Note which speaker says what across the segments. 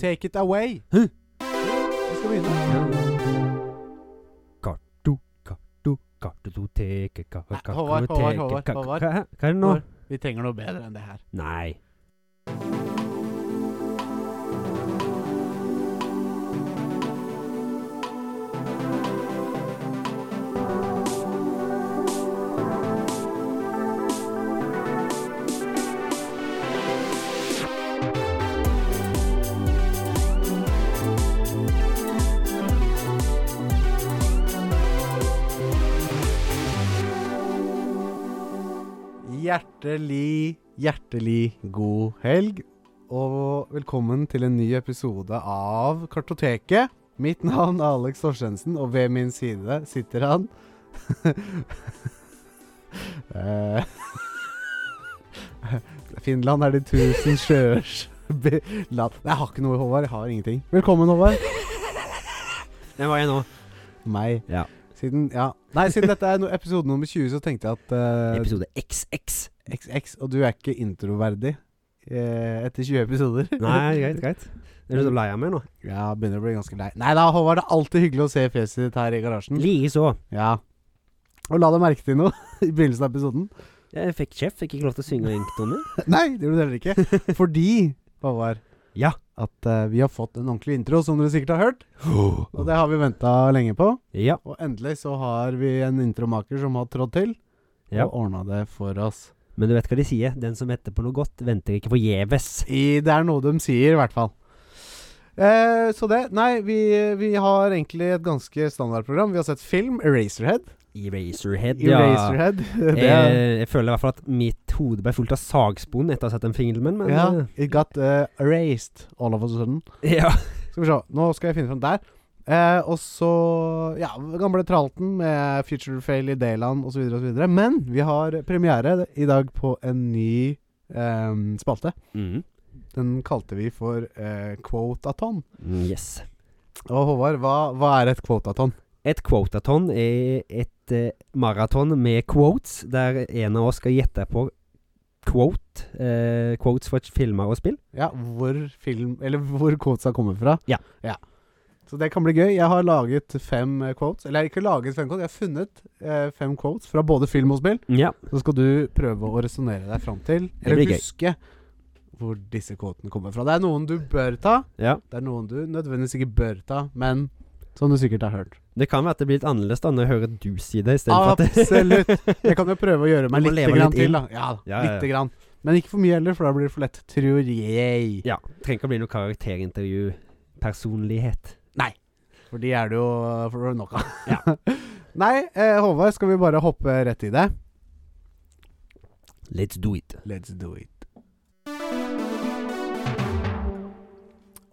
Speaker 1: Take it away.
Speaker 2: Hæ?
Speaker 1: Vi skal begynne.
Speaker 2: Karto, karto, karto, to teke, ka-
Speaker 1: Nei,
Speaker 2: ka-
Speaker 1: Håvard,
Speaker 2: karto,
Speaker 1: Håvard,
Speaker 2: teke,
Speaker 1: Håvard,
Speaker 2: ka- ka-
Speaker 1: Håvard.
Speaker 2: Hæ? Hva er det nå?
Speaker 1: Håvard. Vi trenger noe bedre enn det her.
Speaker 2: Nei.
Speaker 1: Hjertelig, hjertelig god helg, og velkommen til en ny episode av Kartoteket. Mitt navn er Alex Torstensen, og ved min side sitter han Eh, Finland er de tusen sjøers be- land Nei, Jeg har ikke noe, Håvard. Jeg har ingenting. Velkommen, Håvard.
Speaker 2: Hvem var jeg nå?
Speaker 1: Meg.
Speaker 2: Ja.
Speaker 1: Siden, ja. Nei, siden dette er no episode nummer 20, så tenkte jeg at eh,
Speaker 2: Episode XX.
Speaker 1: XX, og du er ikke introverdig eh, etter 20 episoder.
Speaker 2: Nei, greit, greit. Er du så lei av meg nå?
Speaker 1: Ja, begynner å bli ganske lei. Nei da, Håvard, det er alltid hyggelig å se fjeset ditt her i
Speaker 2: Mm.
Speaker 1: garasjen.
Speaker 2: Likeså.
Speaker 1: Ja. Og la deg merke til noe i begynnelsen av episoden.
Speaker 2: Jeg fikk kjeft, fikk ikke lov til å synge ringtoner.
Speaker 1: Nei, det gjorde du heller ikke. Fordi, Håvard,
Speaker 2: Ja.
Speaker 1: at eh, vi har fått en ordentlig intro, som dere sikkert har hørt. Og det har vi venta lenge på.
Speaker 2: Ja.
Speaker 1: Og endelig så har vi en intromaker som har trådt til,
Speaker 2: ja.
Speaker 1: og ordna det for oss.
Speaker 2: Men du vet hva de sier? Den som venter på noe godt, venter ikke forgjeves.
Speaker 1: I, det er noe de sier, i hvert fall. Eh, så det Nei, vi, vi har egentlig et ganske standardprogram. Vi har sett film, 'Eraserhead'.
Speaker 2: Eraserhead, ja. Eh,
Speaker 1: Eraserhead. Det er,
Speaker 2: Jeg, jeg føler i hvert fall at mitt hode ble fullt av sagspon etter å ha sett den filmen, men
Speaker 1: ja,
Speaker 2: eh,
Speaker 1: It got eh, erased all of a sudden.
Speaker 2: ja.
Speaker 1: Skal vi se, nå skal jeg finne fram der. Eh, og så ja, gamle Tralten med Future Fail i Dayland osv. osv. Men vi har premiere i dag på en ny eh, spalte.
Speaker 2: Mm.
Speaker 1: Den kalte vi for eh, Quotaton.
Speaker 2: Mm, Yes.
Speaker 1: Og Håvard, hva, hva er et quotaton?
Speaker 2: Et quotaton er et eh, maraton med quotes, der en av oss skal gjette på quote, eh, quotes fra filmer og spill.
Speaker 1: Ja, hvor film Eller hvor quotesa kommer fra.
Speaker 2: Ja.
Speaker 1: Så det kan bli gøy. Jeg har laget fem eh, quotes. Eller jeg har ikke laget fem quotes, jeg har funnet eh, fem quotes fra både film og spill.
Speaker 2: Ja.
Speaker 1: Så skal du prøve å resonnere deg fram til,
Speaker 2: Det
Speaker 1: eller
Speaker 2: blir gøy.
Speaker 1: huske, hvor disse quotene kommer fra. Det er noen du bør ta,
Speaker 2: ja.
Speaker 1: det er noen du nødvendigvis ikke bør ta, men som du sikkert har hørt.
Speaker 2: Det kan være at det blir litt annerledes da når jeg hører du si det istedenfor at
Speaker 1: Absolutt! Jeg kan jo prøve å gjøre meg
Speaker 2: Du må
Speaker 1: lite
Speaker 2: leve
Speaker 1: grann
Speaker 2: litt inn.
Speaker 1: til, da. Ja,
Speaker 2: Ja, ja, ja.
Speaker 1: lite grann. Men ikke for mye heller, for da blir det for lett, tror jeg.
Speaker 2: Ja. Trenger ikke å bli noe karakterintervju. Personlighet.
Speaker 1: For de er det jo for nok av.
Speaker 2: Ja.
Speaker 1: Nei, eh, Håvard, skal vi bare hoppe rett i det?
Speaker 2: Let's do it.
Speaker 1: Let's do it.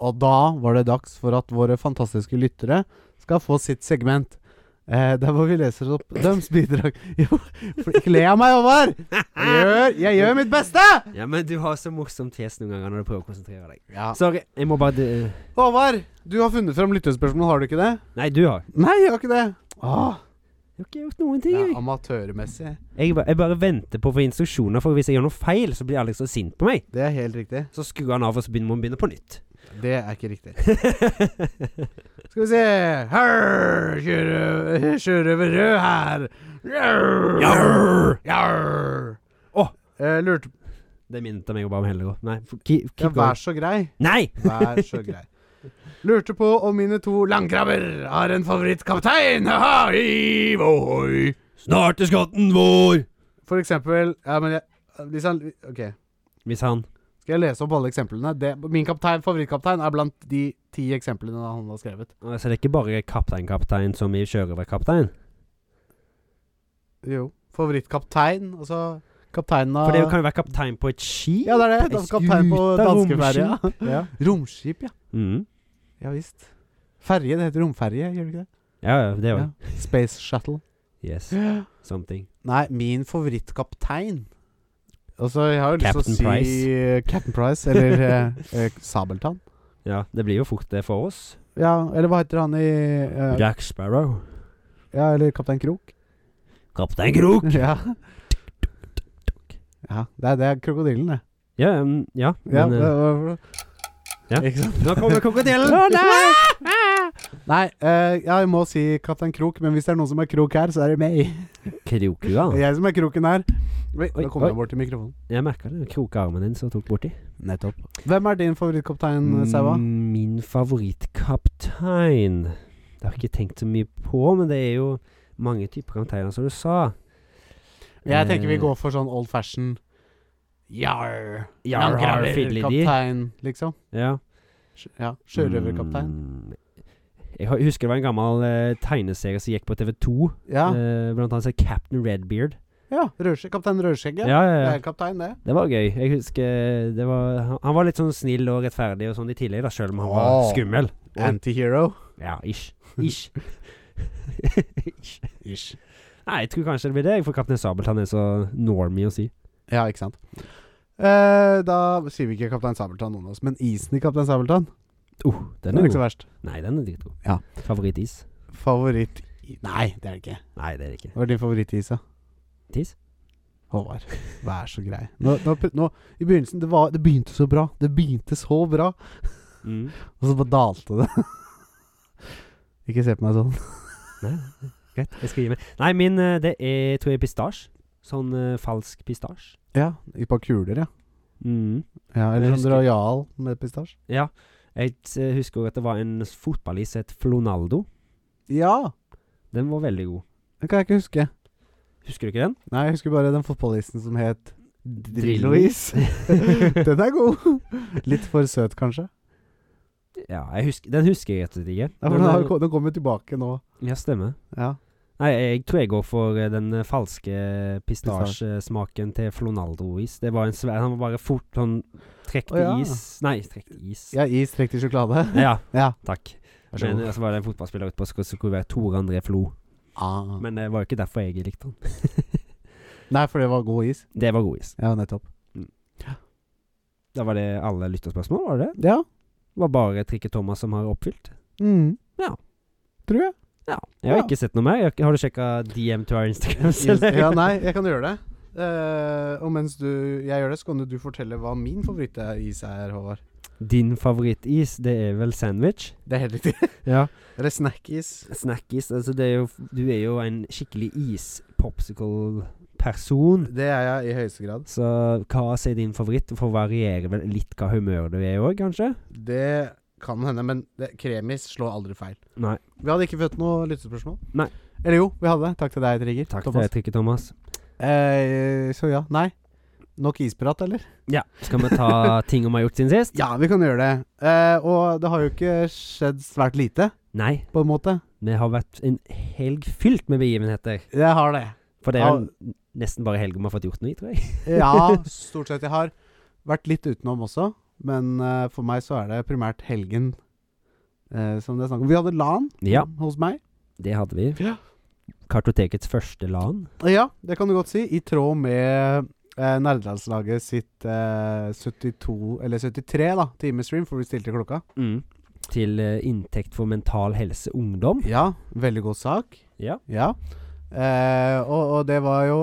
Speaker 1: Og da var det dags for at våre fantastiske lyttere skal få sitt segment. Eh, der hvor vi leser opp deres bidrag Jo, for ikke le av meg, Håvard! Jeg gjør, jeg gjør mitt beste!
Speaker 2: Ja, men du har så morsomt fjes noen ganger når du prøver å konsentrere deg.
Speaker 1: Ja.
Speaker 2: Sorry, jeg må bare eh,
Speaker 1: Håvard, du har funnet fram lyttespørsmål, har du ikke det?
Speaker 2: Nei, du har.
Speaker 1: Nei, jeg har ikke det. Åh,
Speaker 2: Jeg har ikke gjort noen ting.
Speaker 1: det er
Speaker 2: jeg.
Speaker 1: amatørmessig.
Speaker 2: Jeg, ba- jeg bare venter på å få instruksjoner, for hvis jeg gjør noe feil, så blir Alex så sint på meg.
Speaker 1: Det er helt riktig.
Speaker 2: Så skrur han av, og så begynner må han begynne på nytt.
Speaker 1: Det er ikke riktig. Skal vi se Her, kjøre, kjøre over rød her. Jarr, jarr. Å, eh, lurte på
Speaker 2: det minnet meg jo bare om Helge òg. Nei, f- keep,
Speaker 1: ja,
Speaker 2: keep
Speaker 1: Vær
Speaker 2: going.
Speaker 1: så grei.
Speaker 2: Nei!
Speaker 1: Vær så grei. Lurte på om mine to landkrabber har en favorittkaptein. Ha-ha, hoi.
Speaker 2: Snart er skatten vår!
Speaker 1: For eksempel Ja, men jeg, hvis han, OK.
Speaker 2: Hvis han
Speaker 1: Skal jeg lese opp alle eksemplene? Det, min kaptein, favorittkaptein er blant de ti eksemplene han har skrevet.
Speaker 2: Å, Så det er ikke bare kaptein-kaptein som i sjørøverkaptein?
Speaker 1: Jo. Favorittkaptein. Altså kapteinen av
Speaker 2: For det kan jo være kaptein på et skip?
Speaker 1: Ja, det er det.
Speaker 2: Ei
Speaker 1: Da- Kaptein på
Speaker 2: skute,
Speaker 1: danskeferja.
Speaker 2: romskip.
Speaker 1: Ja. Romskip, ja.
Speaker 2: Mm.
Speaker 1: Ja visst. Ferje, det heter romferje, gjør det ikke det?
Speaker 2: Ja, ja, det òg.
Speaker 1: Ja. Space Shuttle.
Speaker 2: Yes. Something.
Speaker 1: Nei, min favorittkaptein Altså, jeg har jo lyst til å
Speaker 2: Captain
Speaker 1: si
Speaker 2: Price.
Speaker 1: eh, Captain Price, eller eh, eh, Sabeltann.
Speaker 2: Ja, det blir jo fort det for oss.
Speaker 1: Ja, eller hva heter han i eh,
Speaker 2: Jack Sparrow.
Speaker 1: Ja, eller Kaptein Krok.
Speaker 2: Kaptein Krok!
Speaker 1: Ja. ja det, er, det er krokodillen, det.
Speaker 2: Ja, mm, ja,
Speaker 1: Ja,
Speaker 2: men
Speaker 1: det
Speaker 2: eh,
Speaker 1: var-
Speaker 2: Ja.
Speaker 1: Ikke sant?
Speaker 2: Nå kommer krokodillen!
Speaker 1: Å, nei! Nei, eh, jeg må si Kaptein Krok, men hvis det er noen som er krok her, så er det meg.
Speaker 2: Krokua.
Speaker 1: Det er jeg som er kroken her. Oi,
Speaker 2: Oi,
Speaker 1: da kommer jeg
Speaker 2: oi.
Speaker 1: bort til mikrofonen.
Speaker 2: Jeg merka det. Kroka armen din som tok borti.
Speaker 1: Nettopp. Hvem er din favorittkaptein, eh, Saua?
Speaker 2: Mm, Min favorittkaptein Det har jeg ikke tenkt så mye på, men det er jo mange typer kapteiner, som du sa.
Speaker 1: Jeg tenker vi
Speaker 2: Eh,
Speaker 1: går for sånn old fashion. Yar.
Speaker 2: Jarl har fiddledy.
Speaker 1: Kaptein, liksom.
Speaker 2: Ja.
Speaker 1: Sjø- Ja, Sjørøverkaptein.
Speaker 2: Mm, Jeg har- husker det var en gammel eh, tegneserie som gikk på TV2.
Speaker 1: Ja.
Speaker 2: Eh, blant annet så Captain Redbeard.
Speaker 1: ja. Rødskje, kaptein
Speaker 2: Ja,
Speaker 1: Rødskjegget.
Speaker 2: ja,
Speaker 1: Det
Speaker 2: ja.
Speaker 1: er kaptein, det.
Speaker 2: Det var gøy. Jeg husker eh, det var, han- Han var litt sånn snill og rettferdig og sånn i tillegg, da, selv om han var
Speaker 1: Åh.
Speaker 2: skummel. Oi.
Speaker 1: Antihero.
Speaker 2: Ja, ish. Ish. ish.
Speaker 1: Ish.
Speaker 2: Nei, jeg tror kanskje det blir det, for Kaptein Sabeltann er så normy å si.
Speaker 1: Ja, ikke sant. Eh, da sier vi ikke Kaptein Sabeltann, noen av oss, men isen i Kaptein Sabeltann
Speaker 2: Oh, den
Speaker 1: den
Speaker 2: er
Speaker 1: er ikke så
Speaker 2: god.
Speaker 1: verst.
Speaker 2: Nei, den er dritgod.
Speaker 1: Ja.
Speaker 2: Favorittis?
Speaker 1: Favoritt i- Nei, det er det ikke.
Speaker 2: Nei, det er det ikke.
Speaker 1: Hva er din favorittis, da?
Speaker 2: Tiss?
Speaker 1: Håvard, vær så grei. Nå, nå, pr- nå, I begynnelsen det, var, det begynte så bra. Det begynte så bra,
Speaker 2: Mm.
Speaker 1: og så bare dalte det. ikke se på meg sånn.
Speaker 2: Nei, nei, greit. Jeg skal gi meg. Nei, min eh, det er, tror jeg, pistasje. Sånn eh, falsk pistasje.
Speaker 1: Ja, i et par kuler, ja.
Speaker 2: Mm.
Speaker 1: ja eller
Speaker 2: Jeg
Speaker 1: sånn
Speaker 2: husker-
Speaker 1: Royal med pistasje.
Speaker 2: Ja. Jeg eh, husker også at det var en fotballist som het Flonaldo.
Speaker 1: Ja!
Speaker 2: Den var veldig god.
Speaker 1: Det kan jeg ikke huske.
Speaker 2: Husker du ikke den?
Speaker 1: Nei, jeg husker bare den fotballisten som het Drillois. den er god. Litt for søt, kanskje.
Speaker 2: Ja, jeg husker, den husker jeg rett og slett ikke.
Speaker 1: Ja, for den, har,
Speaker 2: eh,
Speaker 1: ko- den kommer tilbake nå.
Speaker 2: ja, stemmer.
Speaker 1: Ja.
Speaker 2: Nei, jeg tror jeg går for eh, den eh, falske pistasjesmaken til Flonaldo-is. Det var en svær Han var bare fort sånn Trekte
Speaker 1: Å, ja.
Speaker 2: is Nei, trekte is.
Speaker 1: ja, is trukket i sjokolade.
Speaker 2: Ja,
Speaker 1: Ja.
Speaker 2: takk.
Speaker 1: Vær så
Speaker 2: Men
Speaker 1: god.
Speaker 2: eh, så var det en fotballspiller ute på Skå som skulle være Tore André Flo.
Speaker 1: Ah.
Speaker 2: Men det var jo ikke derfor jeg likte han.
Speaker 1: Nei, for det var god is.
Speaker 2: Det var god is.
Speaker 1: Ja, nettopp.
Speaker 2: Da var det alle lytterspørsmål, var det det?
Speaker 1: Ja.
Speaker 2: Det var bare Trikke Thomas som har oppfylt.
Speaker 1: Mm.
Speaker 2: Ja.
Speaker 1: Tror jeg.
Speaker 2: Ja. Jeg har
Speaker 1: Ja.
Speaker 2: ikke sett noe mer. Jeg har ikke- Har du sjekka DM to our Instagram? eller?
Speaker 1: Ja, nei, jeg kan gjøre det. Eh, og mens du, jeg gjør det, så kan jo du fortelle hva min favorittis er, Håvard.
Speaker 2: Din favorittis, det er vel sandwich?
Speaker 1: Det er helt riktig.
Speaker 2: Ja.
Speaker 1: Eller snackis.
Speaker 2: Snackis. Altså, det er jo Du er jo en skikkelig is-popsicle-person.
Speaker 1: Det er jeg i høyeste grad.
Speaker 2: Så hva som er din favoritt? Det får variere vel litt hva humør du er i òg, kanskje?
Speaker 1: Det kan hende, men det, kremis slår aldri feil.
Speaker 2: Nei.
Speaker 1: Vi hadde ikke fått noe lyttespørsmål.
Speaker 2: Nei.
Speaker 1: Eller jo, vi hadde det. Takk til deg, Trigger.
Speaker 2: Takk til
Speaker 1: Thomas.
Speaker 2: deg, Trikke Thomas.
Speaker 1: Eh, så ja. Nei. Nok isprat, eller?
Speaker 2: Ja. Skal vi ta ting vi har gjort siden sist?
Speaker 1: Ja, vi kan gjøre det. Eh, og det har jo ikke skjedd svært lite,
Speaker 2: Nei.
Speaker 1: på en måte.
Speaker 2: Det har vært en helg fylt med begivenheter.
Speaker 1: Jeg har det.
Speaker 2: For det er vel nesten bare helga vi har fått gjort noe i, tror jeg.
Speaker 1: Ja, stort sett. Jeg har vært litt utenom også, men eh, for meg så er det primært helgen eh, som det er snakk om. Vi hadde LAN
Speaker 2: Ja,
Speaker 1: hos meg.
Speaker 2: det hadde vi.
Speaker 1: Ja.
Speaker 2: Kartotekets første LAN.
Speaker 1: Ja, det kan du godt si. I tråd med eh, nerdelandslaget sitt eh, 72, eller 73 da, timestream, for vi stilte klokka.
Speaker 2: Til eh, inntekt for Mental Helse Ungdom.
Speaker 1: Ja, veldig god sak.
Speaker 2: Ja.
Speaker 1: Ja. Eh, og, og det var jo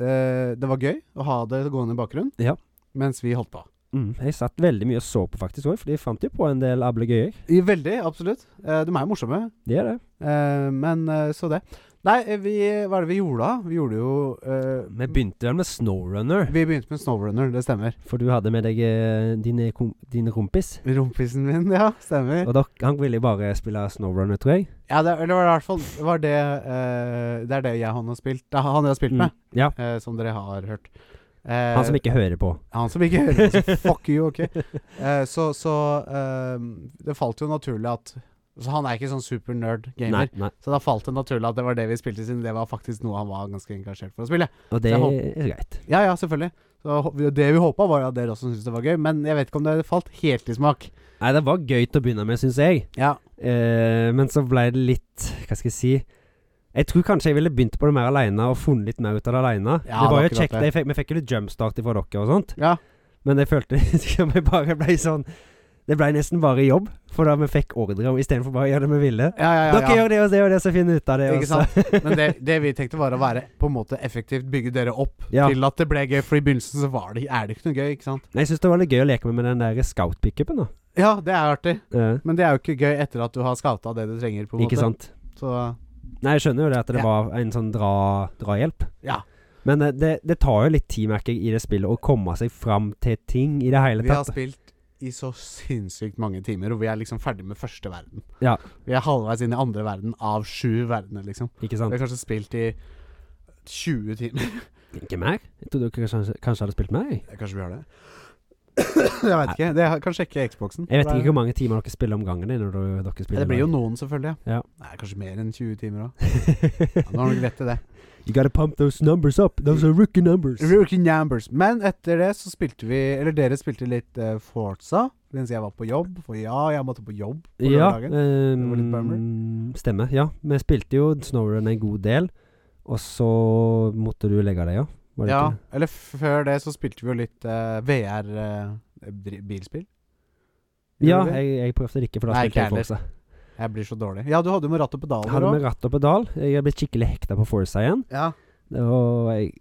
Speaker 1: eh, Det var gøy å ha det gående i bakgrunnen
Speaker 2: Ja.
Speaker 1: mens vi holdt på. Mm.
Speaker 2: Jeg satt veldig mye og så på faktisk òg, for de fant jo på en del ablegøyer.
Speaker 1: I- Veldig, absolutt. Eh, de er jo morsomme.
Speaker 2: Det er det.
Speaker 1: Eh, men eh, så det. Nei, eh, vi, hva er det vi gjorde da? Vi gjorde jo eh,
Speaker 2: Vi begynte vel med Snowrunner,
Speaker 1: Vi begynte med Snowrunner, det stemmer.
Speaker 2: for du hadde med deg eh, din, kom din kompis.
Speaker 1: Rumpisen min, ja. Stemmer.
Speaker 2: Og dere, han ville bare spille Snowrunner, tror jeg.
Speaker 1: Ja, det, eller var det i hvert fall det var det, eh, det er det jeg han har spilt Det er han jeg har spilt
Speaker 2: Mm.
Speaker 1: med,
Speaker 2: Ja.
Speaker 1: eh, som dere har hørt. Eh,
Speaker 2: Han som ikke hører på.
Speaker 1: Han som ikke hører på, så fuck you, ok. Eh, så så eh, det falt jo naturlig at Så han er ikke sånn supernerd gamer.
Speaker 2: Nei, nei.
Speaker 1: Så da falt det naturlig at det var det vi spilte, siden det var faktisk noe han var ganske engasjert for å spille.
Speaker 2: Og det
Speaker 1: Jeg
Speaker 2: er greit.
Speaker 1: Ja, ja, selvfølgelig. Så, hå- vi- det vi håpa, var jo at dere også syntes det var gøy, men jeg vet ikke om det falt helt i smak.
Speaker 2: Nei, det var gøy til å begynne med, syns jeg.
Speaker 1: Ja,
Speaker 2: Eh, men så ble det litt Hva skal jeg si Jeg tror kanskje jeg ville begynt på det mer aleine og funnet litt mer ut av det aleine.
Speaker 1: Ja,
Speaker 2: det
Speaker 1: det
Speaker 2: var jo
Speaker 1: er akkurat
Speaker 2: kjekt, jeg fikk, vi fikk jo litt jumpstart fra dere og sånt,
Speaker 1: ja.
Speaker 2: men jeg følte som jeg bare ble sånn Det ble nesten bare jobb, for da vi fikk ordre om istedenfor bare å gjøre det vi ville.
Speaker 1: ja, ja, ja,
Speaker 2: Dere
Speaker 1: ja.
Speaker 2: gjør det og det og det, så finner vi ut av det.
Speaker 1: Ikke
Speaker 2: og så-
Speaker 1: Men det, det vi tenkte var å være på en måte effektivt, bygge dere opp
Speaker 2: Ja.
Speaker 1: til at det ble gøy. For i begynnelsen så var det, er det ikke noe gøy, ikke sant?
Speaker 2: Nei, Jeg syns det var litt gøy å leke med med den der scout-pickupen. da.
Speaker 1: Ja, det er artig.
Speaker 2: Eh,
Speaker 1: Men det er jo ikke gøy etter at du har scouta det du trenger, på en
Speaker 2: ikke
Speaker 1: måte.
Speaker 2: sant?
Speaker 1: Så
Speaker 2: Nei, jeg skjønner jo det at det
Speaker 1: Ja.
Speaker 2: var en sånn dra, drahjelp.
Speaker 1: ja.
Speaker 2: Men eh, det, det tar jo litt tid, merker jeg, i det spillet å komme seg fram til ting i det hele
Speaker 1: Vi har
Speaker 2: tatt.
Speaker 1: spilt i så sinnssykt mange timer, og vi er liksom ferdig med første verden.
Speaker 2: Ja.
Speaker 1: Vi er halvveis inn i andre verden av sju verdener, liksom.
Speaker 2: Ikke
Speaker 1: Vi
Speaker 2: sant?
Speaker 1: har kanskje spilt i 20 timer.
Speaker 2: Ikke mer? Jeg trodde dere kanskje, kanskje hadde spilt mer? jeg.
Speaker 1: Kanskje vi har det? jeg veit ikke. Det kan sjekke Xboxen.
Speaker 2: Jeg vet
Speaker 1: For det
Speaker 2: ikke
Speaker 1: er-
Speaker 2: hvor mange timer dere spiller om gangen. i Når du- dere
Speaker 1: Ja,
Speaker 2: spiller
Speaker 1: Det blir jo noen, selvfølgelig.
Speaker 2: Ja.
Speaker 1: Nei, kanskje mer enn 20 timer òg. Ja, nå
Speaker 2: noe
Speaker 1: har du nok rett i det.
Speaker 2: You gotta pump those numbers up. Those are rookie numbers.
Speaker 1: Rookie Numbers. Men etter det så spilte vi Eller dere spilte litt eh, Forza mens jeg var på jobb. For ja, jeg måtte på jobb på
Speaker 2: Ja,
Speaker 1: lørdagen. var litt
Speaker 2: um, stemmer. Ja, vi spilte jo Snowrun en god del, og så måtte du legge deg, ja. Var det
Speaker 1: Ja,
Speaker 2: ikke?
Speaker 1: eller f- før det så spilte vi jo litt eh, VR eh, dri- bilspill. Gjorde
Speaker 2: Ja,
Speaker 1: vi?
Speaker 2: jeg, jeg prøvde det ikke, for da
Speaker 1: Nei,
Speaker 2: spilte jeg
Speaker 1: ikke jeg
Speaker 2: Forza.
Speaker 1: Jeg blir så dårlig. Ja, du hadde jo med ratt og pedaler
Speaker 2: Hadde
Speaker 1: også.
Speaker 2: med ratt og pedal. Jeg er blitt skikkelig hekta på Forza igjen.
Speaker 1: Ja.
Speaker 2: Og jeg,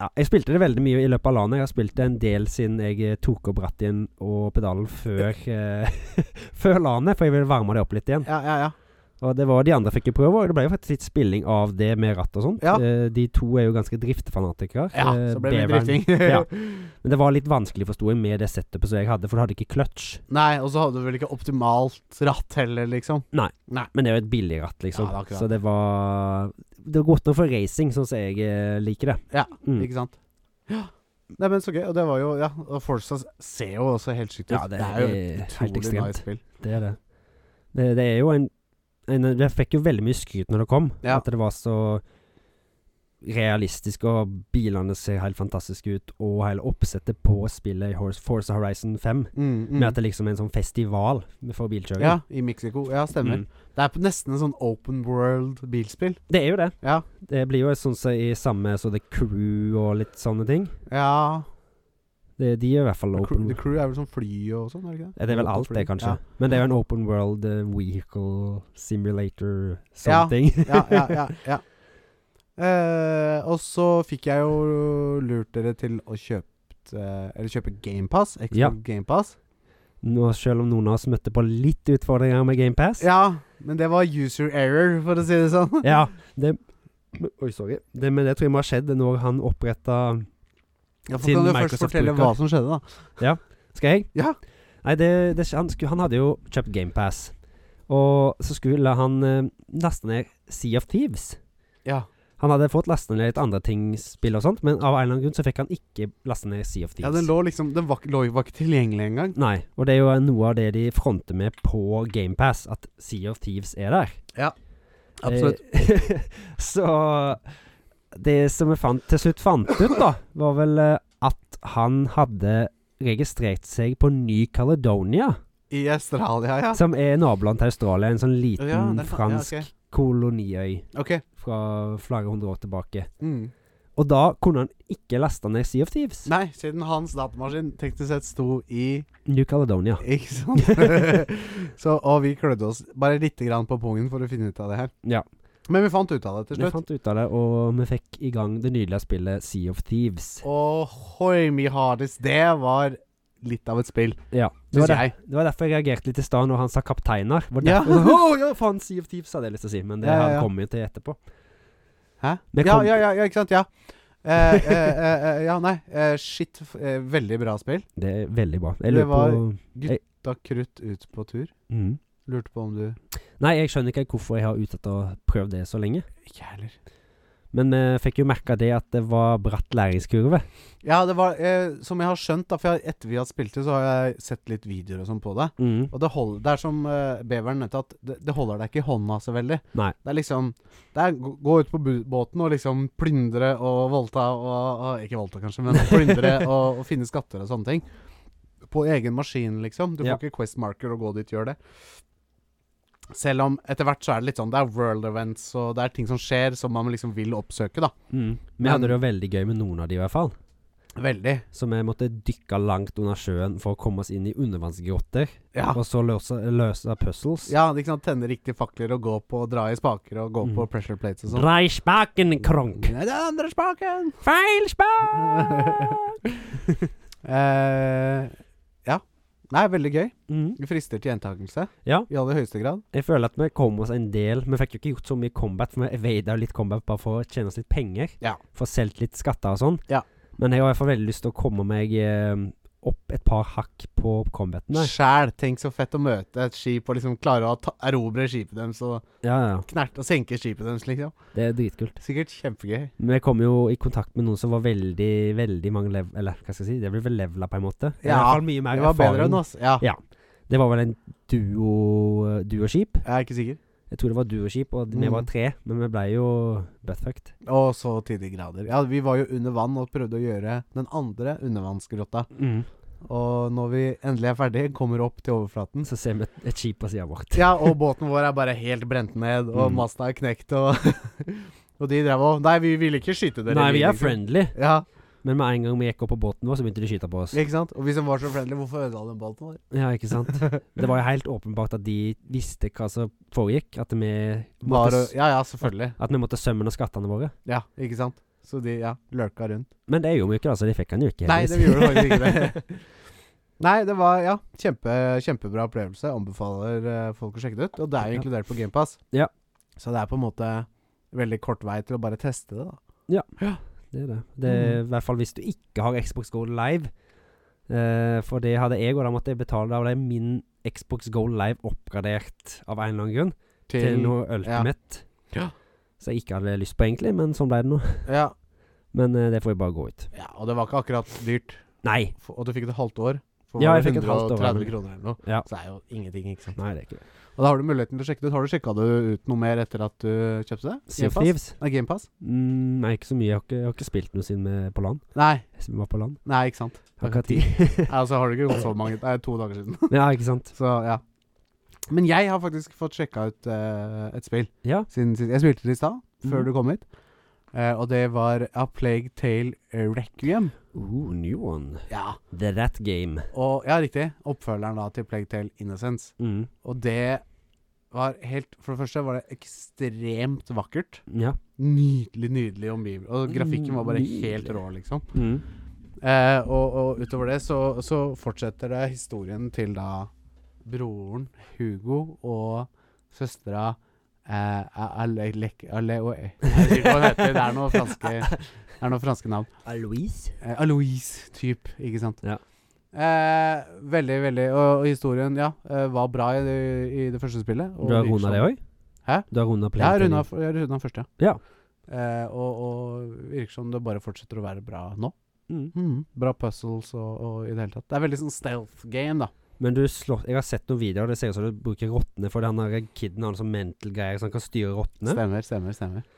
Speaker 2: ja, jeg spilte det veldig mye i løpet av landet. Jeg har spilt det en del siden jeg eh, tok opp rattet igjen og pedalen før, eh, før landet, for jeg ville varme det opp litt igjen.
Speaker 1: ja, ja, ja.
Speaker 2: Og det var de andre fikk jo prøve, og det ble jo faktisk litt spilling av det med ratt og sånt.
Speaker 1: Ja.
Speaker 2: Eh, de to er jo ganske driftefanatikere.
Speaker 1: Ja,
Speaker 2: Eh,
Speaker 1: så ble det litt
Speaker 2: Beveren-
Speaker 1: drifting.
Speaker 2: ja. Men det var litt vanskelig, forsto jeg, med det setupet som jeg hadde, for du hadde ikke clutch.
Speaker 1: Nei, og så hadde du vel ikke optimalt ratt heller, liksom.
Speaker 2: Men det er jo et billig ratt,
Speaker 1: Ja,
Speaker 2: liksom.
Speaker 1: det er akkurat.
Speaker 2: så det var Det var godt nok for racing, sånn som jeg eh, liker det.
Speaker 1: Ja,
Speaker 2: Mm.
Speaker 1: Ikke sant? Ja. Nei, men så gøy. Og det var jo Ja, og Forza ser jo også helt sykt ut.
Speaker 2: Ja, det
Speaker 1: jo
Speaker 2: er
Speaker 1: et
Speaker 2: helt
Speaker 1: utrolig
Speaker 2: ekstremt.
Speaker 1: nice spill.
Speaker 2: Det er det. Det, det er jo en, en Det fikk jo veldig mye skryt når det kom,
Speaker 1: Ja.
Speaker 2: at det var så realistisk, og bilene ser helt fantastiske ut, og hele oppsettet på spillet i Hor- Forza Horizon 5
Speaker 1: Mm, mm.
Speaker 2: Med at det liksom er en sånn festival for bilkjøring.
Speaker 1: Ja, i Mexico. Ja, stemmer.
Speaker 2: Mm.
Speaker 1: Det er på nesten en sånn open world bilspill.
Speaker 2: Det er jo det.
Speaker 1: Ja.
Speaker 2: Det blir jo sånn som i samme så The Crew og litt sånne ting.
Speaker 1: Ja
Speaker 2: Det, de er i hvert fall
Speaker 1: The Crew,
Speaker 2: open
Speaker 1: the crew er vel sånn fly og sånn, er det ikke det?
Speaker 2: Er det er vel
Speaker 1: Open
Speaker 2: alt
Speaker 1: fly.
Speaker 2: det, kanskje? Men det er jo en open world eh, vehicle simulator
Speaker 1: Ja.
Speaker 2: something.
Speaker 1: Ja, ja, ja. ja, ja. Eh, og så fikk jeg jo lurt dere til å kjøpt eh, Eller kjøpe GamePass.
Speaker 2: Ja.
Speaker 1: GamePass.
Speaker 2: Nå, selv om noen av oss møtte på litt utfordringer med GamePass.
Speaker 1: Ja, men det var user error, for å si det sånn.
Speaker 2: ja det, men- Oi, sorry. Det, men det tror jeg må ha skjedd når han oppretta
Speaker 1: Ja, for
Speaker 2: Siden
Speaker 1: kan du først
Speaker 2: Microsoft
Speaker 1: fortelle
Speaker 2: bruker.
Speaker 1: hva som skjedde, da?
Speaker 2: Skal jeg?
Speaker 1: Ja.
Speaker 2: Nei, det, det, han, skulle, han hadde jo kjøpt GamePass. Og så skulle han eh, laste ned Sea of Thieves.
Speaker 1: Ja.
Speaker 2: Han hadde fått laste ned litt andre ting, spill og sånt, men av en eller annen grunn så fikk han ikke laste ned Sea of Thieves.
Speaker 1: ja, den lå liksom Den var, ikke- lå, var ikke tilgjengelig engang.
Speaker 2: Nei, og det er jo noe av det de fronter med på GamePass, at Sea of Thieves er der. Eh, så det som vi fant, til slutt fant ut, da, var vel eh, at han hadde registrert seg på Ny Caledonia.
Speaker 1: I Australia, ja.
Speaker 2: Som er naboland til Australia. En sånn liten
Speaker 1: Ja, det er fa- ja,
Speaker 2: fransk koloniøy
Speaker 1: Ok.
Speaker 2: fra flere hundre år tilbake.
Speaker 1: Mm.
Speaker 2: Og da kunne han ikke laste ned Sea of Thieves.
Speaker 1: Nei, siden hans datamaskin teknisk sett sto i
Speaker 2: New Caledonia.
Speaker 1: Ikke sant? så, og vi klødde oss bare lite grann på pungen for å finne ut av det her.
Speaker 2: Ja.
Speaker 1: Men vi fant ut av det til
Speaker 2: Vi
Speaker 1: slutt.
Speaker 2: fant ut av det, og vi fikk i gang det nydelige spillet Sea of Thieves.
Speaker 1: Ohoi, mi hardis. Det var litt av et spill,
Speaker 2: Ja, det
Speaker 1: syns
Speaker 2: var, der,
Speaker 1: jeg.
Speaker 2: det var derfor jeg reagerte litt i stad når han sa kapteiner. Det Var
Speaker 1: Ja.
Speaker 2: derfor, «Åh, ja, faen, Sea of Thieves hadde jeg lyst til å si, men det
Speaker 1: Ja, ja,
Speaker 2: her
Speaker 1: ja.
Speaker 2: kommer jo til etterpå.
Speaker 1: Hæ?
Speaker 2: Det
Speaker 1: Ja,
Speaker 2: kom-
Speaker 1: ja, ja, ja, ikke sant? Ja. Eh, eh, eh, eh, ja, nei. Eh, shit. f- Eh, veldig bra spill.
Speaker 2: Det er veldig bra.
Speaker 1: Det
Speaker 2: Jeg lurer
Speaker 1: var-
Speaker 2: på
Speaker 1: Da krutt ut på tur.
Speaker 2: mm.
Speaker 1: Lurte på om du
Speaker 2: Nei, jeg skjønner ikke hvorfor jeg har utsatt å prøve det så lenge.
Speaker 1: Ikke jeg heller.
Speaker 2: Men vi fikk jo merka det at det var bratt læringskurve.
Speaker 1: Ja, det var eh, Som jeg har skjønt, da, for jeg, etter vi har spilt det, så har jeg sett litt videoer og sånn på det.
Speaker 2: Mm.
Speaker 1: Og det, hold, det er som eh, beveren nevnte, at det, det holder deg ikke i hånda så veldig.
Speaker 2: Nei.
Speaker 1: Det er liksom Det er gå gå ut på bu- båten og liksom plyndre og voldta og, og Ikke voldta, kanskje, men plyndre og, og finne skatter og sånne ting. På egen maskin, liksom. Du
Speaker 2: Ja.
Speaker 1: får ikke Quest Marker og gå dit, gjør det. Selv om etter hvert så er det litt sånn Det er world events og det er ting som skjer som man liksom vil oppsøke, da.
Speaker 2: Mm. Vi hadde det jo veldig gøy med noen av de i hvert fall.
Speaker 1: Veldig.
Speaker 2: Så vi måtte dykke langt under sjøen for å komme oss inn i undervannsgrotter.
Speaker 1: Ja.
Speaker 2: Og så løse, løse puzzles.
Speaker 1: Ja, ikke sant. Tenne riktige fakler og gå på dra i spaker og gå
Speaker 2: Mm.
Speaker 1: på pressure plates og sånn.
Speaker 2: Drei spaken, kronk!
Speaker 1: Nei, det er andre spaken!
Speaker 2: Feil spak!
Speaker 1: Eh, ja. Nei, veldig gøy.
Speaker 2: Mhm.
Speaker 1: Det frister til gjentakelse
Speaker 2: Ja.
Speaker 1: i aller høyeste grad.
Speaker 2: Jeg føler at vi kom oss en del Vi fikk jo ikke gjort så mye combat, for vi evada litt combat bare for å tjene oss litt penger.
Speaker 1: Ja.
Speaker 2: Få solgt litt skatter og sånn.
Speaker 1: Ja.
Speaker 2: Men jeg har i hvert fall veldig lyst til å komme meg eh, opp et par hakk på combaten der.
Speaker 1: Sjæl, tenk så fett å møte et skip og liksom klare å ta, erobre skipet deres og
Speaker 2: Ja, ja.
Speaker 1: knerte og senke skipet deres, liksom.
Speaker 2: Det er dritkult.
Speaker 1: Sikkert kjempegøy.
Speaker 2: Men jeg kom jo i kontakt med noen som var veldig, veldig mange lev... Eller hva skal jeg si, det ble vel levela på en måte.
Speaker 1: Ja,
Speaker 2: Det er i hvert fall mye mer
Speaker 1: Det var bedre
Speaker 2: erfaring.
Speaker 1: enn oss. Ja.
Speaker 2: Ja. Det var vel en duo eh, duoskip.
Speaker 1: Jeg er ikke sikker.
Speaker 2: Jeg tror det var duoskip, og vi
Speaker 1: Mhm.
Speaker 2: var tre. Men vi ble jo buttfucked.
Speaker 1: Og så til de grader. Ja, vi var jo under vann og prøvde å gjøre den andre undervannsgrotta. Og når vi endelig er ferdig, kommer opp til overflaten
Speaker 2: Så ser vi et, et skip på sida vårt.
Speaker 1: Ja, og båten vår er bare helt brent ned, og
Speaker 2: Mm.
Speaker 1: masta er knekt, og Og de drev og Nei, vi ville ikke skyte dere.
Speaker 2: Nei, vi er
Speaker 1: liksom.
Speaker 2: friendly,
Speaker 1: Ja,
Speaker 2: men med en gang vi gikk opp på båten vår, så begynte de å skyte på oss.
Speaker 1: ikke sant? Og hvis de var så friendly, hvorfor ødela de båten vår?
Speaker 2: Ja, ikke sant? Det var jo helt åpenbart at de visste hva som foregikk. At vi
Speaker 1: Var
Speaker 2: måtte,
Speaker 1: å- ja, ja, selvfølgelig.
Speaker 2: at vi måtte sømme ned skattene våre.
Speaker 1: Ja, ikke sant? Så de ja, lurka rundt.
Speaker 2: Men det gjorde vi jo ikke, da, så de fikk han jo ikke.
Speaker 1: Nei,
Speaker 2: heldigvis.
Speaker 1: det gjorde faktisk ikke det. Nei, det var ja, kjempe, kjempebra opplevelse. Anbefaler eh, folk å sjekke det ut. Og det er jo
Speaker 2: Ja.
Speaker 1: inkludert på GamePass.
Speaker 2: Ja.
Speaker 1: Så det er på en måte veldig kort vei til å bare teste det, da.
Speaker 2: Det er det. det er,
Speaker 1: Mm.
Speaker 2: I hvert fall hvis du ikke har Xbox Go Live. Eh, for det hadde jeg, og da måtte jeg betale. Da ble min Xbox Go Live oppgradert av en eller annen grunn til, noe Ultimate.
Speaker 1: Ja.
Speaker 2: Så jeg ikke hadde lyst på, egentlig, men sånn ble det nå.
Speaker 1: ja,
Speaker 2: Men eh, det får jeg bare gå ut.
Speaker 1: ja, og det var ikke akkurat dyrt.
Speaker 2: Nei.
Speaker 1: F- Og du fikk et halvt år. For
Speaker 2: Ja,
Speaker 1: var det
Speaker 2: jeg fikk et halvt år,
Speaker 1: 130
Speaker 2: ja.
Speaker 1: kroner eller noe.
Speaker 2: Ja.
Speaker 1: Så det er jo ingenting, ikke sant.
Speaker 2: Nei, det er ikke det.
Speaker 1: Og da har du muligheten til å sjekke det ut. Har du sjekka det ut noe mer etter at du kjøpte det?
Speaker 2: Sea
Speaker 1: Game
Speaker 2: of
Speaker 1: Pass?
Speaker 2: Thieves?
Speaker 1: Nei, GamePass?
Speaker 2: Mm, nei, ikke så mye. Jeg har ikke, jeg har ikke spilt noe siden vi er på land.
Speaker 1: Nei,
Speaker 2: Siden vi var på land.
Speaker 1: nei, ikke sant.
Speaker 2: Jeg Har ikke hatt tid.
Speaker 1: Nei, Altså har du ikke gått så mange Det er to dager siden.
Speaker 2: ja, ikke sant.
Speaker 1: Så ja. Men jeg har faktisk fått sjekka ut eh, et spill
Speaker 2: Ja.
Speaker 1: siden sist. Jeg spilte det i stad, før
Speaker 2: Mhm.
Speaker 1: du kom hit. Eh, og det var A Plague Tale Requiem.
Speaker 2: Ooh, new one.
Speaker 1: Ja.
Speaker 2: The Rat Game.
Speaker 1: Og ja, riktig. Oppfølgeren da til Plague Tale Innocence.
Speaker 2: Mm.
Speaker 1: Og det var helt For det første var det ekstremt vakkert.
Speaker 2: Ja.
Speaker 1: Nydelig, nydelig omgivelse. Og grafikken var bare
Speaker 2: Nydelig.
Speaker 1: helt rå, liksom.
Speaker 2: Mm.
Speaker 1: Eh, og, og utover det så, så fortsetter det historien til da broren Hugo og søstera eh, Ale, Ale, Ale, Oi. Jeg vet ikke hva hun heter. Det er noen franske, det er noen franske navn.
Speaker 2: Aloise?
Speaker 1: Eh, Aloise-typ, ikke sant?
Speaker 2: Ja.
Speaker 1: Eh, veldig, veldig Og, og historien, ja, eh, var bra i det, i det første spillet.
Speaker 2: Du har runda det òg?
Speaker 1: Hæ?
Speaker 2: Du har runda
Speaker 1: Jeg har runda den første,
Speaker 2: Ja.
Speaker 1: Eh, og, og virker som det bare fortsetter å være bra nå.
Speaker 2: Mm.
Speaker 1: Mhm, Bra puzzles og, og i det hele tatt. Det er veldig sånn stealth game, da.
Speaker 2: Men du slår Jeg har sett noen videoer, det ser ut som du bruker rottene fordi han der kiden har en sånn mental greier så han kan styre rottene.
Speaker 1: Stemmer, stemmer, stemmer.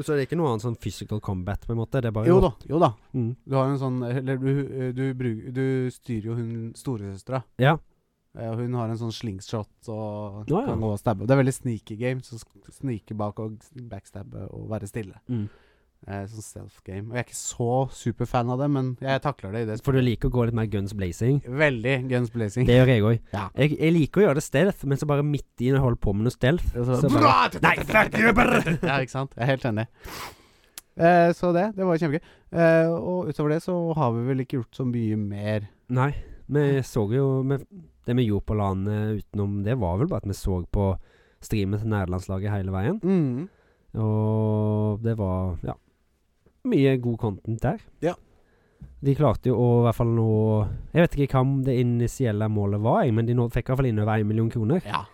Speaker 2: Så det er ikke noe annet sånn physical combat, på en måte? Det er bare
Speaker 1: Jo da, jo da.
Speaker 2: Mm.
Speaker 1: Du har en sånn Eller du, du, bruk- du styrer jo hun storesøstera.
Speaker 2: Ja.
Speaker 1: Eh, og Hun har en sånn slingshot og
Speaker 2: Ja, ja.
Speaker 1: kan gå og stabbe. Det er veldig sneaky game. Så sk- snike bak og s- backstabbe og være stille.
Speaker 2: Mm.
Speaker 1: Eh, sånn stealth game. Og jeg er ikke så superfan av det, men jeg takler det i det. sp-
Speaker 2: For du liker å gå litt mer guns blazing?
Speaker 1: Veldig guns blazing.
Speaker 2: Det gjør jeg òg.
Speaker 1: Ja.
Speaker 2: Jeg, jeg liker å gjøre det stealth, men så bare midt i når jeg holder på med noe stealth
Speaker 1: Og så
Speaker 2: Så
Speaker 1: bare-
Speaker 2: Nei, fuck you, brr!
Speaker 1: Ja, ikke sant? Jeg er helt enig. Eh, så det, det var kjempegøy. Eh, og utover det så har vi vel ikke gjort så mye mer.
Speaker 2: Nei, vi så jo vi, Det vi gjorde på landet utenom det, var vel bare at vi så på streamen til nærlandslaget hele veien.
Speaker 1: Mm.
Speaker 2: Og det var ja mye god content der.
Speaker 1: Ja.
Speaker 2: De klarte jo å i hvert fall nå Jeg vet ikke hva om det initielle målet var, jeg, men de nå fikk i hvert fall inn over én million kroner.
Speaker 1: Ja.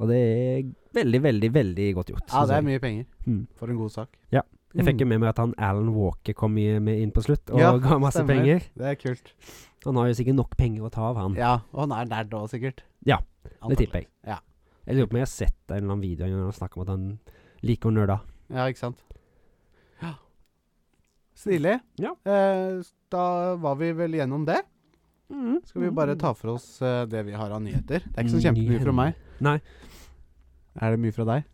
Speaker 2: Og det er veldig, veldig, veldig godt gjort.
Speaker 1: ja,
Speaker 2: synes
Speaker 1: det
Speaker 2: jeg.
Speaker 1: er mye penger
Speaker 2: Mm.
Speaker 1: for en god sak.
Speaker 2: Ja. Jeg fikk jo
Speaker 1: Mm.
Speaker 2: med meg at han Alan Walker kom i, med inn på slutt og
Speaker 1: Ja,
Speaker 2: ga masse
Speaker 1: stemmer.
Speaker 2: penger.
Speaker 1: Det er kult.
Speaker 2: Han har jo sikkert nok penger å ta av, han.
Speaker 1: Ja, og han er nerd òg, sikkert.
Speaker 2: Mm. Ja, det tipper jeg.
Speaker 1: Ja.
Speaker 2: Jeg lurer på om jeg har sett en eller annen video når han snakker om at han liker å nerde.
Speaker 1: Ja, ikke sant. Ja. Stilig.
Speaker 2: Ja.
Speaker 1: Eh, da var vi vel gjennom det. Skal vi bare ta for oss eh, det vi har av nyheter? Det er ikke så kjempemye fra meg.
Speaker 2: Nei.
Speaker 1: Er det mye fra deg?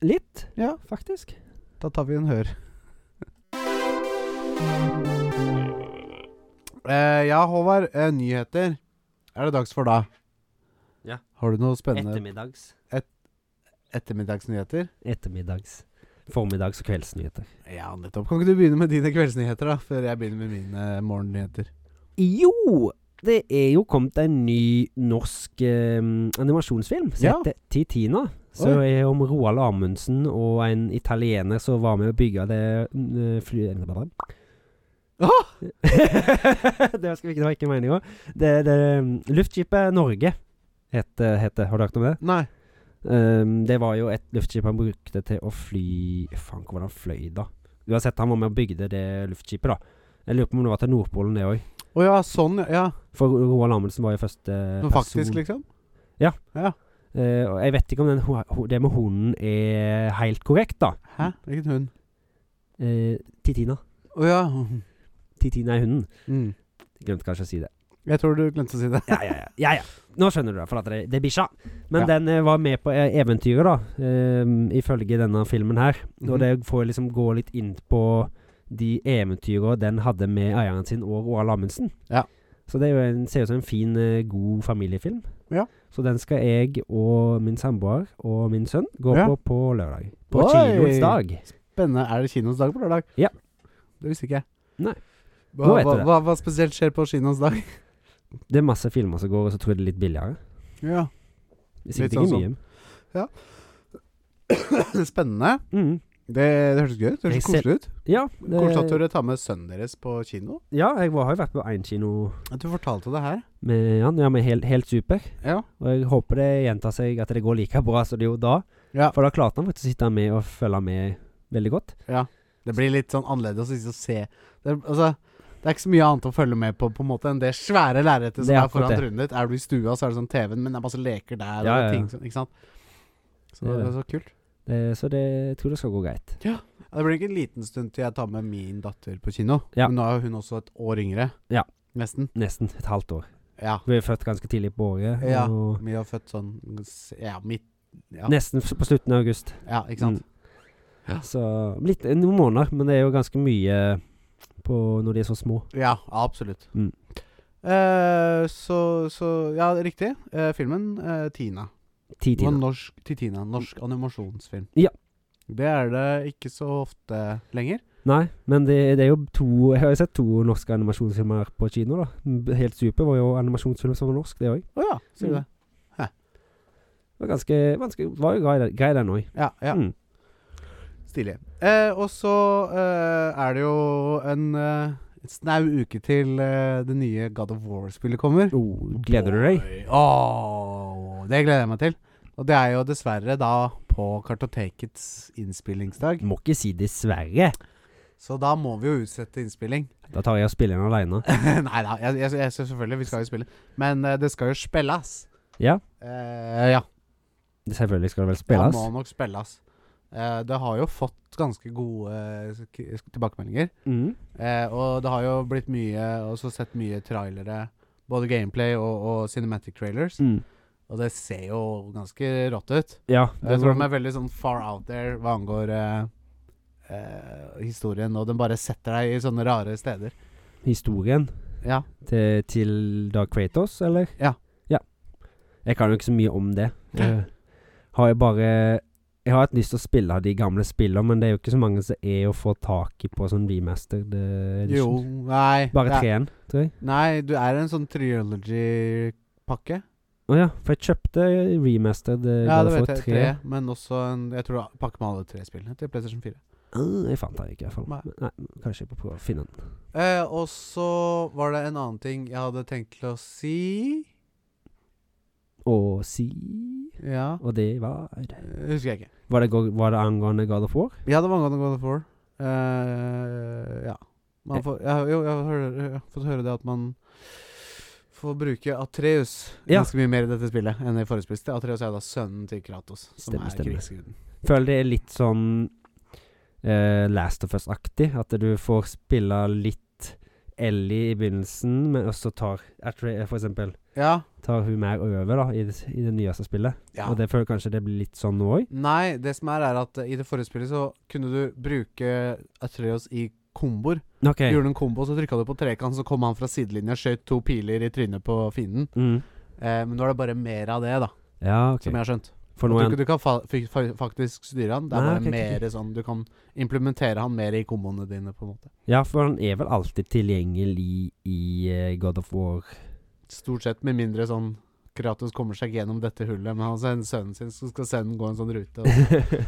Speaker 2: Litt,
Speaker 1: Ja.
Speaker 2: faktisk.
Speaker 1: Da tar vi en hør. Eh, ja, Håvard. eh, nyheter er det dags for da.
Speaker 2: Ja.
Speaker 1: Har du noe spennende
Speaker 2: Ettermiddags.
Speaker 1: ettermiddagsnyheter?
Speaker 2: Ettermiddags. Formiddags- og kveldsnyheter.
Speaker 1: Ja, eh, nettopp. Kan ikke du begynne med dine kveldsnyheter, da? Før jeg begynner med mine morgennyheter.
Speaker 2: Jo! det er jo kommet en ny norsk eh, animasjonsfilm som
Speaker 1: Ja.
Speaker 2: heter Titina. Som er om Roald Amundsen og en italiener som var med å bygge det mm, fly...
Speaker 1: Ah!
Speaker 2: det, skal vi ikke, det var ikke meninga. Det, det mm, Luftskipet Norge heter heter det. Har du hørt om det?
Speaker 1: Nei.
Speaker 2: Ehm, det var jo et luftskip han brukte til å fly Faen, hvor var det han fløy, da? Uansett, han var med og bygde det luftskipet, da. Jeg lurer på om det var til Nordpolen, det òg.
Speaker 1: Å ja, sånn, ja.
Speaker 2: For Roald Amundsen var jo første
Speaker 1: Men faktisk, liksom?
Speaker 2: Eh, og jeg vet ikke om den, ho- ho- det med hunden er helt korrekt, da.
Speaker 1: Hæ? Hvilken hund?
Speaker 2: Eh, Titina.
Speaker 1: Å ja.
Speaker 2: Titina er hunden.
Speaker 1: Mm.
Speaker 2: Glemte kanskje å si det.
Speaker 1: Jeg tror du glemte å si det.
Speaker 2: Ja, ja, ja. ja, ja. Nå skjønner du det, for at det, det er bikkja. Men
Speaker 1: Ja.
Speaker 2: den eh, var med på eh, eventyret, da. ehm, ifølge denne filmen her.
Speaker 1: Mhm.
Speaker 2: Og det får liksom gå litt inn på de eventyrene den hadde med eieren sin og Roald Amundsen.
Speaker 1: Ja.
Speaker 2: Så det er jo en, ser ut som en fin, eh, god familiefilm.
Speaker 1: Ja.
Speaker 2: Så den skal jeg og min samboer og min sønn gå
Speaker 1: Ja.
Speaker 2: på på lørdag. På
Speaker 1: Oi!
Speaker 2: kinoens dag.
Speaker 1: Spennende. Er det kinoens dag på lørdag?
Speaker 2: Ja.
Speaker 1: Det visste ikke jeg.
Speaker 2: Nei.
Speaker 1: Hva,
Speaker 2: Nå vet du
Speaker 1: hva,
Speaker 2: det.
Speaker 1: hva, hva spesielt skjer på kinoens dag?
Speaker 2: Det er masse filmer som går, og så tror jeg det er litt billigere.
Speaker 1: Ja. Litt
Speaker 2: Sikkert
Speaker 1: sånn
Speaker 2: ikke
Speaker 1: som-
Speaker 2: mye.
Speaker 1: Spennende.
Speaker 2: Mm.
Speaker 1: Det, det hørtes gøy ut. Det
Speaker 2: Jeg
Speaker 1: hørtes
Speaker 2: ser-
Speaker 1: koselig ut.
Speaker 2: Ja, det,
Speaker 1: Koselig at dere tar med sønnen deres på kino.
Speaker 2: ja, jeg var, har jo vært på én kino
Speaker 1: At du fortalte det her.
Speaker 2: med han, ja, med helt, helt super.
Speaker 1: Ja.
Speaker 2: Og jeg håper det gjentar seg at det går like bra som det gjorde da.
Speaker 1: Ja.
Speaker 2: For da klarte han faktisk å sitte med og følge med veldig godt.
Speaker 1: Det blir litt sånn annerledes å sitte og se. Det, er- altså, det er ikke så mye annet å følge med på på en måte enn det svære lerretet som
Speaker 2: Det er
Speaker 1: er,
Speaker 2: akkurat
Speaker 1: foran
Speaker 2: det.
Speaker 1: trynet ditt. Er du i stua, så er det sånn TV-en, men det er masse leker der
Speaker 2: Ja,
Speaker 1: og
Speaker 2: ja, ja.
Speaker 1: ting som Ikke sant? Så
Speaker 2: Det
Speaker 1: det,
Speaker 2: er
Speaker 1: er så kult.
Speaker 2: Det, så det jeg tror det skal gå greit.
Speaker 1: Ja, Det blir ikke en liten stund til jeg tar med min datter på kino.
Speaker 2: Ja.
Speaker 1: Men nå er hun også et år yngre.
Speaker 2: Ja.
Speaker 1: Nesten.
Speaker 2: Nesten et halvt år.
Speaker 1: Ja.
Speaker 2: Vi er født ganske tidlig på året.
Speaker 1: Ja.
Speaker 2: Og
Speaker 1: Vi har født sånn Ja, midt Ja,
Speaker 2: Nesten f- på slutten av august.
Speaker 1: ja ikke sant? Ja.
Speaker 2: Så litt, noen måneder, men det er jo ganske mye på når de er så små.
Speaker 1: Ja, absolutt.
Speaker 2: Mm.
Speaker 1: Eh, så, så Ja, riktig. Eh, filmen eh, Tina.
Speaker 2: Ti
Speaker 1: Det var
Speaker 2: timer.
Speaker 1: norsk Titina. Norsk animasjonsfilm.
Speaker 2: Ja.
Speaker 1: Det er det ikke så ofte lenger.
Speaker 2: Nei, men det, det er jo to Jeg har jo sett to norske animasjonsfilmer på kino, da. B- Helt super var jo animasjonsfilm som var norsk, det òg.
Speaker 1: Å ja, sier du
Speaker 2: Mm.
Speaker 1: det?
Speaker 2: Var ganske vanskelig Var jo grei, grei den òg.
Speaker 1: Ja, ja.
Speaker 2: Mm.
Speaker 1: Stilig. Eh, og så eh, er det jo en eh, snau uke til eh, det nye God of War-spillet kommer.
Speaker 2: Oh, gleder du deg?
Speaker 1: Boy. Åh, det gleder jeg meg til. Og det er jo dessverre da på Kartotekets innspillingsdag.
Speaker 2: Må ikke si dessverre.
Speaker 1: Så da må vi jo utsette innspilling.
Speaker 2: Da tar jeg og spiller den aleine.
Speaker 1: Nei da, jeg, jeg, jeg, selvfølgelig. Vi skal jo spille. Men eh, det skal jo spilles.
Speaker 2: Ja.
Speaker 1: Eh, ja.
Speaker 2: Selvfølgelig skal det vel spilles.
Speaker 1: Det må nok spilles. Eh, det har jo fått ganske gode eh, k- tilbakemeldinger.
Speaker 2: Mm.
Speaker 1: Eh, og det har jo blitt mye Også sett mye trailere. Både gameplay og, og cinematic trailers.
Speaker 2: Mm.
Speaker 1: Og det ser jo ganske rått ut.
Speaker 2: Ja.
Speaker 1: Jeg tror de er veldig sånn far out there hva angår eh, eh, historien, og den bare setter deg i sånne rare steder.
Speaker 2: Historien
Speaker 1: Ja.
Speaker 2: til, til da Kratos, eller?
Speaker 1: Ja.
Speaker 2: ja. Jeg kan jo ikke så mye om det. Jeg har jo bare Jeg har hatt lyst til å spille de gamle spillene, men det er jo ikke så mange som er å få tak i på sånn remaster.
Speaker 1: Jo,
Speaker 2: eh, edition.
Speaker 1: nei det
Speaker 2: Bare
Speaker 1: er-
Speaker 2: treen, tror jeg.
Speaker 1: Nei, du er en sånn trilogy-pakke.
Speaker 2: Å ja, for jeg kjøpte remastered eh,
Speaker 1: Ja,
Speaker 2: God
Speaker 1: det
Speaker 2: of War
Speaker 1: vet jeg.
Speaker 2: 3.
Speaker 1: Tre, men også en Jeg tror det er pakke med alle tre spillene til PlayStation 4.
Speaker 2: Ah, jeg fant den ikke, i hvert fall.
Speaker 1: Nei.
Speaker 2: Nei, kanskje jeg må prøve å finne den.
Speaker 1: Eh, og så var det en annen ting jeg hadde tenkt til å si.
Speaker 2: Og si
Speaker 1: Ja
Speaker 2: Og det var
Speaker 1: eh, Husker jeg ikke.
Speaker 2: Var det, go- var det angående God of War?
Speaker 1: Ja, det var angående God of War. Eh, ja. Man får, ja. Jo, jeg har, hørt- jeg har fått høre det at man får bruke Atreus
Speaker 2: Ja.
Speaker 1: ganske mye mer i dette spillet enn i forrige spill. Det- Atreus er jo da sønnen til Kratos, som
Speaker 2: Stemmer,
Speaker 1: er
Speaker 2: stemmer.
Speaker 1: krigsguden.
Speaker 2: Føler det er litt sånn eh, Last of Us-aktig. At du får spille litt Ellie i begynnelsen, men også tar Atre, eh, For eksempel
Speaker 1: Ja. Tar
Speaker 2: tar hun mer over da i det, i det nyeste spillet.
Speaker 1: ja.
Speaker 2: Og det føler jeg kanskje det blir litt sånn nå òg.
Speaker 1: Nei, det som er, er at eh, i det forrige spillet så kunne du bruke Atreus i komboer.
Speaker 2: Ok.
Speaker 1: Gjorde du en kombo, så trykka du på trekant, så kom han fra sidelinja og skjøt to piler i trynet på fienden.
Speaker 2: Mm.
Speaker 1: Eh, men nå er det bare mer av det, da,
Speaker 2: Ja, ok.
Speaker 1: som jeg har skjønt.
Speaker 2: For nå
Speaker 1: Jeg
Speaker 2: er
Speaker 1: tror
Speaker 2: han
Speaker 1: ikke du kan fa fi- fa faktisk styre han. Det er
Speaker 2: Nei,
Speaker 1: bare
Speaker 2: ok, ok, ok.
Speaker 1: mer sånn Du kan implementere han mer i komboene dine, på en måte.
Speaker 2: Ja, for han er vel alltid tilgjengelig i eh, God of War
Speaker 1: Stort sett med mindre sånn Kratos kommer seg ikke gjennom dette hullet, men han har sendt sønnen sin, så skal sønnen gå en sånn rute. Og,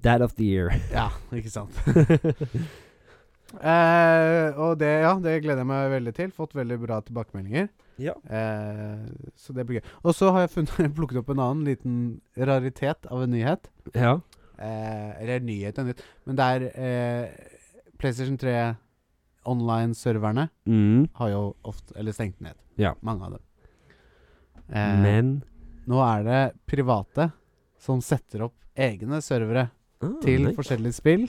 Speaker 2: Dad of the year.
Speaker 1: ja, ikke sant. Eh, og det, ja, det gleder jeg meg veldig til. Fått veldig bra tilbakemeldinger.
Speaker 2: Ja.
Speaker 1: Eh, så det blir gøy. Og så har jeg funnet, plukket opp en annen liten raritet av en nyhet.
Speaker 2: Ja.
Speaker 1: Eh, eller nyhet og nytt, men det er eh, PlayStation 3 online-serverne
Speaker 2: Mm.
Speaker 1: har jo ofte Eller stengt ned.
Speaker 2: Ja.
Speaker 1: Mange av dem. Eh,
Speaker 2: Men
Speaker 1: Nå er det private som setter opp egne servere
Speaker 2: Ah,
Speaker 1: til
Speaker 2: nei.
Speaker 1: forskjellige spill.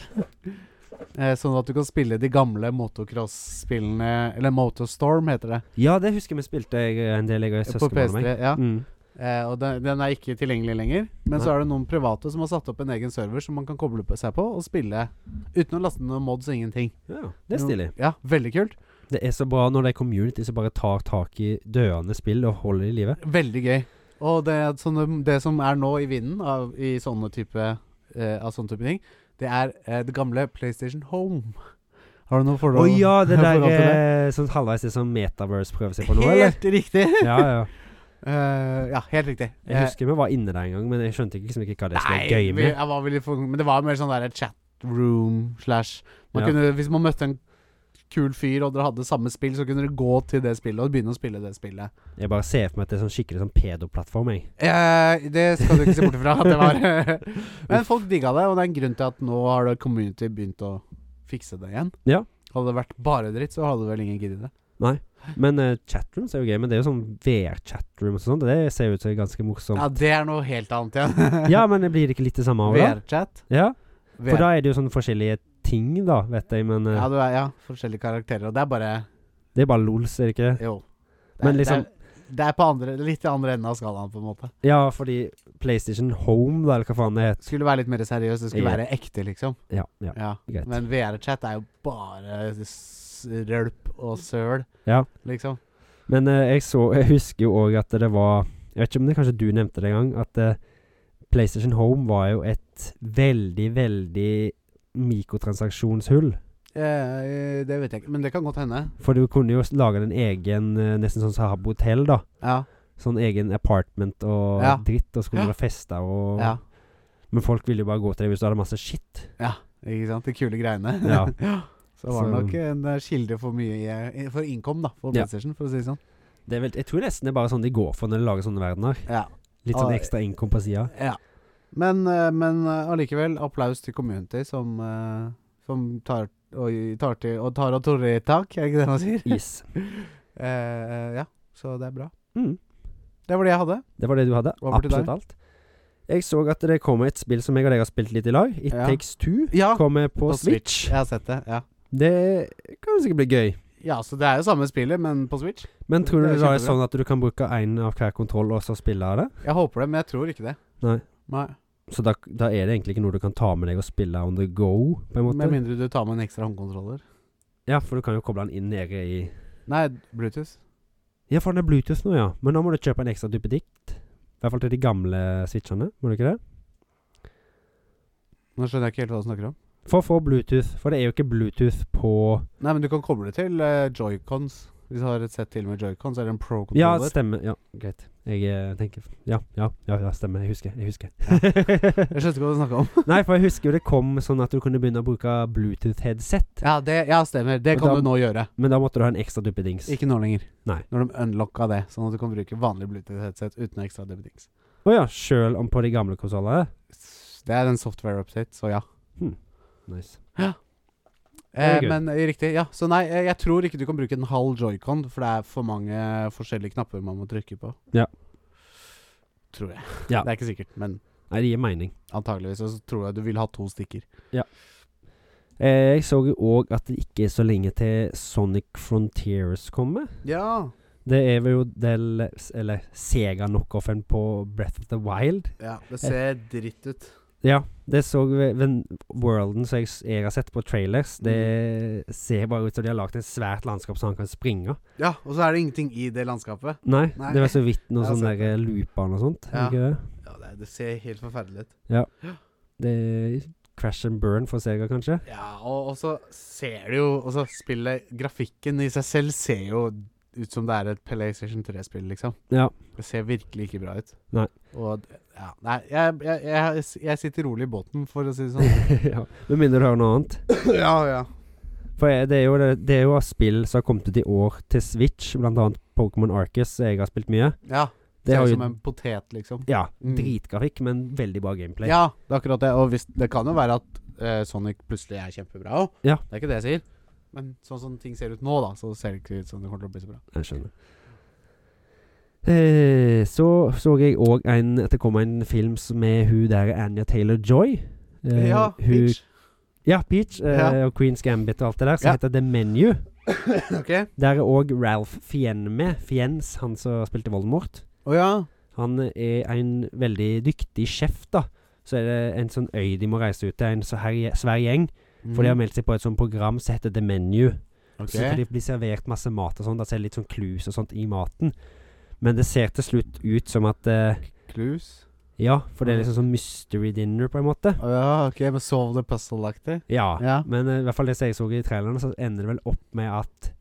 Speaker 1: Eh, sånn at du kan spille de gamle motocross-spillene Eller Motostorm, heter det.
Speaker 2: Ja, det husker vi spilte jeg, eh, en del, jeg og
Speaker 1: På PS3.
Speaker 2: søskenbarna meg.
Speaker 1: Ja.
Speaker 2: Mm.
Speaker 1: Eh, og den, den er ikke tilgjengelig lenger. Men så
Speaker 2: Nei.
Speaker 1: er det noen private som har satt opp en egen server som man kan koble på seg på og spille uten å laste ned noen mods og ingenting.
Speaker 2: Ja, det er stilig.
Speaker 1: Ja, veldig kult.
Speaker 2: Det er så bra når det er community som bare tar tak i døende spill og holder det i live.
Speaker 1: Veldig gøy. Og det, er sånne, det som er nå i vinden av, i sånne type, eh, av sånne type ting, det er eh, det gamle PlayStation Home. Har du noe
Speaker 2: Å
Speaker 1: forhold
Speaker 2: ja, det
Speaker 1: forhold
Speaker 2: der
Speaker 1: til det?
Speaker 2: eh, sånn halvveis det som Metaverse prøver seg på nå, eller?
Speaker 1: Helt riktig!
Speaker 2: Ja, ja.
Speaker 1: Eh, ja, helt riktig.
Speaker 2: Jeg husker vi var inne der en gang, men jeg skjønte ikke, liksom ikke hva det skulle være
Speaker 1: Nei,
Speaker 2: gøy
Speaker 1: vi,
Speaker 2: med.
Speaker 1: jeg var veldig for, men det var mer sånn der chatroom slash man
Speaker 2: Ja.
Speaker 1: kunne, Hvis man møtte en kul fyr, og dere hadde samme spill, så kunne dere gå til det spillet og begynne å spille det spillet.
Speaker 2: Jeg bare ser for meg at det er sånn skikkelig sånn pedoplattform, jeg.
Speaker 1: Eh, det skal du ikke se bort ifra. at Det var Men folk digga det, og det er en grunn til at nå har det community begynt å fikse det igjen.
Speaker 2: Ja.
Speaker 1: Hadde det vært bare dritt, så hadde vel ingen giddet det.
Speaker 2: Men eh, chatrooms er jo gøy, men det er jo sånn VR-chatrooms og sånn. Det ser ut som ganske morsomt.
Speaker 1: Ja, det er noe helt annet igjen.
Speaker 2: Ja, men det blir det ikke litt det samme òg, da?
Speaker 1: VR-chat.
Speaker 2: Ja, for
Speaker 1: VR
Speaker 2: da er det jo sånn forskjellige ting, da, vet jeg, men eh,
Speaker 1: ja, du er, ja, forskjellige karakterer, og det er bare
Speaker 2: det er bare lols, er det ikke?
Speaker 1: Jo. Det er,
Speaker 2: Men liksom-
Speaker 1: det er, det er på andre, litt i andre enden av skalaen, på en måte.
Speaker 2: Ja, fordi PlayStation Home, da, eller hva faen det heter.
Speaker 1: skulle være litt mer seriøs. Det skulle
Speaker 2: Ja.
Speaker 1: være ekte, liksom.
Speaker 2: Ja, ja,
Speaker 1: Ja.
Speaker 2: greit.
Speaker 1: Men VR-chat er jo bare s- rølp og søl,
Speaker 2: Ja.
Speaker 1: liksom.
Speaker 2: Men eh, jeg, så, jeg husker jo òg at det var Jeg vet ikke om det kanskje du nevnte det en gang, at eh, PlayStation Home var jo et veldig, veldig mikrotransaksjonshull.
Speaker 1: Eh, det vet jeg ikke, men det kan godt hende.
Speaker 2: For du kunne jo s- lage en egen eh, Nesten sånn som Habbo Hotel, da.
Speaker 1: Ja.
Speaker 2: Sånn egen apartment og
Speaker 1: Ja.
Speaker 2: dritt, og så kunne
Speaker 1: Ja.
Speaker 2: du feste og
Speaker 1: ja.
Speaker 2: Men folk ville jo bare gå til deg hvis du hadde masse shit.
Speaker 1: Ikke sant? De kule greiene.
Speaker 2: Ja.
Speaker 1: Så var det
Speaker 2: Så-
Speaker 1: nok en eh, kilde for mye i- i- for innkom, da, for
Speaker 2: Ja.
Speaker 1: PlayStation, for å si det sånn.
Speaker 2: Det er vel, jeg tror nesten det er bare sånn de går for når de lager sånne verdener.
Speaker 1: Ja.
Speaker 2: Litt sånn
Speaker 1: Ah,
Speaker 2: ekstra income på sida.
Speaker 1: ja. Men, eh, men eh, allikevel, applaus til community som, eh, som tar og tar til og tar og tårer i tak, er ikke det man sier?
Speaker 2: Yes.
Speaker 1: Eh, ja, så det er bra.
Speaker 2: Mm.
Speaker 1: Det var det jeg hadde.
Speaker 2: Det var det du hadde?
Speaker 1: Over til deg.
Speaker 2: Absolutt alt. Jeg så at det kom et spill som jeg og deg har spilt litt i lag. It
Speaker 1: Ja.
Speaker 2: Takes Two
Speaker 1: Ja,
Speaker 2: kommer på,
Speaker 1: på
Speaker 2: Switch.
Speaker 1: Jeg har sett det, ja.
Speaker 2: Det kan sikkert bli gøy.
Speaker 1: Ja, så det er jo samme spillet, men på Switch.
Speaker 2: Men tror
Speaker 1: Det
Speaker 2: du
Speaker 1: er
Speaker 2: det da er
Speaker 1: kjempebra.
Speaker 2: sånn at du kan bruke én av hver kontroll og så spille av det?
Speaker 1: Jeg håper det, men jeg tror ikke det.
Speaker 2: Nei.
Speaker 1: Nei.
Speaker 2: Så da, da er det egentlig ikke noe du kan ta med deg og spille on the go, på en
Speaker 1: Med
Speaker 2: måte?
Speaker 1: mindre du tar med en ekstra håndkontroller.
Speaker 2: Ja, for du kan jo koble den inn nede i
Speaker 1: Nei, Bluetooth.
Speaker 2: Ja, for den er Bluetooth nå, ja. Men da må du kjøpe en ekstra type dikt. I hvert fall til de gamle switchene, må du ikke det?
Speaker 1: Nå skjønner jeg ikke helt hva du snakker om.
Speaker 2: For å få Bluetooth, for det er jo ikke Bluetooth på
Speaker 1: Nei, men du kan koble det til eh, joycons. Hvis du har et sett til med joycons, er det en
Speaker 2: Ja,
Speaker 1: pro-controller.
Speaker 2: stemmer. Ja, greit. Jeg eh, tenker Ja, ja, ja, ja stemmer. Jeg husker. Jeg husker.
Speaker 1: jeg skjønte ikke hva du snakka om.
Speaker 2: Nei, for jeg husker jo det kom sånn at du kunne begynne å bruke Bluetooth-headset.
Speaker 1: Ja, det, ja stemmer. Det
Speaker 2: Og
Speaker 1: kan
Speaker 2: da-
Speaker 1: du nå gjøre.
Speaker 2: Men da måtte du ha en ekstra duppedings. Å
Speaker 1: Ikke nå lenger.
Speaker 2: Nei.
Speaker 1: Når de unlocka det, sånn at du kan bruke vanlig Bluetooth-headset uten ekstra dubbedings.
Speaker 2: ja, sjøl om på de gamle konsollene?
Speaker 1: Det er en software-update, så ja.
Speaker 2: Nice.
Speaker 1: Eh,
Speaker 2: Det er
Speaker 1: men eh, riktig, ja. Så nei, eh, jeg tror ikke du kan bruke en halv joycon, for det er for mange eh, forskjellige knapper man må trykke på.
Speaker 2: Ja.
Speaker 1: Tror jeg.
Speaker 2: Ja.
Speaker 1: Det er ikke sikkert, men
Speaker 2: Nei, det gir mening.
Speaker 1: antageligvis så tror jeg du vil ha to stikker.
Speaker 2: Eh, jeg så jo òg at det ikke er så lenge til Sonic Frontiers kommer.
Speaker 1: Ja.
Speaker 2: Det er vel jo del Eller Sega knockoffen på Breath of the Wild.
Speaker 1: det ser dritt ut.
Speaker 2: Ja, det så vi- men Worlden som jeg, s- jeg har sett på trailers, det
Speaker 1: Mm.
Speaker 2: ser bare ut som de har lagd et svært landskap så han kan springe.
Speaker 1: Ja, og så er det ingenting i det landskapet.
Speaker 2: Nei,
Speaker 1: Nei.
Speaker 2: det var så vidt noe
Speaker 1: Jeg har
Speaker 2: sånn
Speaker 1: sett
Speaker 2: der looper og sånt. er
Speaker 1: Ja.
Speaker 2: Ikke det?
Speaker 1: Ja, det, ser helt forferdelig ut.
Speaker 2: det er crash and burn for Sega, kanskje?
Speaker 1: Ja, og, og så ser du jo Og så spillet Grafikken i seg selv ser jo ut som det er et PlayStation 3-spill, liksom.
Speaker 2: Ja.
Speaker 1: Det ser virkelig ikke bra ut.
Speaker 2: Nei.
Speaker 1: Og d- ja, nei, jeg, jeg, jeg, jeg sitter rolig i båten, for å si det sånn.
Speaker 2: ja. Med mindre du hører noe annet.
Speaker 1: ja, ja.
Speaker 2: For jeg- det er, jo, det, det er jo spill som har kommet ut i år til Switch, blant annet Pokémon Arcus, som jeg har spilt mye.
Speaker 1: Ja,
Speaker 2: Det
Speaker 1: ser
Speaker 2: har
Speaker 1: ut
Speaker 2: jo
Speaker 1: som en potet, liksom.
Speaker 2: ja,
Speaker 1: Mm.
Speaker 2: dritgrafikk, men veldig bra gameplay.
Speaker 1: Ja, det er akkurat det. Og hvis, det kan jo være at eh, Sonic plutselig er kjempebra òg.
Speaker 2: Ja.
Speaker 1: Det er ikke det jeg sier. Men sånn som ting ser ut nå, da, så ser det ikke ut som det kommer til å bli så bra.
Speaker 2: Jeg skjønner. Eh, så så jeg òg en At det kom en film som med hun der Anja Taylor-Joy. Eh, hun-
Speaker 1: bitch.
Speaker 2: Ja, Peach. Eh,
Speaker 1: Ja.
Speaker 2: Og Queen's Gambit og alt det der. Som
Speaker 1: Ja.
Speaker 2: heter The Menu.
Speaker 1: Ok.
Speaker 2: Der er òg Ralph Fiennes med. Fiennes, han som spilte Voldemort.
Speaker 1: Å ja.
Speaker 2: Han er en veldig dyktig sjef, da. Så er det en sånn øy de må reise ut til, en så her gje- svær gjeng. For de
Speaker 1: Mm.
Speaker 2: har meldt seg på et sånt program som heter The Menu. Så får de blir servert masse mat og sånn. Da ser det litt sånn clues og sånt i maten. Men det ser til slutt ut som at eh,
Speaker 1: Clues.
Speaker 2: Ja, for det er liksom sånn mystery dinner, på en måte.
Speaker 1: Å ja, ok, men Solve the Puzzle-aktig?
Speaker 2: Ja.
Speaker 1: Ja.
Speaker 2: Men eh, i hvert fall det som jeg så i traileren, så ender det vel opp med at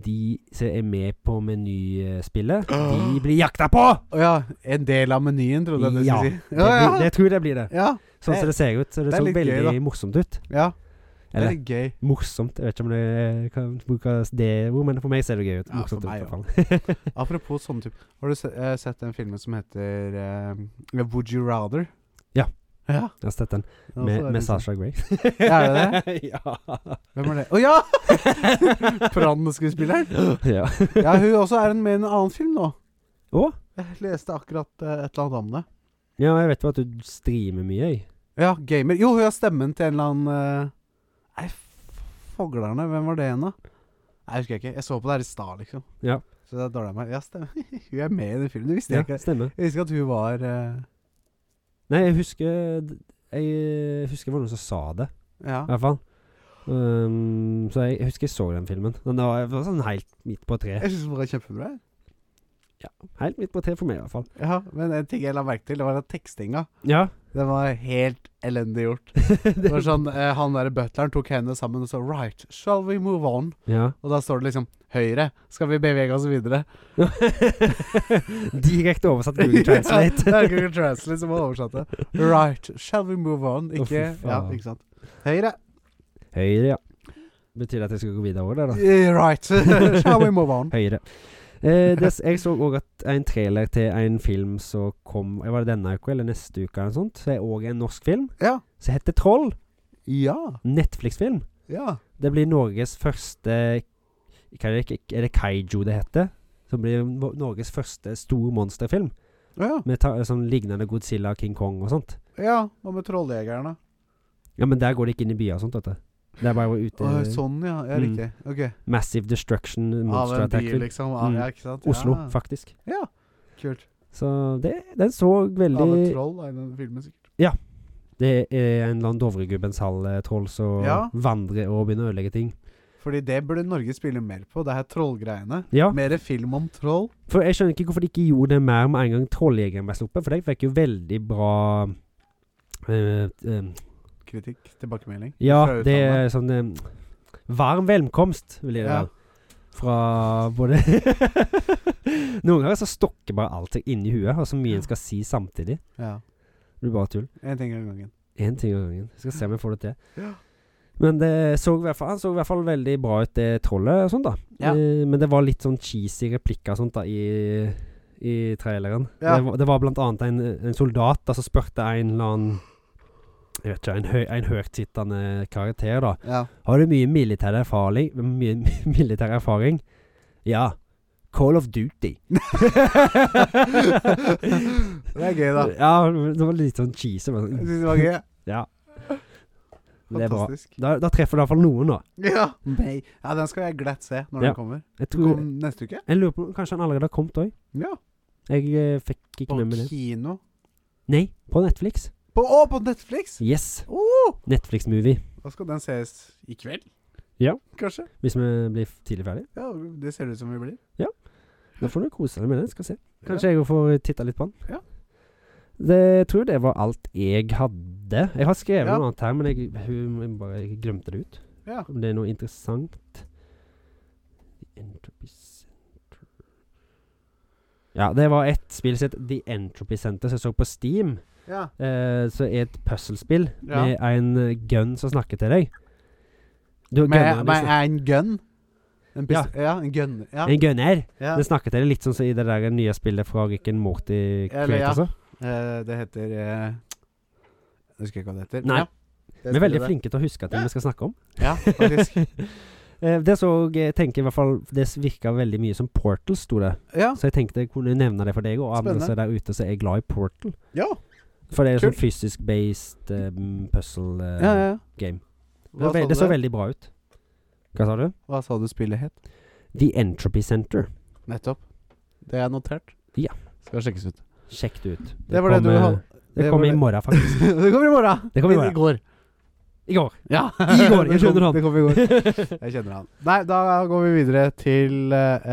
Speaker 2: de som er med på menyspillet, de blir jakta på!
Speaker 1: Å ja, en del av menyen, trodde jeg du
Speaker 2: Ja,
Speaker 1: skulle si.
Speaker 2: Det, blir, det tror jeg det blir det.
Speaker 1: ja.
Speaker 2: Sånn som det ser ut. Så det,
Speaker 1: det er
Speaker 2: så
Speaker 1: litt gøy,
Speaker 2: veldig morsomt ut.
Speaker 1: ja. Det er
Speaker 2: Eller
Speaker 1: litt gøy.
Speaker 2: morsomt, jeg vet ikke om det kan brukes det ordet, men for meg ser det gøy ut.
Speaker 1: Ja, for
Speaker 2: Morsomt ut, i
Speaker 1: meg
Speaker 2: hvert fall.
Speaker 1: Apropos sånne type Har du se, eh, sett den filmen som heter eh, Would You Rather?
Speaker 2: Ja.
Speaker 1: ja.
Speaker 2: Jeg har sett den.
Speaker 1: Ja, så er
Speaker 2: Med,
Speaker 1: det liksom-
Speaker 2: med Sasha Grey.
Speaker 1: Er det
Speaker 2: det? ja.
Speaker 1: Hvem er det? Å ja! Brann-skuespilleren.
Speaker 2: ja.
Speaker 1: Ja, hun også er en, med i en annen film nå.
Speaker 2: Å?
Speaker 1: Jeg leste akkurat eh, et eller annet om det.
Speaker 2: Ja, jeg vet jo at du streamer mye, jeg.
Speaker 1: Ja, gamer. Jo, hun har stemmen til en eller annen eh, Nei, f- foglerne. Hvem var det igjen, da? Nei, jeg husker jeg ikke. Jeg så på det her i stad, liksom.
Speaker 2: Ja.
Speaker 1: Så det er dårlig av meg. Ja, stemmer. hun er med i den filmen. Det visste
Speaker 2: Ja,
Speaker 1: jeg ikke.
Speaker 2: stemmer.
Speaker 1: Jeg visste ikke at hun var eh,
Speaker 2: Nei, jeg husker Jeg husker det var noen som sa det,
Speaker 1: Ja.
Speaker 2: i hvert fall. Um, så jeg, jeg husker jeg så den filmen. Den var, jeg var sånn helt midt på treet.
Speaker 1: Jeg syns hun var kjempebra. jeg.
Speaker 2: Helt midt på treet for meg, i hvert fall.
Speaker 1: Ja, men en ting jeg la merke til, det var den tekstinga.
Speaker 2: Ja.
Speaker 1: Den var helt elendig gjort. Det
Speaker 2: det,
Speaker 1: var sånn, eh, Han der butleren tok hendene sammen og så Right, shall we move on?
Speaker 2: ja.
Speaker 1: Og da står det liksom Høyre, skal vi bevege oss videre?
Speaker 2: Direkte oversatt Google
Speaker 1: Ja, det
Speaker 2: Translate.
Speaker 1: er Google Translate som har oversatt det. Right, shall we move on?
Speaker 2: Å, fy
Speaker 1: Ikke Ja,
Speaker 2: faen.
Speaker 1: ikke sant. Høyre.
Speaker 2: Høyre, ja. Betyr det at jeg skal gå videre over det, da?
Speaker 1: Eh, Right, shall we move on?
Speaker 2: Høyre. Eh, det, jeg så òg at en trailer til en film som kom eh, Var det denne uka eller neste uke? eller noe sånt Så er òg en norsk film
Speaker 1: Ja.
Speaker 2: som heter Troll.
Speaker 1: Ja.
Speaker 2: Netflix-film.
Speaker 1: Ja.
Speaker 2: Det blir Norges første hva Er det, er det kaiju det heter? Som blir Nor- Norges første stor monsterfilm.
Speaker 1: Ja.
Speaker 2: Med ta, sånn lignende Godzilla og King Kong og sånt.
Speaker 1: ja. Hva med trolljegerne?
Speaker 2: Ja, men der går de ikke inn i byer og sånt, vet du. Det er bare ute
Speaker 1: Å, sånn, ja. Ja,
Speaker 2: Mm.
Speaker 1: riktig. Ok.
Speaker 2: Massive Destruction
Speaker 1: Av
Speaker 2: Monster
Speaker 1: en by,
Speaker 2: Attack-film.
Speaker 1: liksom. Av,
Speaker 2: Mm.
Speaker 1: ja, ikke sant?
Speaker 2: Oslo,
Speaker 1: Ja.
Speaker 2: faktisk.
Speaker 1: Ja. Kult.
Speaker 2: Så det, den så
Speaker 1: Av et
Speaker 2: veldig
Speaker 1: troll er i den filmen, sikkert.
Speaker 2: Det er en eller annen Dovregubbens hall-troll som
Speaker 1: Ja.
Speaker 2: vandrer og begynner å ødelegge ting.
Speaker 1: Fordi det burde Norge spille mer på, det her trollgreiene.
Speaker 2: Ja,
Speaker 1: Mer film om troll.
Speaker 2: for jeg skjønner ikke hvorfor de ikke gjorde det mer med en gang Trolljegeren ble sluppet, for de fikk jo veldig bra eh, eh,
Speaker 1: Kritikk. Tilbakemelding.
Speaker 2: Ja,
Speaker 1: Fra
Speaker 2: det
Speaker 1: utlandet.
Speaker 2: er sånn eh, Varm velkomst, vil jeg
Speaker 1: Ja.
Speaker 2: da. Fra både Noen ganger så stokker bare alt seg inni huet, og så mye en skal si samtidig.
Speaker 1: Ja.
Speaker 2: Det blir bare tull.
Speaker 1: En ting av gangen.
Speaker 2: Én ting av gangen. Skal se om jeg får det til.
Speaker 1: Ja.
Speaker 2: Men det så i hvert fall, han så i hvert fall veldig bra ut, det trollet og sånn, da.
Speaker 1: Ja.
Speaker 2: Eh, men det var litt sånn cheesy replikker og sånt, da, i, i traileren.
Speaker 1: Ja.
Speaker 2: Det, var, det var blant annet en, en soldat da, som spurte en eller annen jeg vet ikke, en, hø en høytsittende karakter, da.
Speaker 1: Ja.
Speaker 2: Har du mye militær erfaring? Mye militær erfaring? Ja. Call of Duty.
Speaker 1: det er gøy, da.
Speaker 2: Ja, det var litt sånn cheesy.
Speaker 1: Jeg
Speaker 2: Men
Speaker 1: synes det var gøy.
Speaker 2: Ja. det er bra.
Speaker 1: Fantastisk.
Speaker 2: Da, da treffer du iallfall noen, da.
Speaker 1: Ja. Nei. ja, den skal jeg glatt se når
Speaker 2: Ja.
Speaker 1: den kommer.
Speaker 2: Jeg tror
Speaker 1: Kom neste uke?
Speaker 2: Jeg lurer på om Kanskje han allerede har kommet òg?
Speaker 1: Ja.
Speaker 2: Jeg eh, fikk ikke
Speaker 1: På
Speaker 2: med meg det.
Speaker 1: kino.
Speaker 2: Nei, på Netflix.
Speaker 1: På, å, på Netflix!
Speaker 2: Yes.
Speaker 1: Oh!
Speaker 2: Netflix-movie.
Speaker 1: Da skal den ses i kveld.
Speaker 2: Ja.
Speaker 1: Kanskje.
Speaker 2: Hvis vi blir f- tidlig ferdig.
Speaker 1: Ja, Det ser det ut som vi blir.
Speaker 2: Da får du kose deg med den. Skal se. Kanskje jeg får eh, titta litt på den.
Speaker 1: Ja.
Speaker 2: Det, jeg tror det var alt jeg hadde. Jeg har skrevet
Speaker 1: Ja.
Speaker 2: noe annet her, men jeg, hun, jeg bare jeg glemte det ut.
Speaker 1: Ja.
Speaker 2: Om det er noe interessant The entropy center. Ja, det var et spill som het The Entropy Center, som jeg så på Steam.
Speaker 1: Ja.
Speaker 2: Eh, så er et puslespill
Speaker 1: Ja.
Speaker 2: med en eh, gun som snakker til deg. Du
Speaker 1: Med,
Speaker 2: gunner,
Speaker 1: med
Speaker 2: liksom.
Speaker 1: en gun? En pis ja. en gun. Ja.
Speaker 2: En gunner.
Speaker 1: ja.
Speaker 2: Den snakker til deg litt sånn som i det der nye spillet fra Rick and Morty
Speaker 1: Eller,
Speaker 2: Creator.
Speaker 1: ja.
Speaker 2: altså.
Speaker 1: Eh, det heter eh, Jeg husker ikke hva det heter.
Speaker 2: Nei.
Speaker 1: Ja. Det
Speaker 2: Vi er veldig
Speaker 1: spiller det.
Speaker 2: flinke til å huske ting vi skal snakke om.
Speaker 1: Ja, faktisk.
Speaker 2: Eh, det så jeg tenker i hvert fall Det virka veldig mye som Portal, sto det.
Speaker 1: Ja.
Speaker 2: Så jeg tenkte jeg kunne nevne det for deg og andre
Speaker 1: Spennende.
Speaker 2: som er der ute som er glad i Portal.
Speaker 1: Ja.
Speaker 2: For det er
Speaker 1: Kult.
Speaker 2: sånn fysisk based um, puzzle eh,
Speaker 1: ja, ja.
Speaker 2: game. Det,
Speaker 1: Hva
Speaker 2: er ve-
Speaker 1: sa
Speaker 2: det så
Speaker 1: du?
Speaker 2: veldig bra ut. Hva sa du?
Speaker 1: Hva sa du spillet het?
Speaker 2: The Entropy Center.
Speaker 1: Nettopp. Det er notert.
Speaker 2: Ja.
Speaker 1: Skal sjekkes ut.
Speaker 2: Sjekk det ut.
Speaker 1: Det var det du
Speaker 2: eh,
Speaker 1: hadde.
Speaker 2: Det,
Speaker 1: det var
Speaker 2: kommer i
Speaker 1: det-
Speaker 2: morgen, faktisk.
Speaker 1: det kommer i morgen!
Speaker 2: Det kommer i
Speaker 1: Eller
Speaker 2: morgen.
Speaker 1: går.
Speaker 2: I går.
Speaker 1: Ja.
Speaker 2: I går,
Speaker 1: Det kom-
Speaker 2: jeg skjønner han.
Speaker 1: Det kom i går. Jeg kjenner han. Nei, da går vi videre til eh,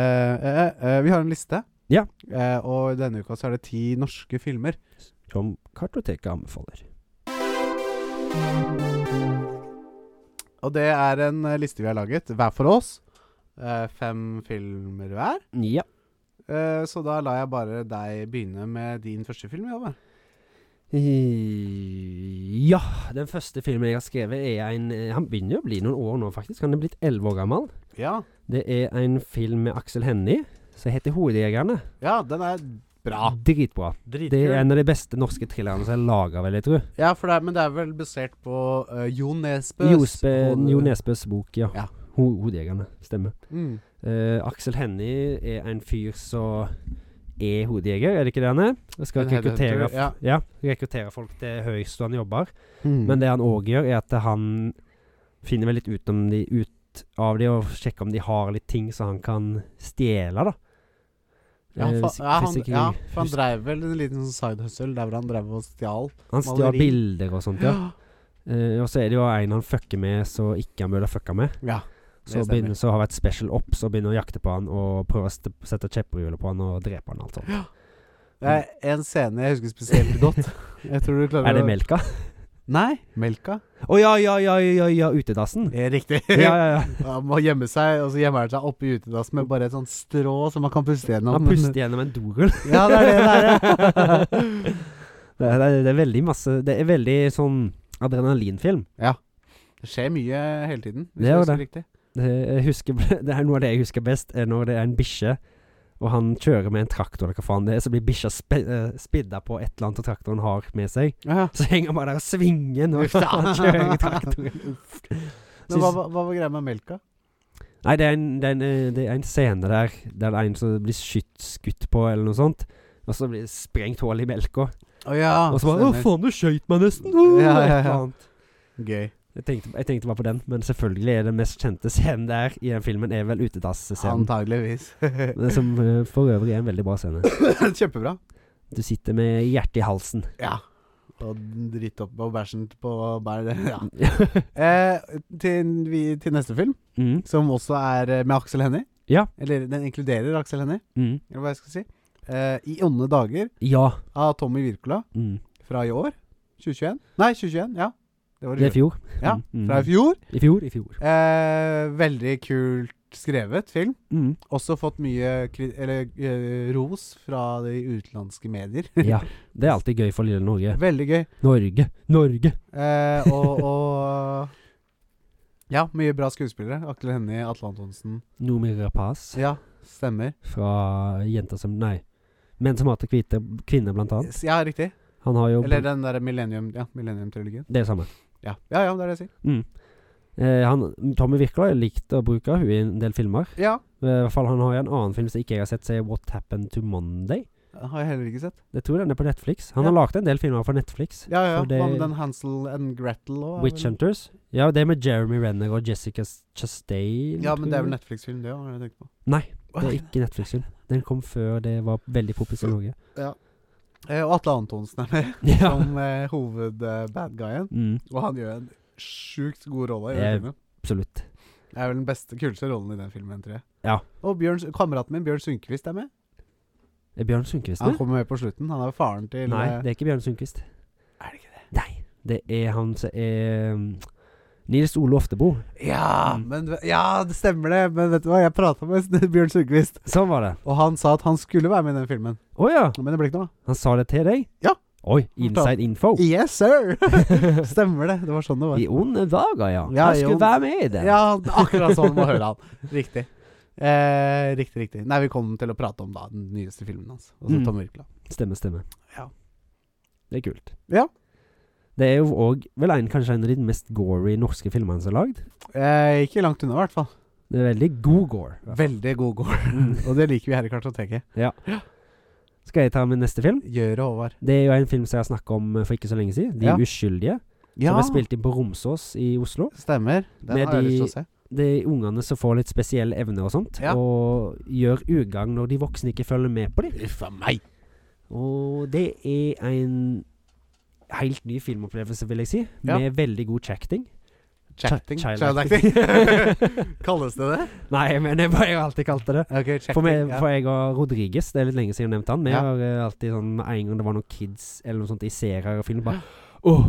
Speaker 1: eh, eh, Vi har en liste.
Speaker 2: Ja.
Speaker 1: Eh, og denne uka så er det ti norske filmer.
Speaker 2: Som Kartoteket anbefaler.
Speaker 1: Og det er en eh, liste vi har laget hver for oss. Eh, fem filmer hver.
Speaker 2: Ja.
Speaker 1: Eh, så da lar jeg bare deg begynne med din første film. Jove.
Speaker 2: I- Ja. Den første filmen jeg har skrevet, er en eh, Han begynner jo å bli noen år nå, faktisk. Han er blitt elleve år gammel.
Speaker 1: Ja.
Speaker 2: Det er en film med Aksel Hennie som heter 'Hodejegerne'.
Speaker 1: ja, den er bra.
Speaker 2: Dritbra. Det er en av de beste norske thrillerne som er laga, vil jeg tro.
Speaker 1: Ja, for det er, men det er vel basert på uh, Jo Nesbøs
Speaker 2: Jospe,
Speaker 1: hode-
Speaker 2: jo Nesbøs bok, ja.
Speaker 1: Ja.
Speaker 2: Ho Hodejegerne. Stemmer.
Speaker 1: Mm.
Speaker 2: Eh, Aksel Hennie er en fyr som er hodejeger, er det ikke det han er? Og skal
Speaker 1: En
Speaker 2: rekruttere,
Speaker 1: headhunter, ja.
Speaker 2: f- ja, rekruttere folk til høystående jobber.
Speaker 1: Mm.
Speaker 2: Men det han òg gjør, er at han finner vel litt ut, om de, ut av de og sjekker om de har litt ting så han kan stjele, da.
Speaker 1: ja, han,
Speaker 2: Eh,
Speaker 1: fa
Speaker 2: hvis-
Speaker 1: ja,
Speaker 2: hvis
Speaker 1: han,
Speaker 2: ikke-
Speaker 1: ja, for han
Speaker 2: husk-
Speaker 1: dreiv vel en liten sånn side hustle der hvor han drev og stjal.
Speaker 2: han stjal
Speaker 1: maleri.
Speaker 2: bilder og sånt, ja. Eh, og så er det jo en han fucker med så ikke han burde fucka med.
Speaker 1: Ja, det
Speaker 2: Så,
Speaker 1: stemmer.
Speaker 2: begynner, så har vi et special ops og begynner å jakte på han og prøve å st sette kjepperhjulet på han og drepe han. altså. og Alt sånt.
Speaker 1: Det er en scene jeg husker spesielt godt. Jeg tror du klarer
Speaker 2: Er det
Speaker 1: å-
Speaker 2: melka?
Speaker 1: Nei. Melka.
Speaker 2: Å ja, ja, ja, ja, ja, utedassen.
Speaker 1: Eh, Riktig.
Speaker 2: Ja, ja, ja.
Speaker 1: Han må gjemme seg, og så gjemmer han seg oppi utedassen med bare et sånt strå som man kan puste gjennom.
Speaker 2: Han puster gjennom en dorull.
Speaker 1: Ja, det er det det er. ja.
Speaker 2: Det er, det, er, det er veldig masse Det er veldig sånn adrenalinfilm.
Speaker 1: Det skjer mye hele tiden.
Speaker 2: Det
Speaker 1: jeg
Speaker 2: gjør
Speaker 1: husker Riktig.
Speaker 2: Det, jeg husker, det er noe av det jeg husker best, er når det er en bikkje, og han kjører med en traktor, eller hva faen det er, så blir bikkja spe, eh, spidda på et eller annet traktoren har med seg.
Speaker 1: Ja.
Speaker 2: Så henger han bare der og svinger når han kjører traktoren.
Speaker 1: Men hva, hva, hva var greia med melka?
Speaker 2: Nei, det er, en, det, er en, eh, det er en scene der der det er en som blir skytt, skutt på, eller noe sånt. Og så blir det sprengt hull i melka.
Speaker 1: Å ja.
Speaker 2: og så bare 'Å,
Speaker 1: Ah, stemmer.
Speaker 2: faen, du skøyt meg nesten!' Uh,
Speaker 1: Ja, ja,
Speaker 2: et eller
Speaker 1: ja.
Speaker 2: annet.
Speaker 1: Gøy.
Speaker 2: Jeg, tenkte, jeg tenkte bare på den, men selvfølgelig er den mest kjente scenen der i den filmen er vel utedasscenen.
Speaker 1: Antageligvis.
Speaker 2: Men Som eh, for øvrig er en veldig bra scene.
Speaker 1: Kjempebra.
Speaker 2: Du sitter med hjertet i halsen.
Speaker 1: Ja. Og dritt opp og bæsjen på bær. Ja.
Speaker 2: mm.
Speaker 1: Eh, til, vi, til neste film, som også er eh, med Aksel Hennie.
Speaker 2: Ja.
Speaker 1: Eller den inkluderer Aksel Hennie,
Speaker 2: Mm.
Speaker 1: eller hva jeg skal si. Eh, I onde dager
Speaker 2: Ja.
Speaker 1: av Tommy Wirkola
Speaker 2: Mm.
Speaker 1: fra i år. 2021. Nei, 2021. Ja. Det var
Speaker 2: Det
Speaker 1: i
Speaker 2: er i
Speaker 1: fjor.
Speaker 2: fjor.
Speaker 1: Ja,
Speaker 2: Mm.
Speaker 1: Fra i fjor.
Speaker 2: I fjor. I fjor.
Speaker 1: Eh, veldig kult skrevet film.
Speaker 2: Mm.
Speaker 1: Også fått mye kri eller, eh, ros fra de utenlandske medier.
Speaker 2: Ja. Det er alltid gøy for lille Norge.
Speaker 1: Veldig gøy.
Speaker 2: Norge. Norge.
Speaker 1: Eh, og, og Ja, mye bra skuespillere. Atle Hennie, Atle Antonsen.
Speaker 2: Nomi Rapaz
Speaker 1: Ja, stemmer.
Speaker 2: fra Jenter som Nei. Menn som hater hvite kvinner, blant annet.
Speaker 1: S- Ja, riktig.
Speaker 2: Han har jo
Speaker 1: Eller den derre Millennium Ja, Millennium-trilogien.
Speaker 2: Det er samme.
Speaker 1: Ja. ja, ja, det er det jeg sier.
Speaker 2: Mm. Eh, han, Tommy Wirkola likte å bruke hun i en del filmer. Eh,
Speaker 1: Ja.
Speaker 2: I hvert fall han har jo en annen film som ikke jeg har sett, som er What Happened to Monday.
Speaker 1: Den har jeg heller ikke sett.
Speaker 2: Jeg tror den er på Netflix. Han
Speaker 1: Ja.
Speaker 2: har laget en del filmer for Netflix.
Speaker 1: Ja, ja.
Speaker 2: For det-
Speaker 1: Hva med den Hansel and Gretel og
Speaker 2: Witch Hunters. Ja, det er med Jeremy Renner og Jessica S- Chastain.
Speaker 1: Ja, men det er vel
Speaker 2: tror jeg.
Speaker 1: Netflix-film, det òg, har jeg tenkt på.
Speaker 2: Nei, det er ikke Netflix-film. Den kom før det var veldig poppis i Norge.
Speaker 1: Eh, og Atle Antonsen er med
Speaker 2: Ja.
Speaker 1: som eh, hoved-badguyen.
Speaker 2: Mm,
Speaker 1: og han gjør en sjukt god rolle i den
Speaker 2: Jeg-
Speaker 1: filmen.
Speaker 2: absolutt.
Speaker 1: Det er vel den beste, kuleste rollen i den filmen, tror jeg.
Speaker 2: Ja.
Speaker 1: Og Bjørn, kameraten min, Bjørn Sundquist, er med.
Speaker 2: Er Eh, Bjørn Sundquist
Speaker 1: Han
Speaker 2: med?
Speaker 1: kommer med på slutten. Han er jo faren til
Speaker 2: Nei,
Speaker 1: eh,
Speaker 2: det er ikke Bjørn Sundquist.
Speaker 1: Er det ikke det?
Speaker 2: Nei. Det er han som er mm, Nils Ole Oftebro.
Speaker 1: Ja, men, ja, det stemmer det. Men vet du hva, jeg prata med Bjørn Sundquist,
Speaker 2: Sånn var det.
Speaker 1: og han sa at han skulle være med i den filmen.
Speaker 2: Å ja.
Speaker 1: Men det ble ikke noe av.
Speaker 2: Han sa det til deg?
Speaker 1: Ja.
Speaker 2: Oi, inside info.
Speaker 1: Yes, sir! stemmer det. Det var sånn det var.
Speaker 2: I onde dager, ja.
Speaker 1: Ja,
Speaker 2: Han
Speaker 1: i
Speaker 2: skulle
Speaker 1: onde-
Speaker 2: være med i det.
Speaker 1: Ja, akkurat sånn må høre han. Riktig. Eh, riktig, riktig. Nei, vi kom til å prate om da den nyeste filmen hans. Altså
Speaker 2: Mm.
Speaker 1: Tom Wirkola.
Speaker 2: Stemme, stemme.
Speaker 1: Ja.
Speaker 2: Det er kult.
Speaker 1: Ja.
Speaker 2: Det er jo òg vel en, kanskje en av de mest gory norske filmene som er lagd.
Speaker 1: Eh, ikke langt unna, i hvert fall.
Speaker 2: Det er veldig god gore.
Speaker 1: Veldig god gård.
Speaker 2: Mm.
Speaker 1: og det liker vi her i Kartoteket.
Speaker 2: Skal jeg ta min neste film?
Speaker 1: Gjøre Håvard.
Speaker 2: Det er jo en film som jeg har snakka om eh, for ikke så lenge siden. De
Speaker 1: Ja.
Speaker 2: uskyldige.
Speaker 1: Ja,
Speaker 2: Som er spilt inn på Romsås i Oslo.
Speaker 1: stemmer. Den
Speaker 2: Med
Speaker 1: har jeg lyst til
Speaker 2: de-
Speaker 1: å se.
Speaker 2: Det er ungene som får litt spesielle evner og sånt.
Speaker 1: Ja.
Speaker 2: Og gjør ugagn når de voksne ikke følger med på dem.
Speaker 1: Uff a meg.
Speaker 2: Og det er en helt ny filmopplevelse, vil jeg si.
Speaker 1: Ja.
Speaker 2: Med veldig god chatting.
Speaker 1: Chatting.
Speaker 2: Child
Speaker 1: Child acting.
Speaker 2: acting.
Speaker 1: Kalles det det?
Speaker 2: Nei, men jeg bare jeg har alltid kalt det det.
Speaker 1: Ok, chatting.
Speaker 2: For, meg,
Speaker 1: ja.
Speaker 2: for jeg og Rodriguez, det er litt lenge siden jeg nevnte han, men
Speaker 1: Ja.
Speaker 2: jeg har eh, alltid sånn med en gang det var noen kids eller noe sånt i serier og film, bare Åh,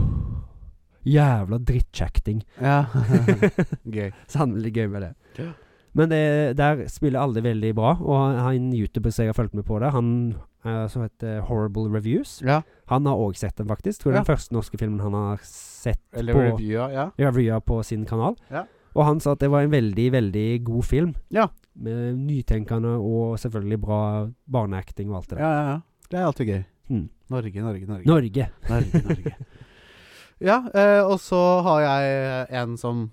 Speaker 2: jævla drittchatting.
Speaker 1: ja. Gøy.
Speaker 2: Sannelig gøy med det.
Speaker 1: Ja.
Speaker 2: Men det, der spiller alle veldig bra, og han youtuber som jeg har fulgt med på det, han eh, som heter Horrible Reviews,
Speaker 1: Ja.
Speaker 2: han har òg sett den, faktisk. Tror jeg
Speaker 1: Ja.
Speaker 2: den første norske filmen han har sett
Speaker 1: Eller
Speaker 2: på
Speaker 1: reviewer, ja.
Speaker 2: revyer på sin kanal.
Speaker 1: Ja.
Speaker 2: Og han sa at det var en veldig, veldig god film.
Speaker 1: Ja.
Speaker 2: Med nytenkende og selvfølgelig bra barneacting og alt det der.
Speaker 1: Ja, ja, ja. Det er alltid gøy.
Speaker 2: Mm.
Speaker 1: Norge, Norge, Norge.
Speaker 2: Norge.
Speaker 1: Norge, Norge. ja, eh, og så har jeg en som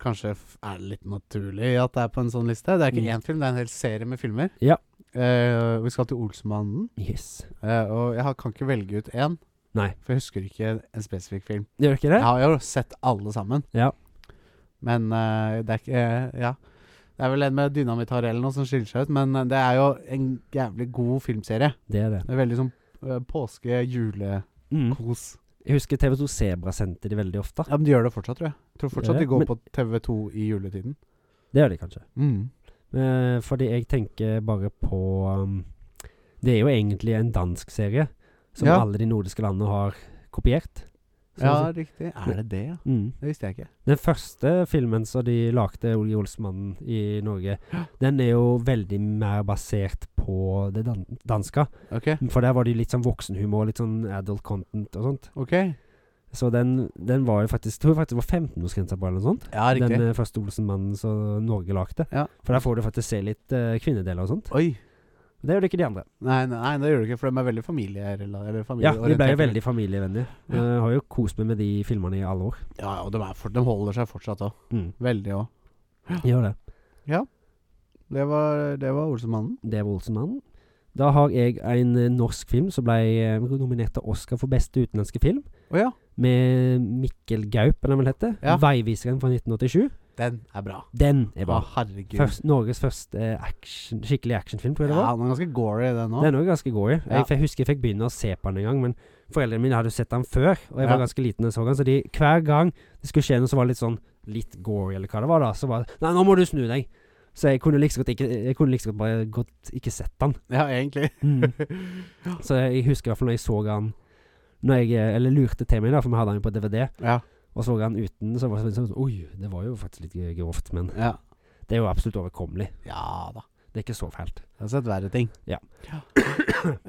Speaker 1: kanskje f- er litt naturlig at det er på en sånn liste. Det er ikke
Speaker 2: Mm.
Speaker 1: én film, det er en hel serie med filmer.
Speaker 2: Ja.
Speaker 1: Eh, vi skal til Olsmannen,
Speaker 2: Yes.
Speaker 1: eh, og jeg har- kan ikke velge ut én.
Speaker 2: Nei.
Speaker 1: For jeg husker ikke en spesifikk film.
Speaker 2: Gjør ikke
Speaker 1: Jeg
Speaker 2: det?
Speaker 1: har jo sett alle sammen.
Speaker 2: Ja.
Speaker 1: Men eh, det er ikke eh, Ja. Det er vel en med dynamitt-hare eller noe som skiller seg ut, men eh, det er jo en jævlig god filmserie.
Speaker 2: Det er det.
Speaker 1: Det er veldig sånn eh, påske-julekos.
Speaker 2: Mm. Jeg husker TV2 Sebra sendte de veldig ofte.
Speaker 1: Ja, men de gjør det fortsatt, tror jeg. Jeg tror fortsatt
Speaker 2: Gjør det?
Speaker 1: de går
Speaker 2: Men-
Speaker 1: på TV2 i juletiden. Mm.
Speaker 2: Det gjør de kanskje. Eh, fordi jeg tenker bare på um, Det er jo egentlig en dansk serie som
Speaker 1: Ja.
Speaker 2: alle de nordiske landene har kopiert. så altså å
Speaker 1: Ja,
Speaker 2: si.
Speaker 1: riktig. Er det det, ja?
Speaker 2: Mm.
Speaker 1: Det visste jeg ikke.
Speaker 2: Den første filmen som de lagde, Olje Olsmannen, i Norge, den er jo veldig mer basert på det dan danske.
Speaker 1: Ok.
Speaker 2: For der var det jo litt sånn voksenhumor, litt sånn adult content og sånt.
Speaker 1: ok
Speaker 2: Så den, den var jo faktisk Tror jeg faktisk det var 15-årsgrensa på, eller noe sånt.
Speaker 1: Ja, riktig.
Speaker 2: Den eh, første Olsenmannen som Norge lagde.
Speaker 1: Ja.
Speaker 2: For der får du faktisk se litt eh, kvinnedeler og sånt.
Speaker 1: Oi.
Speaker 2: Det gjør det ikke de andre.
Speaker 1: Nei, nei, nei, det gjør du ikke, for de er veldig familierela- eller
Speaker 2: Ja,
Speaker 1: familieorienterte.
Speaker 2: de ble jo veldig familievennlige.
Speaker 1: Ja.
Speaker 2: Jeg har jo kost meg med de filmene i alle år.
Speaker 1: Ja, og de, er for, de holder seg fortsatt òg.
Speaker 2: Mm.
Speaker 1: Veldig òg.
Speaker 2: Gjør det.
Speaker 1: Det var, det var Olsemannen.
Speaker 2: Det var Olsenmannen. Da har jeg en eh, norsk film som ble eh, nominert til Oscar for beste utenlandske film.
Speaker 1: Å ja.
Speaker 2: Med Mikkel Gaup, eller hva han heter.
Speaker 1: Ja.
Speaker 2: Veiviseren fra 1987.
Speaker 1: Den er bra.
Speaker 2: Den er bra.
Speaker 1: Å, herregud.
Speaker 2: Først, Norges første eh, action, skikkelig actionfilm, tror jeg det
Speaker 1: ja,
Speaker 2: var.
Speaker 1: den er ganske gory, den òg.
Speaker 2: Den er jo ganske gory.
Speaker 1: Ja.
Speaker 2: Jeg, jeg husker jeg fikk begynne å se på den en gang, men foreldrene mine hadde jo sett den før, og jeg
Speaker 1: Ja.
Speaker 2: var ganske liten da jeg så den, så de, hver gang det skulle skje noe som var litt sånn litt gory, eller hva det var, da, så bare Nei, nå må du snu deg! Så jeg kunne like så godt ikke, jeg kunne like så godt bare godt ikke sett den.
Speaker 1: Ja, egentlig.
Speaker 2: Mm. Så jeg husker i hvert fall når jeg så han Når jeg, eh, eller lurte til meg da For vi hadde han jo på DVD
Speaker 1: Ja.
Speaker 2: Og så han uten Så var det sånn sånn, Oi, det var jo faktisk litt g- grovt Men
Speaker 1: ja.
Speaker 2: det er jo absolutt overkommelig
Speaker 1: Ja da.
Speaker 2: Det er ikke så fælt
Speaker 1: Jeg har sett verre ting.
Speaker 2: Ja.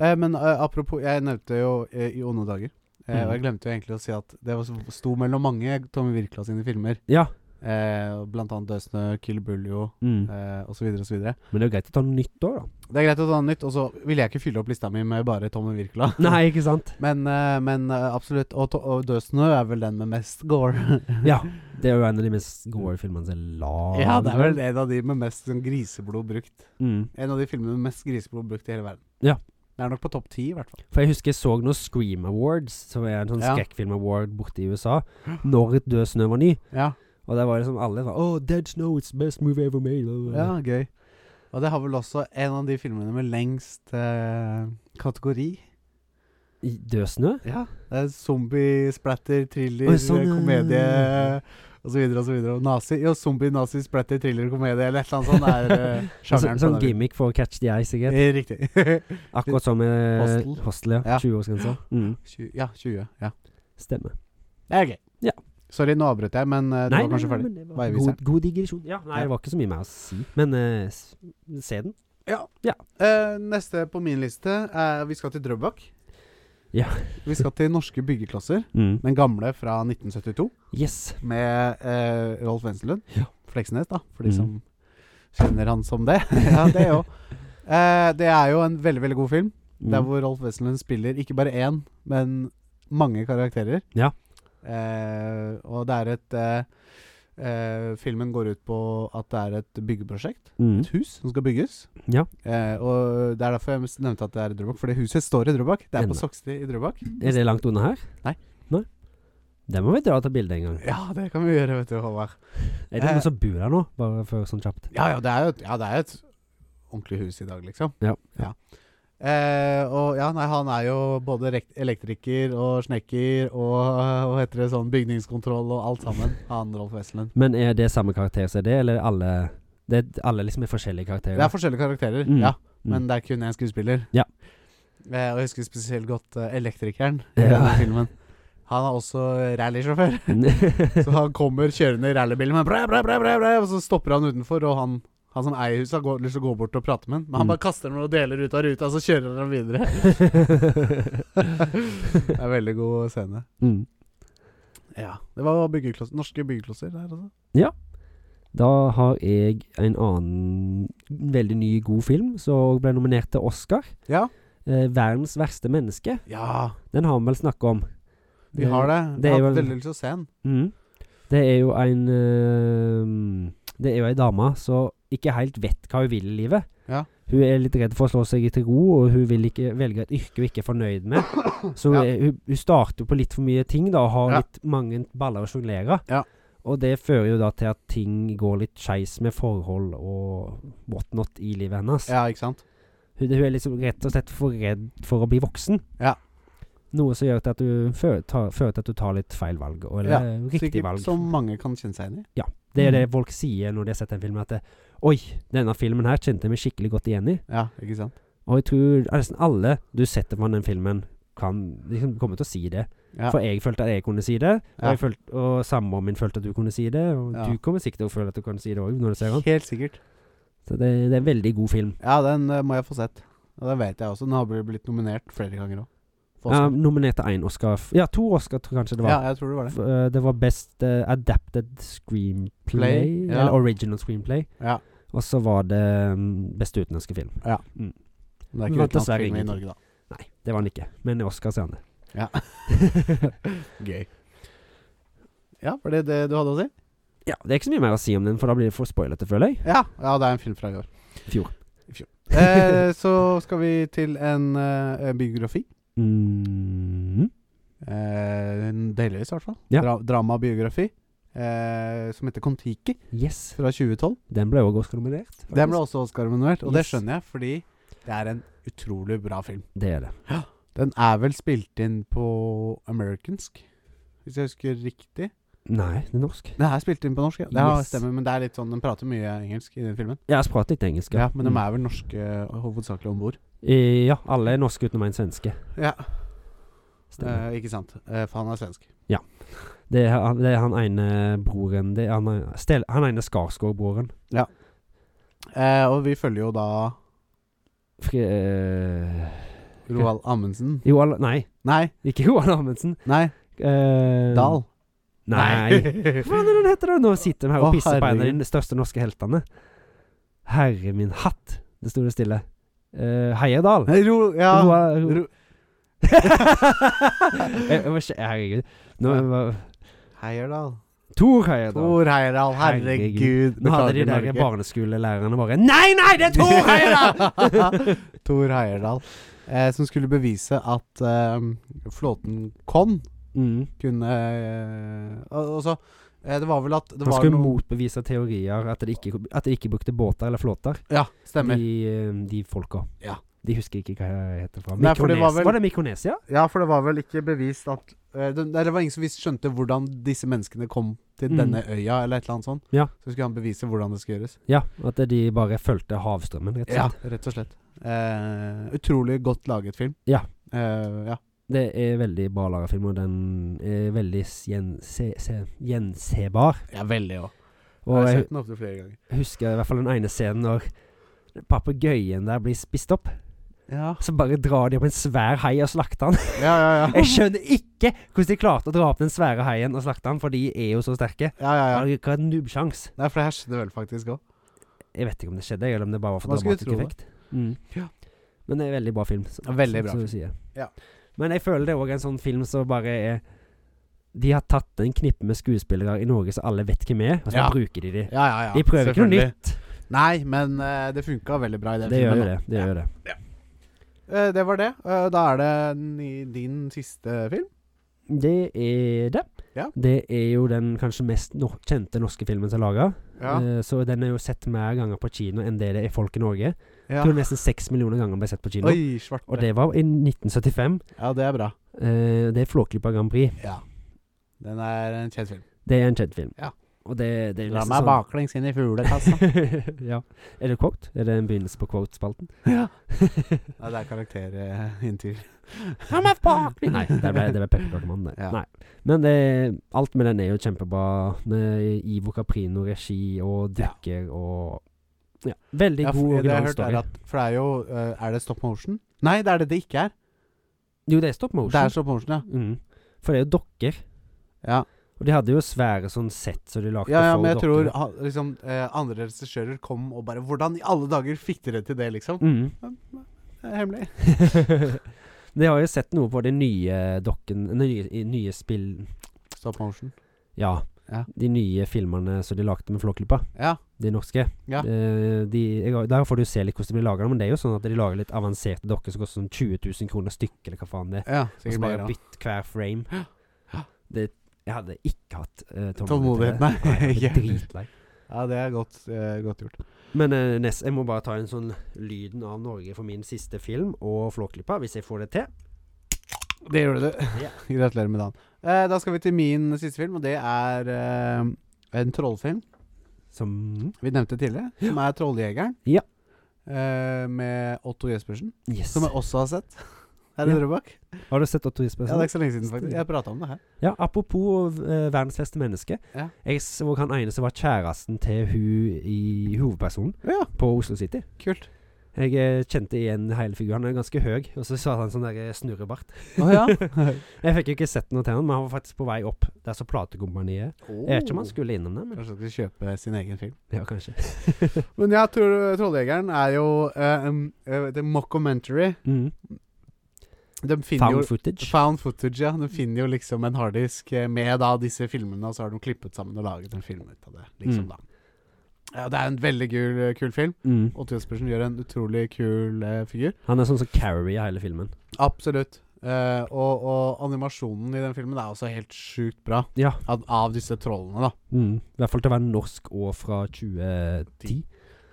Speaker 1: eh, men eh, apropos, jeg nevnte jo eh, I onde dager. Eh,
Speaker 2: Mhm.
Speaker 1: Og jeg glemte jo egentlig å si at det var, så- sto mellom mange Tommy Wirkola sine filmer.
Speaker 2: Ja
Speaker 1: Eh, og blant annet Dødsnø, Kill Buljo
Speaker 2: mm.
Speaker 1: eh, osv. osv. Det
Speaker 2: Men det er jo greit å ta noe nytt også da
Speaker 1: er greit å ta noe nytt. Og så ville jeg ikke fylle opp lista mi med bare Tommy Wirkola.
Speaker 2: Nei, ikke sant?
Speaker 1: Men, eh, men eh, absolutt. Og, to- og Dødsnø er vel den med mest gore.
Speaker 2: Ja Det er jo en av de mest gode filmene som er laget
Speaker 1: ja, det er vel en av de med mest sånn, griseblod brukt.
Speaker 2: mm.
Speaker 1: En av de filmene med mest griseblod brukt i hele verden.
Speaker 2: Ja.
Speaker 1: Det er nok på topp ti, i hvert fall.
Speaker 2: For jeg husker jeg så noen Scream Awards Som er en sånn
Speaker 1: Ja.
Speaker 2: skrekkfilm award borte i USA Når et død snø var ny
Speaker 1: Ja,
Speaker 2: Og der var det som alle var Oh, Dead Snow, it's the best movie ever made
Speaker 1: ja gøy. Og det har vel også en av de filmene med lengst eh, kategori.
Speaker 2: I- Død snø?
Speaker 1: Ja. Det er zombie, splatter, thriller,
Speaker 2: Oi, sånn, ja,
Speaker 1: komedie
Speaker 2: ja, ja.
Speaker 1: og så videre og så videre. Og nazi. Jo, zombie, nazi, splatter, thriller, komedie eller et eller annet sånt er eh,
Speaker 2: Sånn,
Speaker 1: sjangeren.
Speaker 2: sånn
Speaker 1: på den.
Speaker 2: gimmick for å catch the eye, sikkert.
Speaker 1: Eh, Riktig.
Speaker 2: Akkurat som med
Speaker 1: Hostel.
Speaker 2: Hostel, ja.
Speaker 1: Ja.
Speaker 2: 20-årsgrensa. Mm.
Speaker 1: Tju- ja, 20. Ja.
Speaker 2: Stemmer.
Speaker 1: Det er gøy.
Speaker 2: Ja.
Speaker 1: Sorry, nå avbrøt jeg, men eh, du var kanskje ferdig.
Speaker 2: men det
Speaker 1: Hva
Speaker 2: var
Speaker 1: er vi
Speaker 2: god, god digresjon. Ja, nei,
Speaker 1: Ja.
Speaker 2: det var ikke så mye mer å si. Men eh, s- se den.
Speaker 1: Eh, neste på min liste er Vi skal til Drøbak.
Speaker 2: Ja.
Speaker 1: vi skal til norske byggeklosser. Den gamle fra 1972
Speaker 2: Yes.
Speaker 1: med eh, Rolf Wenselund.
Speaker 2: Ja.
Speaker 1: Fleksnes, da, for de
Speaker 2: Mm.
Speaker 1: som kjenner han som det. ja, det òg. Eh, det er jo en veldig, veldig god film.
Speaker 2: Mm.
Speaker 1: Der hvor Rolf Wesenlund spiller ikke bare én, men mange karakterer.
Speaker 2: Ja.
Speaker 1: Eh, og det er et eh, eh, Filmen går ut på at det er et byggeprosjekt.
Speaker 2: Mm.
Speaker 1: Et hus som skal bygges.
Speaker 2: Ja.
Speaker 1: Eh, og Det er derfor jeg nevnte at det er i Drøbak, fordi huset står i Drøbak. Det er
Speaker 2: Nemlig.
Speaker 1: på Sokstid i Drøbak.
Speaker 2: Er det langt unna her?
Speaker 1: Nei.
Speaker 2: Nei? Det må vi dra og ta bilde en gang.
Speaker 1: Ja, det kan vi gjøre, vet du, Håvard.
Speaker 2: Er det
Speaker 1: Eh.
Speaker 2: noen som bor her nå? Bare for sånn kjapt.
Speaker 1: Ja, ja, det er jo et, ja, det er jo et ordentlig hus i dag, liksom.
Speaker 2: Ja.
Speaker 1: Eh, og ja, nei, han er jo både rekt- elektriker og snekker og eh, hva heter det, sånn bygningskontroll og alt sammen. Han Rolf Wesenlund.
Speaker 2: Men er det samme karakter som det, eller alle det er, Alle liksom er forskjellige karakterer?
Speaker 1: Det er forskjellige karakterer,
Speaker 2: Mm,
Speaker 1: ja.
Speaker 2: mm.
Speaker 1: Men det er kun én skuespiller.
Speaker 2: Ja.
Speaker 1: Eh, og jeg husker spesielt godt eh, elektrikeren i
Speaker 2: Ja.
Speaker 1: denne filmen. Han er også rallysjåfør. Så han kommer kjørende i rallybilen, men bræ, bræ, bræ, bræ, bræ, og så stopper han utenfor, og han, han som eier huset, har gå- lyst til å gå bort og prate med han. Men han
Speaker 2: Mm.
Speaker 1: bare kaster noen deler ut av ruta, og så kjører han videre. det er en veldig god scene.
Speaker 2: mm.
Speaker 1: Ja. Det var byggeklosser, norske byggeklosser der, altså.
Speaker 2: Da har jeg en annen veldig ny, god film som ble nominert til Oscar.
Speaker 1: Ja.
Speaker 2: Eh, 'Verdens verste menneske'.
Speaker 1: ja,
Speaker 2: Den har vi vel snakka om.
Speaker 1: vi har det.
Speaker 2: det
Speaker 1: Jeg har
Speaker 2: er jo en-
Speaker 1: veldig lyst til å se den.
Speaker 2: Mm. Det er jo en eh, Det er jo ei dame som ikke helt vet hva hun vil i livet.
Speaker 1: Ja.
Speaker 2: Hun er litt redd for å slå seg til ro, og hun vil ikke velge et yrke hun ikke er fornøyd med. Så hun,
Speaker 1: Ja.
Speaker 2: er- hun, hun starter jo på litt for mye ting da, og har
Speaker 1: Ja.
Speaker 2: litt mange baller å sjonglere.
Speaker 1: Ja.
Speaker 2: Og det fører jo da til at ting går litt skeis med forhold og whatnot i livet hennes.
Speaker 1: Ja, ikke sant?
Speaker 2: Hun, hun er liksom rett og slett for redd for å bli voksen.
Speaker 1: Ja.
Speaker 2: Noe som gjør til at du fører, tar, fører til at du tar litt feil valg, og- eller
Speaker 1: Ja,
Speaker 2: riktig valg.
Speaker 1: Som mm. mange kan kjenne seg igjen i.
Speaker 2: Det er det folk sier når de har sett den filmen, at det, Oi, denne filmen her kjente jeg meg skikkelig godt igjen i.
Speaker 1: Ja, ikke sant?
Speaker 2: Og jeg tror nesten alle du setter på den filmen, kan liksom komme til å si det.
Speaker 1: Ja.
Speaker 2: For jeg følte at jeg kunne si det, og,
Speaker 1: Ja.
Speaker 2: jeg følte, og samboeren min følte at du kunne si det, og
Speaker 1: Ja.
Speaker 2: du kommer sikkert til å føle at du kan si det òg når du ser den.
Speaker 1: Helt sikkert.
Speaker 2: Så det, det er en veldig god film.
Speaker 1: Ja, den eh, må jeg få sett. Og den vet jeg også. Den har bl- blitt nominert flere ganger òg.
Speaker 2: Ja, nominert til én Oscar f- Ja, to Oscar, tror jeg kanskje det
Speaker 1: ja,
Speaker 2: var.
Speaker 1: jeg tror det var det.
Speaker 2: F- eh, det var Best eh, Adapted Screenplay,
Speaker 1: Play, ja.
Speaker 2: eller Original Screenplay.
Speaker 1: Ja.
Speaker 2: Og så var det mm, Beste utenlandske film.
Speaker 1: Men det er
Speaker 2: Men
Speaker 1: ikke
Speaker 2: vant dessverre
Speaker 1: utenlandsfilm i
Speaker 2: ingenting.
Speaker 1: Norge, da.
Speaker 2: Nei, det var den ikke, men Oscar ser han det.
Speaker 1: Gøy. Ja, var det det du hadde å si?
Speaker 2: Ja, det er ikke så mye mer å si om den, for da blir det for spoilete, føler jeg.
Speaker 1: Ja, ja det er en film fra i år.
Speaker 2: Fjor.
Speaker 1: Eh, så skal vi til en eh, biografi.
Speaker 2: Mm.
Speaker 1: Eh, en delvis, i hvert fall.
Speaker 2: Ja.
Speaker 1: Dra Dramabiografi. Eh, som heter Kon-Tiki,
Speaker 2: Yes.
Speaker 1: fra 2012.
Speaker 2: Den ble òg Oscar-nominert. faktisk.
Speaker 1: Den ble også Oscar-nominert, og det
Speaker 2: Yes.
Speaker 1: skjønner jeg, fordi det er en utrolig bra film.
Speaker 2: Det er det.
Speaker 1: Den er vel spilt inn på amerikansk, hvis jeg husker riktig.
Speaker 2: Nei, det er norsk.
Speaker 1: Det er spilt inn på norsk, ja. Det har-
Speaker 2: Yes.
Speaker 1: stemmer, men det er litt sånn, den prater mye engelsk i den filmen.
Speaker 2: Jeg har pratet litt engelsk.
Speaker 1: Ja, mm. Men de er vel norske eh, hovedsakelig om bord.
Speaker 2: Eh, Ja, alle er norske utenom en svenske.
Speaker 1: Ja,
Speaker 2: Stemmer.
Speaker 1: eh, ikke sant. Eh, for han er svensk.
Speaker 2: Det, er, han- det er han ene broren det er Han, er- Stel, han ene Skarsgård-broren.
Speaker 1: Eh, og vi følger jo da
Speaker 2: Fri... eh,
Speaker 1: Roald Amundsen.
Speaker 2: Johan Nei,
Speaker 1: Nei,
Speaker 2: ikke Johan Amundsen.
Speaker 1: nei,
Speaker 2: Eh,
Speaker 1: Dahl.
Speaker 2: Nei. Hva faen er den heter da? Nå sitter de her
Speaker 1: Å,
Speaker 2: og pisser på en av
Speaker 1: herregud.
Speaker 2: de største norske heltene. Herre min hatt, det sto det stille. Uh, Heierdal.
Speaker 1: Nei, Ro, ja.
Speaker 2: Roa- ro-
Speaker 1: Ro-
Speaker 2: Jeg- jeg må skje- Herregud. Nå, var-
Speaker 1: Heierdal.
Speaker 2: Tor Heierdal.
Speaker 1: Tor Heierdal, herregud.
Speaker 2: Herregud. Nå hadde de der
Speaker 1: Beklager, Norge.
Speaker 2: barneskolelærerne bare Nei, nei, det er Tor Heierdal!
Speaker 1: Tor Heierdal. Eh, som skulle bevise at eh, flåten Kon
Speaker 2: mm.
Speaker 1: kunne eh, og, og så eh, Det var vel at det
Speaker 2: Han
Speaker 1: var
Speaker 2: skulle
Speaker 1: noen-
Speaker 2: motbevise teorier at de ikke, at de ikke brukte båter eller flåter.
Speaker 1: Ja, stemmer.
Speaker 2: De, eh, de folka.
Speaker 1: Ja.
Speaker 2: De husker ikke hva jeg heter fra.
Speaker 1: Nei, for det var
Speaker 2: Mikrones-
Speaker 1: vel-
Speaker 2: var det Mikronesia?
Speaker 1: Ja, for det var vel ikke bevist at eh, det, nei, det var ingen som visste, skjønte hvordan disse menneskene kom til
Speaker 2: Mm.
Speaker 1: denne øya, eller et eller annet sånt.
Speaker 2: Ja.
Speaker 1: Så skulle han bevise hvordan det skulle gjøres.
Speaker 2: Ja, at de bare fulgte havstrømmen, rett og
Speaker 1: Ja,
Speaker 2: slett.
Speaker 1: rett og slett. Eh, utrolig godt laget film.
Speaker 2: Ja.
Speaker 1: Eh, ja.
Speaker 2: Det er veldig bra laga film, og den er veldig s- gjense, se, gjensebar.
Speaker 1: Ja, veldig òg. Jeg
Speaker 2: Og
Speaker 1: har
Speaker 2: jeg
Speaker 1: sett den ofte flere ganger.
Speaker 2: husker i hvert fall den ene scenen når papegøyen der blir spist opp.
Speaker 1: Ja,
Speaker 2: Så bare drar de opp en svær hai og slakter den.
Speaker 1: ja, ja. ja.
Speaker 2: Jeg skjønner ikke hvordan de klarte å dra opp den svære haien og slakte den, for de er jo så sterke.
Speaker 1: ja, ja, ja.
Speaker 2: Har ikke hatt nubbsjans.
Speaker 1: Nei, for det her skjedde vel faktisk òg.
Speaker 2: Jeg vet ikke om det skjedde, eller om det bare var for
Speaker 1: Man skulle
Speaker 2: dramatisk
Speaker 1: tro det.
Speaker 2: effekt. Mm.
Speaker 1: Ja.
Speaker 2: Men det er en veldig bra film. så-
Speaker 1: Ja, veldig bra
Speaker 2: Som du sier.
Speaker 1: Ja.
Speaker 2: Men jeg føler det er òg en sånn film som bare er De har tatt en knippe med skuespillere i Norge så alle vet hvem er, og så
Speaker 1: Ja.
Speaker 2: bruker de de.
Speaker 1: Ja, ja, ja.
Speaker 2: De prøver ikke noe
Speaker 1: Selvfølgelig.
Speaker 2: nytt.
Speaker 1: Nei, men eh, det funka veldig bra i den
Speaker 2: Det gjør jo
Speaker 1: filmen.
Speaker 2: det. det, gjør jo det.
Speaker 1: da. Eh, det var det. Eh, da er det ni- din siste film.
Speaker 2: Det er det.
Speaker 1: Ja.
Speaker 2: Det er jo den kanskje mest no kjente norske filmen som er laga. så den er jo sett mer ganger på kino enn det det er folk i Norge. Jeg
Speaker 1: ja.
Speaker 2: Tror nesten seks millioner ganger ble sett på kino.
Speaker 1: Oi, svarte.
Speaker 2: Og det var i 1975.
Speaker 1: Ja, det er bra.
Speaker 2: Eh, det er Flåklypa Grand Prix.
Speaker 1: Ja. Den er en kjent film.
Speaker 2: Det er en kjent film.
Speaker 1: Ja.
Speaker 2: Og det, det er
Speaker 1: La
Speaker 2: nesten
Speaker 1: meg altså.
Speaker 2: sånn-
Speaker 1: baklengs inn i fuglekassa.
Speaker 2: ja. Er det quote? Er det en begynnelse på quote-spalten?
Speaker 1: ja. Nei, det er eh, karakterintervju.
Speaker 2: Nei, det ble, det ble Pepperkakemann, det.
Speaker 1: Ja.
Speaker 2: Nei. Men det, alt med den er jo kjempebra. Med Ivo Caprino regi og
Speaker 1: Ja.
Speaker 2: dukker og ja. Veldig
Speaker 1: Ja,
Speaker 2: god
Speaker 1: for, det jeg har
Speaker 2: original
Speaker 1: hørt er
Speaker 2: story.
Speaker 1: at For det er jo eh, Er det stop motion? Nei, det er det det ikke er.
Speaker 2: Jo, det er stop
Speaker 1: Det
Speaker 2: motion.
Speaker 1: er stop motion, ja.
Speaker 2: mm. For det er jo dokker.
Speaker 1: Ja,
Speaker 2: Og de hadde jo svære sånn sett som de lagde
Speaker 1: ja, ja
Speaker 2: for
Speaker 1: men jeg tror
Speaker 2: dokkene.
Speaker 1: ha- liksom eh, andre regissører kom og bare 'Hvordan i alle dager fikk dere til det?' liksom.
Speaker 2: mm.
Speaker 1: Det er hemmelig.
Speaker 2: De har jo sett noe på de nye dokken Nye, i nye spill...
Speaker 1: Stop motion.
Speaker 2: Ja.
Speaker 1: Ja.
Speaker 2: De nye filmene som de lagde med Flåklypa.
Speaker 1: Ja.
Speaker 2: De norske.
Speaker 1: Ja.
Speaker 2: Eh, de, jeg, har- der får du se litt hvordan de blir laga, men det er jo sånn at de lager litt avanserte dokker som koster sånn 20 000 kroner stykket, eller hva faen det er.
Speaker 1: ja
Speaker 2: Og så
Speaker 1: sikkert mer.
Speaker 2: bare
Speaker 1: da.
Speaker 2: bytt hver frame.
Speaker 1: Ja.
Speaker 2: Det, jeg hadde ikke hatt uh,
Speaker 1: Tålmodighet, nei.
Speaker 2: Jeg
Speaker 1: Ikke
Speaker 2: ble dritlei.
Speaker 1: Ja, det er godt, eh, godt gjort.
Speaker 2: Men eh, Ness, jeg må bare ta en sånn lyden av Norge for min siste film og Flåklypa, hvis jeg får det til.
Speaker 1: Det gjorde du.
Speaker 2: Ja.
Speaker 1: Gratulerer med dagen. Eh, da skal vi til min siste film, og det er eh, en trollfilm
Speaker 2: Som
Speaker 1: vi nevnte tidligere, som er 'Trolljegeren'.
Speaker 2: Ja.
Speaker 1: Eh, med Otto Jespersen,
Speaker 2: Yes.
Speaker 1: som jeg også har sett. Her i
Speaker 2: Ja.
Speaker 1: Drøbak.
Speaker 2: Har du sett Otto Jespersen?
Speaker 1: Ja, det er ikke så lenge siden, faktisk. Jeg prata om det her.
Speaker 2: Ja, apropos eh, verdens beste menneske.
Speaker 1: Ja.
Speaker 2: Jeg så han ene som var kjæresten til hun i hovedpersonen
Speaker 1: Ja,
Speaker 2: på Oslo City.
Speaker 1: kult.
Speaker 2: Jeg eh, kjente igjen hele figuren. Han er ganske høy, og så sa han sånn der eh, snurrebart.
Speaker 1: Å ja.
Speaker 2: Jeg fikk jo ikke sett noe til han, men han var faktisk på vei opp. Der så platekompaniet Jeg vet ikke
Speaker 1: Oh.
Speaker 2: om han skulle innom det, men
Speaker 1: Kanskje han skal kjøpe sin egen film.
Speaker 2: Ja, kanskje.
Speaker 1: Men ja, Troll- Trolljegeren er jo eh, um, eh, Det er mockumentary.
Speaker 2: Mm.
Speaker 1: De finner
Speaker 2: Found
Speaker 1: jo
Speaker 2: footage.
Speaker 1: Found footage, ja. De finner jo liksom en harddisk eh, med da disse filmene, og så har de klippet sammen og laget en film ut av det, liksom,
Speaker 2: Mm.
Speaker 1: da. Ja, det er en veldig kul, eh, kul film.
Speaker 2: Mm.
Speaker 1: Otto Jespersen gjør en utrolig kul eh, figur.
Speaker 2: Han er sånn som Carrie i hele filmen.
Speaker 1: Absolutt. Eh, og, og animasjonen i den filmen er også helt sjukt bra.
Speaker 2: Ja.
Speaker 1: Av, av disse trollene, da.
Speaker 2: Mm. I hvert fall til å være norsk og fra 2010.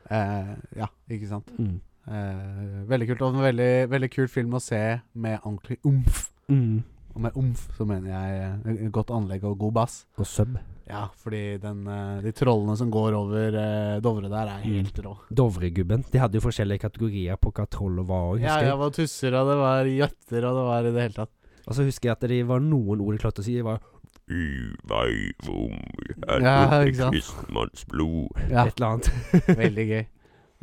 Speaker 1: Eh, ja, ikke sant.
Speaker 2: Mm.
Speaker 1: Eh, veldig kult. Og en veldig, veldig kul film å se med ordentlig omf.
Speaker 2: Mm.
Speaker 1: Og med omf så mener jeg eh, godt anlegg og god bass.
Speaker 2: Og sub.
Speaker 1: Ja, fordi den, eh, de trollene som går over eh, Dovre der, er
Speaker 2: Mm.
Speaker 1: helt rå.
Speaker 2: Dovregubben. De hadde jo forskjellige kategorier på hva trollet var. og
Speaker 1: Ja,
Speaker 2: husker jeg.
Speaker 1: det var tusser, og det var jøtter, og det var i det hele tatt
Speaker 2: Og så husker jeg at det var noen ord jeg klarte å si. Det var
Speaker 3: I vei vom
Speaker 1: Ja,
Speaker 3: herre
Speaker 1: ikke sant?
Speaker 3: kristenmanns blod.
Speaker 1: Ja,
Speaker 2: et eller annet.
Speaker 1: veldig gøy.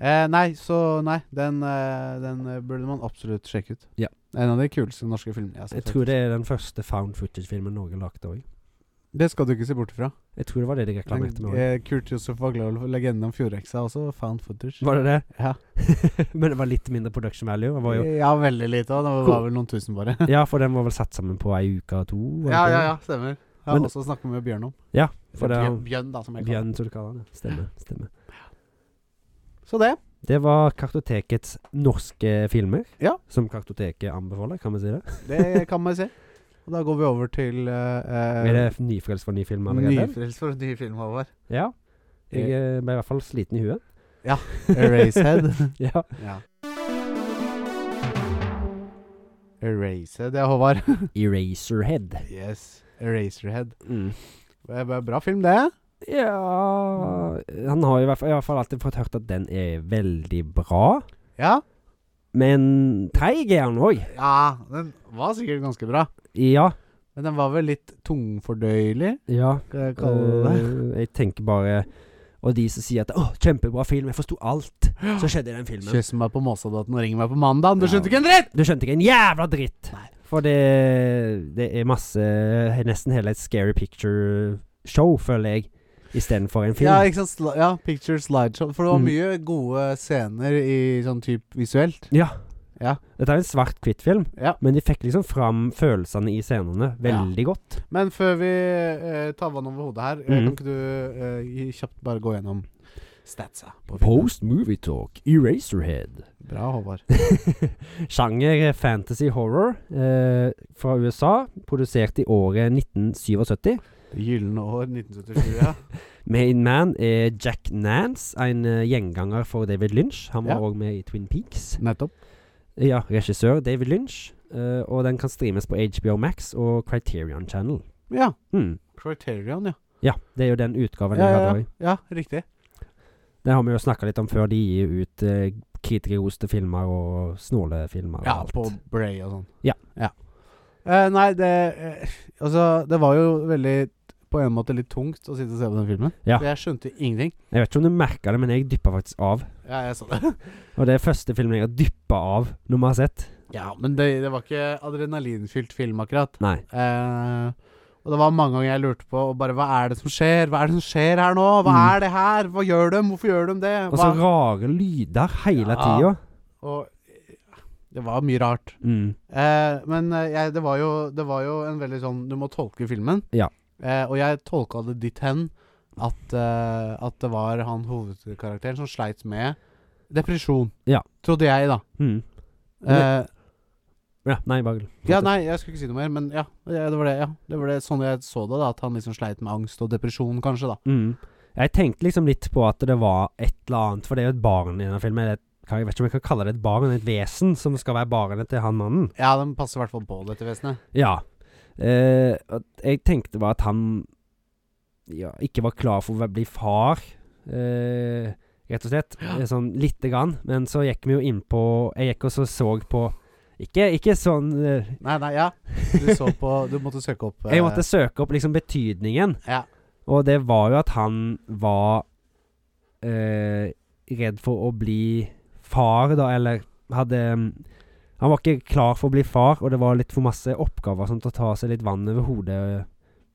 Speaker 1: Eh, nei, så nei, den, eh, den eh, burde man absolutt sjekke ut.
Speaker 2: Ja.
Speaker 1: En av de kuleste norske filmene jeg har
Speaker 2: Jeg
Speaker 1: sett.
Speaker 2: tror det er den første found footage-filmen Norge lagde òg.
Speaker 1: Det skal du ikke se bort ifra.
Speaker 2: Jeg tror det var det de reklamerte med. også.
Speaker 1: Eh, Kurt Josef Vaglold, legenden om Fjordheksa, også found footage.
Speaker 2: Var det det?
Speaker 1: eh, Ja.
Speaker 2: Men det var litt mindre production value. Det var jo,
Speaker 1: ja, veldig lite. og Det var vel noen tusen, bare.
Speaker 2: ja, for den var vel satt sammen på ei uke og to? var det
Speaker 1: Ja,
Speaker 2: ikke
Speaker 1: ja,
Speaker 2: det?
Speaker 1: ja, stemmer. Jeg har
Speaker 2: Men-
Speaker 1: også snakket med Bjørn om.
Speaker 2: Ja, for det
Speaker 1: Eller
Speaker 2: er
Speaker 1: Bjørn,
Speaker 2: han-
Speaker 1: Bjørn, da, som jeg kaller
Speaker 2: Bjørn, som du kaller han. ja. Stemmer. stemmer.
Speaker 1: det. Så det.
Speaker 2: Det var Kartotekets norske filmer,
Speaker 1: Ja.
Speaker 2: som Kartoteket anbefaler, kan vi si det?
Speaker 1: Det kan man si. Og da går vi over til uh,
Speaker 2: Er det nyfrelst for ny film allerede?
Speaker 1: Nyfrelst for en ny film, Håvard.
Speaker 2: Ja. Jeg eh, ble i hvert fall sliten i huet.
Speaker 1: Ja, Erasehead.
Speaker 2: ja.
Speaker 1: ja. Erasehead, ja, Håvard.
Speaker 2: Eraserhead.
Speaker 1: Yes. Eraserhead.
Speaker 2: Mm.
Speaker 1: Det var en Bra film, det.
Speaker 2: Ja Han har i hvert fall, i hvert fall alltid fått hørt at den er veldig bra.
Speaker 1: Ja.
Speaker 2: Men treig er han òg.
Speaker 1: Ja, den var sikkert ganske bra.
Speaker 2: Ja.
Speaker 1: Men den var vel litt tungfordøyelig,
Speaker 2: ja.
Speaker 1: skal jeg kalle det.
Speaker 2: Eh, jeg tenker bare Og de som sier at 'Å, kjempebra film, jeg forsto alt som skjedde i den filmen'.
Speaker 1: Kyss Eh, meg på måsedaten og ring meg på mandag. Du skjønte
Speaker 2: Ja.
Speaker 1: ikke en dritt!
Speaker 2: Du skjønte ikke en jævla dritt!
Speaker 1: Nei.
Speaker 2: For det, det er masse Nesten hele et Scary Picture-show, føler jeg, istedenfor en film.
Speaker 1: Ja, ikke sant? Sli ja, picture slideshow. For det var
Speaker 2: Mm.
Speaker 1: mye gode scener i sånn type visuelt.
Speaker 2: Ja.
Speaker 1: Ja.
Speaker 2: Dette er en svart-hvitt-film,
Speaker 1: Ja.
Speaker 2: men de fikk liksom fram følelsene i scenene veldig godt.
Speaker 1: Men før vi eh, tar vann over hodet her, eh,
Speaker 2: Mhm.
Speaker 1: kan ikke du eh, gi- kjapt bare gå gjennom statsa? på filmen?
Speaker 2: Post movie talk, Eraserhead.
Speaker 1: Bra, Håvard.
Speaker 2: Sjanger er fantasy horror eh, fra USA, produsert i året 1977.
Speaker 1: Det gylne år 1977, ja.
Speaker 2: Main man er Jack Nance, en eh, gjenganger for David Lynch. Han var
Speaker 1: Ja.
Speaker 2: òg med i Twin Peaks.
Speaker 1: Nettopp.
Speaker 2: Ja, regissør David Lynch. eh, og den kan streames på HBO Max og Criterion Channel.
Speaker 1: Ja.
Speaker 2: Mm.
Speaker 1: Criterion, ja.
Speaker 2: Ja, det er jo den utgaven
Speaker 1: Ja,
Speaker 2: jeg
Speaker 1: ja,
Speaker 2: hadde
Speaker 1: ja.
Speaker 2: òg.
Speaker 1: ja riktig.
Speaker 2: Det har vi jo snakka litt om før. De gir jo ut eh, kritikerroste filmer og snåle filmer og
Speaker 1: Ja,
Speaker 2: alt.
Speaker 1: på Bray og sånn.
Speaker 2: Ja.
Speaker 1: Eh, nei, det eh, Altså, det var jo veldig på en måte litt tungt å sitte og se på den filmen.
Speaker 2: Ja.
Speaker 1: For jeg skjønte ingenting.
Speaker 2: Jeg vet ikke om du merka det, men jeg dyppa faktisk av.
Speaker 1: Ja, jeg så det.
Speaker 2: Og det er første filmen jeg har dyppa av når vi har sett.
Speaker 1: ja, men det, det var ikke adrenalinfylt film, akkurat.
Speaker 2: Nei.
Speaker 1: Eh, og det var mange ganger jeg lurte på og bare, hva er det som skjer? Hva er det som skjer her nå? Hva
Speaker 2: Mm.
Speaker 1: er det her? Hva gjør de? Hvorfor gjør de det?
Speaker 2: Og
Speaker 1: Hva?
Speaker 2: så rare lyder hele
Speaker 1: Ja.
Speaker 2: tida.
Speaker 1: Og det var mye rart.
Speaker 2: Mm.
Speaker 1: Eh, men eh, jeg, det, var jo, det var jo en veldig sånn Du må tolke filmen.
Speaker 2: Ja.
Speaker 1: Eh, og jeg tolka det dit hen at, eh, at det var han hovedkarakteren som sleit med depresjon.
Speaker 2: Ja.
Speaker 1: Trodde jeg, da.
Speaker 2: Mm.
Speaker 1: Eh,
Speaker 2: Ja, nei, bare
Speaker 1: ja, nei, jeg skulle ikke si noe mer, men ja. ja, Det var det, ja. Det var det sånn jeg så det, da. At han liksom sleit med angst og depresjon, kanskje, da.
Speaker 2: Mm. Jeg tenkte liksom litt på at det var et eller annet For det er jo et barn i denne filmen. eller et- Jeg vet ikke om jeg kan kalle det et barn, men et vesen som skal være barnet til han mannen.
Speaker 1: Ja, den passer i hvert fall på dette vesenet.
Speaker 2: Ja. Eh, at jeg tenkte bare at han ja, ikke var klar for å bli far, eh, rett og slett. Eh, Sånn lite grann. Men så gikk vi jo inn på Jeg gikk og så, så på Ikke, ikke sånn eh,
Speaker 1: Nei, nei, ja. Du så på Du måtte søke opp eh,
Speaker 2: Jeg måtte søke opp liksom betydningen.
Speaker 1: Ja.
Speaker 2: Og det var jo at han var eh, redd for å bli far, da, eller hadde mm, Han var ikke klar for å bli far, og det var litt for masse oppgaver som til å ta seg litt vann over hodet eh,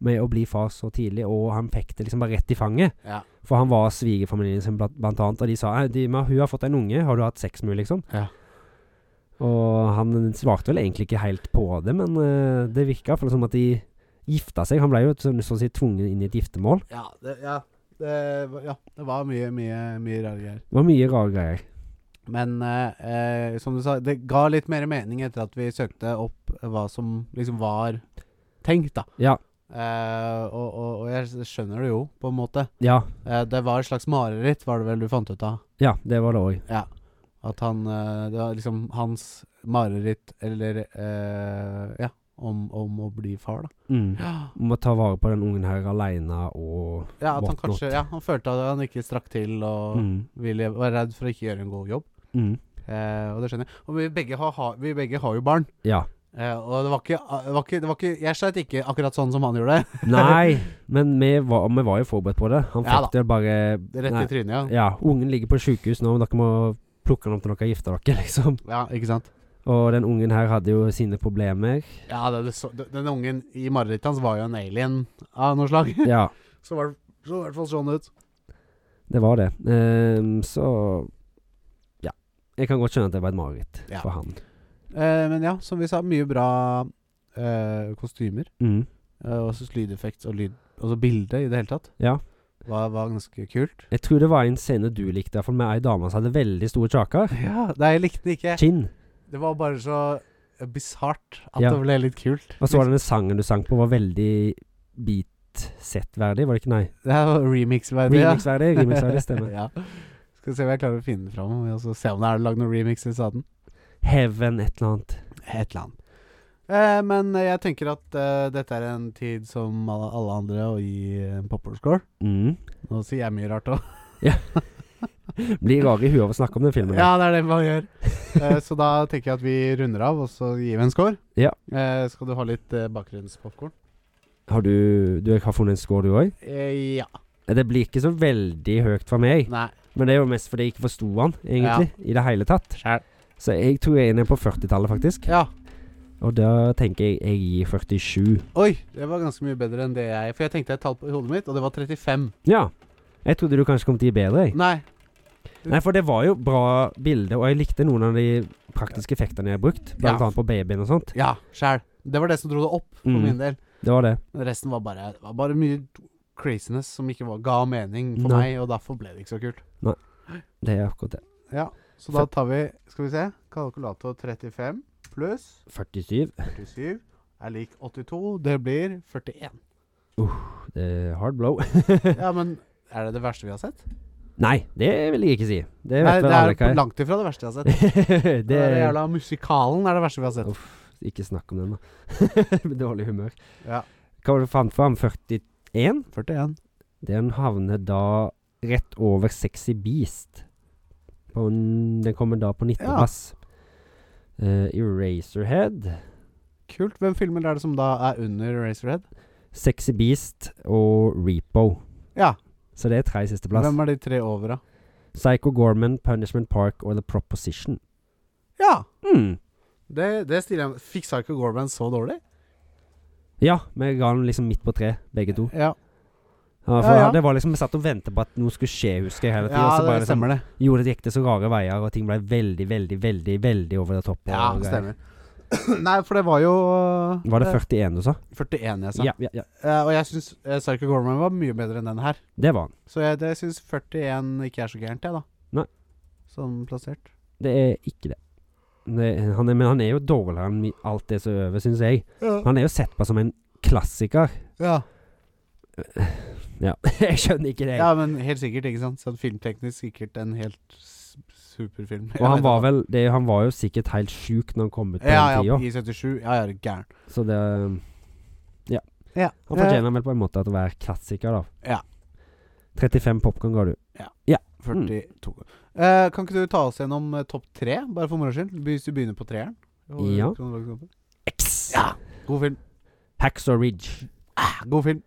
Speaker 2: med å bli far så tidlig, og han fikk det liksom bare rett i fanget.
Speaker 1: Ja.
Speaker 2: For han var svigerfamilien sin blant, blant annet, og de sa «Nei, de, men 'Hun har fått en unge, har du hatt sex med henne', liksom?
Speaker 1: Ja.
Speaker 2: Og han svarte vel egentlig ikke helt på det, men eh, det virka iallfall som at de gifta seg. Han ble jo sånn sånn å si tvunget inn i et giftermål.
Speaker 1: eh, Ja, det, ja. Det, var- ja, det var mye, mye, mye rare greier.
Speaker 2: Det var mye rare greier.
Speaker 1: Men eh, eh, som du sa, det ga litt mer mening etter at vi søkte opp hva som liksom var tenkt, da.
Speaker 2: Ja.
Speaker 1: Eh, og, og, og jeg skjønner det jo, på en måte.
Speaker 2: Ja,
Speaker 1: Eh, det var et slags mareritt, var det vel du fant ut av?
Speaker 2: ja det var det òg.
Speaker 1: At han eh, Det var liksom hans mareritt, eller eh, Ja, om, om å bli far, da.
Speaker 2: Mm.
Speaker 1: Ja.
Speaker 2: Om å ta vare på den ungen her aleine og
Speaker 1: Ja, at han
Speaker 2: What not?
Speaker 1: kanskje Ja, han følte at han ikke strakk til og
Speaker 2: mm.
Speaker 1: ville, var redd for å ikke gjøre en god jobb.
Speaker 2: Mm.
Speaker 1: Eh, og det skjønner jeg. Og vi begge har, ha, vi begge har jo barn.
Speaker 2: Ja.
Speaker 1: Eh, og det var, ikke, det, var ikke, det var ikke Jeg sleit ikke akkurat sånn som han gjorde.
Speaker 2: Nei, men vi var, vi var jo forberedt på det. Han
Speaker 1: Ja
Speaker 2: fikk det bare
Speaker 1: Rett
Speaker 2: nei.
Speaker 1: i trynet, ja.
Speaker 2: Ja, ungen ligger på sjukehus nå, men dere må plukke han opp til dere har gifta dere, liksom.
Speaker 1: ja. Ikke sant?
Speaker 2: Og den ungen her hadde jo sine problemer.
Speaker 1: Ja, det, det, så, det, Den ungen i marerittet hans var jo en alien av noe slag.
Speaker 2: Ja.
Speaker 1: Så var det så i hvert fall sånn ut.
Speaker 2: Det var det. Ehm, så Ja. Jeg kan godt skjønne at det var et mareritt
Speaker 1: Ja.
Speaker 2: for han.
Speaker 1: Eh, men ja, som vi sa, mye bra eh, kostymer.
Speaker 2: Mm.
Speaker 1: Eh, og så lydeffekt og lyd Og så bilde i det hele tatt.
Speaker 2: Ja.
Speaker 1: Var, var ganske kult.
Speaker 2: Jeg tror det var en scene du likte, iallfall med ei dame som hadde veldig store kjaker.
Speaker 1: Ja, Nei, jeg likte den ikke.
Speaker 2: Kinn.
Speaker 1: Det var bare så eh, bisart at
Speaker 2: Ja.
Speaker 1: det ble litt kult.
Speaker 2: Og så var denne sangen du sang på, var veldig beat-sett-verdig, var det ikke? Nei.
Speaker 1: Det er jo remix-verdig. ja.
Speaker 2: Remix-verdig. Remix-verdig stemmer.
Speaker 1: ja. Skal se om jeg klarer å finne den fram, og så se om det er lagd noen remixes av den.
Speaker 2: Heaven, et eller annet.
Speaker 1: Et eller annet. Eh, men jeg tenker at eh, dette er en tid som alle, alle andre å gi en popper score.
Speaker 2: Mm.
Speaker 1: Nå sier jeg mye rart òg.
Speaker 2: Ja. Blir rare i huet av å snakke om den filmen.
Speaker 1: Ja, det er det man gjør. Eh, så da tenker jeg at vi runder av, og så gir vi en score.
Speaker 2: Ja.
Speaker 1: Eh, skal du ha litt eh, bakgrunnspopkorn?
Speaker 2: Har du Du har funnet en score, du òg?
Speaker 1: Eh, ja.
Speaker 2: Det blir ikke så veldig høyt fra meg,
Speaker 1: Nei.
Speaker 2: men det er jo mest fordi jeg ikke forsto han, egentlig, i det hele tatt.
Speaker 1: Skjær.
Speaker 2: Så jeg tror jeg er nede på 40-tallet, faktisk.
Speaker 1: Ja.
Speaker 2: Og da tenker jeg jeg gir 47.
Speaker 1: Oi, det var ganske mye bedre enn det jeg For jeg tenkte et tall på i hodet mitt, og det var 35.
Speaker 2: Ja. Jeg trodde du kanskje kom til å gi bedre, jeg.
Speaker 1: Nei.
Speaker 2: Nei, for det var jo bra bilder, og jeg likte noen av de praktiske effektene jeg har brukt. Blant
Speaker 1: Ja.
Speaker 2: annet på babyen og sånt.
Speaker 1: Ja, skjær. Det var det som dro det opp, for
Speaker 2: Mm.
Speaker 1: min del.
Speaker 2: Det var det.
Speaker 1: Resten var bare, var bare mye craziness som ikke var, ga mening for
Speaker 2: Nei.
Speaker 1: meg, og derfor ble det ikke så kult.
Speaker 2: Det er akkurat det.
Speaker 1: Ja, Så da tar vi Skal vi se. Kalkulator 35 pluss
Speaker 2: 47.
Speaker 1: 47 er lik 82. Det blir 41.
Speaker 2: Det er hard blow.
Speaker 1: Ja, men er det det verste vi har sett?
Speaker 2: Nei, det vil jeg ikke si. Det
Speaker 1: Nei,
Speaker 2: vet
Speaker 1: det
Speaker 2: vel alle hva
Speaker 1: er
Speaker 2: er.
Speaker 1: langt ifra det verste jeg har sett.
Speaker 2: det
Speaker 1: Det er jævla musikalen er det verste vi har sett.
Speaker 2: Uff, ikke snakk om den, da. Med dårlig humør.
Speaker 1: Ja.
Speaker 2: Hva var det du fant fram? 41?
Speaker 1: 41.
Speaker 2: Den havner da rett over Sexy Beast. På en, den kommer da på 19.-plass. Eraserhead.
Speaker 1: Kult. Hvem filmer er det som da er under Razorhead?
Speaker 2: Sexy Beast og Repo.
Speaker 1: Ja.
Speaker 2: Så det er tre sisteplass.
Speaker 1: Hvem er de tre over, da?
Speaker 2: Psycho Gorman, Punishment Park og The Proposition.
Speaker 1: Ja! Hmm.
Speaker 2: Mm.
Speaker 1: Det, det stiller jeg med. Fikk Psycho Gorman så dårlig?
Speaker 2: Ja, vi ga den liksom midt på tre, begge to.
Speaker 1: Ja,
Speaker 2: Ja, for
Speaker 1: Ja, ja.
Speaker 2: Det var liksom Vi satt og ventet på at noe skulle skje, husker jeg hele tida.
Speaker 1: ja
Speaker 2: så
Speaker 1: det
Speaker 2: bare liksom,
Speaker 1: stemmer det.
Speaker 2: gjorde det gikk det så rare veier, og ting ble veldig, veldig, veldig veldig over det toppen.
Speaker 1: Ja,
Speaker 2: og
Speaker 1: det
Speaker 2: greier.
Speaker 1: stemmer. Nei, for det var jo
Speaker 2: Var det
Speaker 1: eh,
Speaker 2: 41 du sa?
Speaker 1: 41 jeg sa.
Speaker 2: Ja, ja, ja.
Speaker 1: Eh, og jeg syns uh, Psycho Gorman var mye bedre enn den her.
Speaker 2: Det var den.
Speaker 1: Så jeg, det- jeg syns 41 ikke er så gærent, jeg, da.
Speaker 2: Nei.
Speaker 1: Sånn plassert.
Speaker 2: Det er ikke det. det han er, men han er jo dårligere enn mi- alt det som er over, syns jeg.
Speaker 1: Ja.
Speaker 2: Han er jo sett på som en klassiker.
Speaker 1: ja.
Speaker 2: Ja, jeg skjønner ikke det. jeg.
Speaker 1: men helt sikkert, ikke sant. Sånn filmteknisk sikkert en helt s- superfilm. Jeg
Speaker 2: Og han
Speaker 1: vet
Speaker 2: var
Speaker 1: ikke.
Speaker 2: vel det, Han var jo sikkert helt sjuk når han kom ut på
Speaker 1: ja,
Speaker 2: den
Speaker 1: ja,
Speaker 2: tida.
Speaker 1: i 77. Ja, ja, det er gæren.
Speaker 2: Så det Ja.
Speaker 1: Ja.
Speaker 2: Han fortjener vel på en måte at å være klassiker, da.
Speaker 1: Ja.
Speaker 2: 35 popkorn ga du. Mm.
Speaker 1: 42. Eh, kan ikke du ta oss gjennom eh, topp tre, bare for moro skyld? Hvis du begynner på treeren. Og-
Speaker 2: Ja.
Speaker 1: kronologisk oppe.
Speaker 2: X!
Speaker 1: Ja. God film.
Speaker 2: Hacks or Ridge.
Speaker 1: Ah, god film.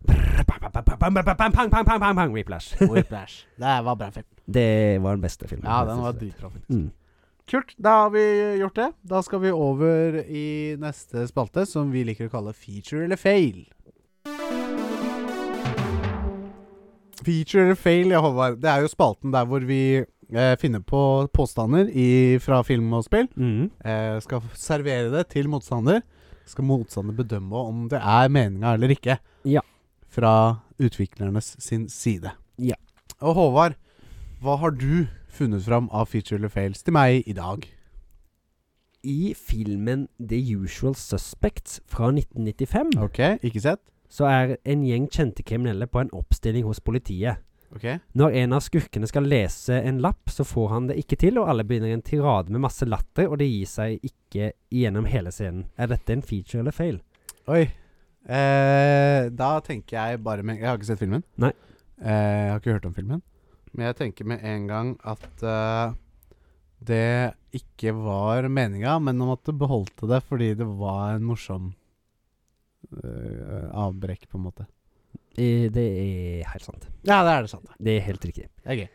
Speaker 2: Whiplash.
Speaker 1: Whiplash. Det var bra film.
Speaker 2: Det var den beste filmen.
Speaker 1: Ja, den var
Speaker 2: dyr.
Speaker 1: dritbra, faktisk.
Speaker 2: Mm.
Speaker 1: Kult. Da har vi gjort det. Da skal vi over i neste spalte, som vi liker å kalle feature eller fail. Feature eller fail, ja, Håvard. Det er jo spalten der hvor vi eh, finner på påstander i, fra film og spill.
Speaker 2: Mm.
Speaker 1: Eh, skal servere det til motstander. Skal motstander bedømme om det er meninga eller ikke.
Speaker 2: Ja.
Speaker 1: Fra utviklernes sin side.
Speaker 2: Ja.
Speaker 1: Og Håvard, hva har du funnet fram av feature eller fails til meg i dag?
Speaker 2: I filmen The Usual Suspects fra 1995
Speaker 1: Ok, ikke sett?
Speaker 2: så er en gjeng kjente kriminelle på en oppstilling hos politiet.
Speaker 1: Ok.
Speaker 2: Når en av skurkene skal lese en lapp, så får han det ikke til, og alle begynner en tirade med masse latter, og det gir seg ikke gjennom hele scenen. Er dette en feature eller fail?
Speaker 1: Oi. Eh, da tenker jeg bare med Jeg har ikke sett filmen.
Speaker 2: Nei.
Speaker 1: Eh, jeg har ikke hørt om filmen. Men jeg tenker med en gang at eh, det ikke var meninga, men om at det beholdte det fordi det var en morsom eh, avbrekk, på en måte.
Speaker 2: Eh, Det er helt sant.
Speaker 1: Ja, det er det sant. det.
Speaker 2: Det er helt riktig.
Speaker 1: Det er gøy.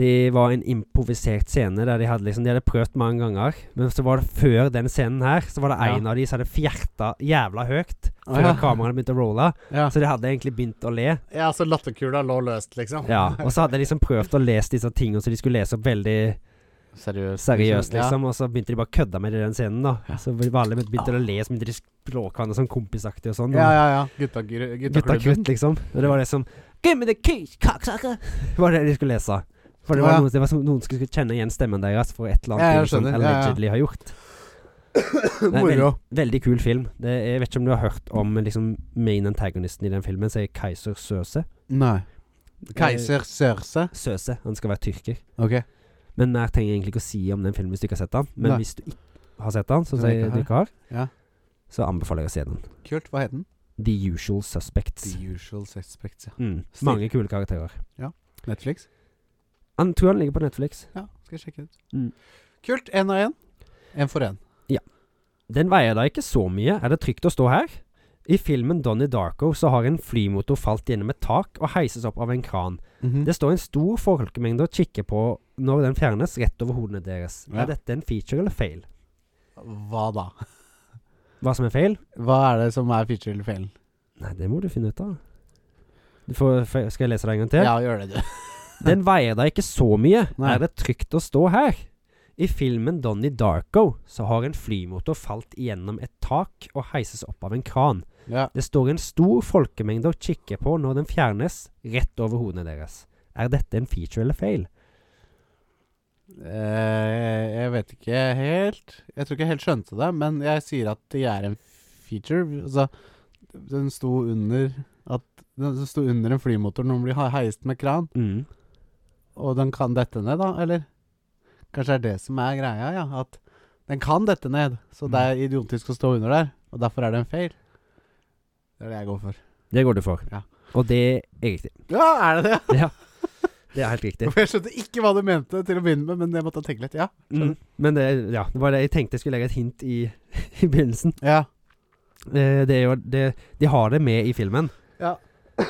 Speaker 2: Det var en improvisert scene der de hadde liksom De hadde prøvd mange ganger, men så var det før den scenen her, så var det
Speaker 1: Ja.
Speaker 2: en av de som hadde fjerta jævla høyt
Speaker 1: Å,
Speaker 2: før
Speaker 1: ja.
Speaker 2: kameraet begynte å rolle.
Speaker 1: Ja.
Speaker 2: Så de hadde egentlig begynt å le.
Speaker 1: ja, så latterkula lå løst, liksom.
Speaker 2: Ja, Og så hadde de liksom prøvd å lese disse tingene som de skulle lese opp veldig
Speaker 1: Seriøst.
Speaker 2: seriøst,
Speaker 1: Ja.
Speaker 2: liksom. Og så begynte de bare å kødde med det i den scenen, da.
Speaker 1: Ja.
Speaker 2: Så var alle begynte å le som de språk hverandre sånn kompisaktig og sånn.
Speaker 1: Ja, ja, ja. Gutta, gutta,
Speaker 2: Gutta krutt, liksom. Og det var det som Give me the keys, cocksucker! Var det de skulle lese. For det
Speaker 1: Å,
Speaker 2: var,
Speaker 1: ja.
Speaker 2: noen, det var som, noen skulle kjenne igjen stemmen deres for et eller
Speaker 1: Ja, jeg
Speaker 2: annet ting som
Speaker 1: skjønner. Ja, ja.
Speaker 2: allegedly har gjort. Det er
Speaker 1: Moro.
Speaker 2: Veldig kul film. Det, jeg vet ikke om du har hørt om liksom, main antagonisten i den filmen, som er Keiser Søse.
Speaker 1: Nei. Keiser Sørse.
Speaker 2: Søse. Han skal være tyrker.
Speaker 1: Ok.
Speaker 2: Men mer trenger jeg egentlig ikke å si om den filmen hvis du ikke har sett den. Men
Speaker 1: Nei.
Speaker 2: hvis du ikke har sett den, så
Speaker 1: Som jeg
Speaker 2: sier
Speaker 1: ikke
Speaker 2: du
Speaker 1: har.
Speaker 2: ikke har,
Speaker 1: Ja.
Speaker 2: så anbefaler jeg å se den.
Speaker 1: Kult. Hva het den?
Speaker 2: The Usual Suspects.
Speaker 1: The Usual Suspects, ja.
Speaker 2: Mm.
Speaker 1: Stil.
Speaker 2: Mange kule karakterer.
Speaker 1: Netflix?
Speaker 2: Han tror han ligger på Netflix.
Speaker 1: Ja, skal jeg sjekke ut.
Speaker 2: Mm.
Speaker 1: Kult. Én og én. Én for én.
Speaker 2: Den veier da ikke så mye. Er det trygt å stå her? I filmen Donnie Darko så har en flymotor falt gjennom et tak og heises opp av en kran.
Speaker 1: Mhm.
Speaker 2: Det står en stor folkemengde og kikker på når den fjernes rett over hodene deres.
Speaker 1: Ja.
Speaker 2: Er dette en feature eller fail?
Speaker 1: Hva da?
Speaker 2: Hva som er fail?
Speaker 1: Hva er det som er feature eller fail?
Speaker 2: Nei, det må du finne ut av. Du får, fe- skal jeg lese det en gang til?
Speaker 1: Ja, gjør det, du.
Speaker 2: Den veier da ikke så mye.
Speaker 1: Nei.
Speaker 2: Er det trygt å stå her? I filmen Donnie Darko så har en flymotor falt gjennom et tak og heises opp av en kran.
Speaker 1: Ja.
Speaker 2: Det står en stor folkemengde og kikker på når den fjernes, rett over hodene deres. Er dette en feature eller fail?
Speaker 1: Eh, jeg vet ikke helt Jeg tror ikke jeg helt skjønte det, men jeg sier at det er en feature. Altså, den sto under at Den sto under en flymotor når den blir he- heist med kran,
Speaker 2: Mm.
Speaker 1: og den kan dette ned, da, eller? Kanskje det er det som er greia, ja. At den kan dette ned, så det er idiotisk å stå under der. Og derfor er det en feil. Det er det jeg går for.
Speaker 2: Det går du for.
Speaker 1: Ja.
Speaker 2: Og det er riktig.
Speaker 1: Ja, er det det?
Speaker 2: Det er helt riktig.
Speaker 1: For jeg skjønte ikke hva du mente til å begynne med, men jeg måtte tenke litt. Ja.
Speaker 2: Mm. Men det, ja, det var det jeg tenkte jeg skulle legge et hint i, i begynnelsen.
Speaker 1: Ja.
Speaker 2: Eh, det er jo, det, de har det med i filmen.
Speaker 1: Ja.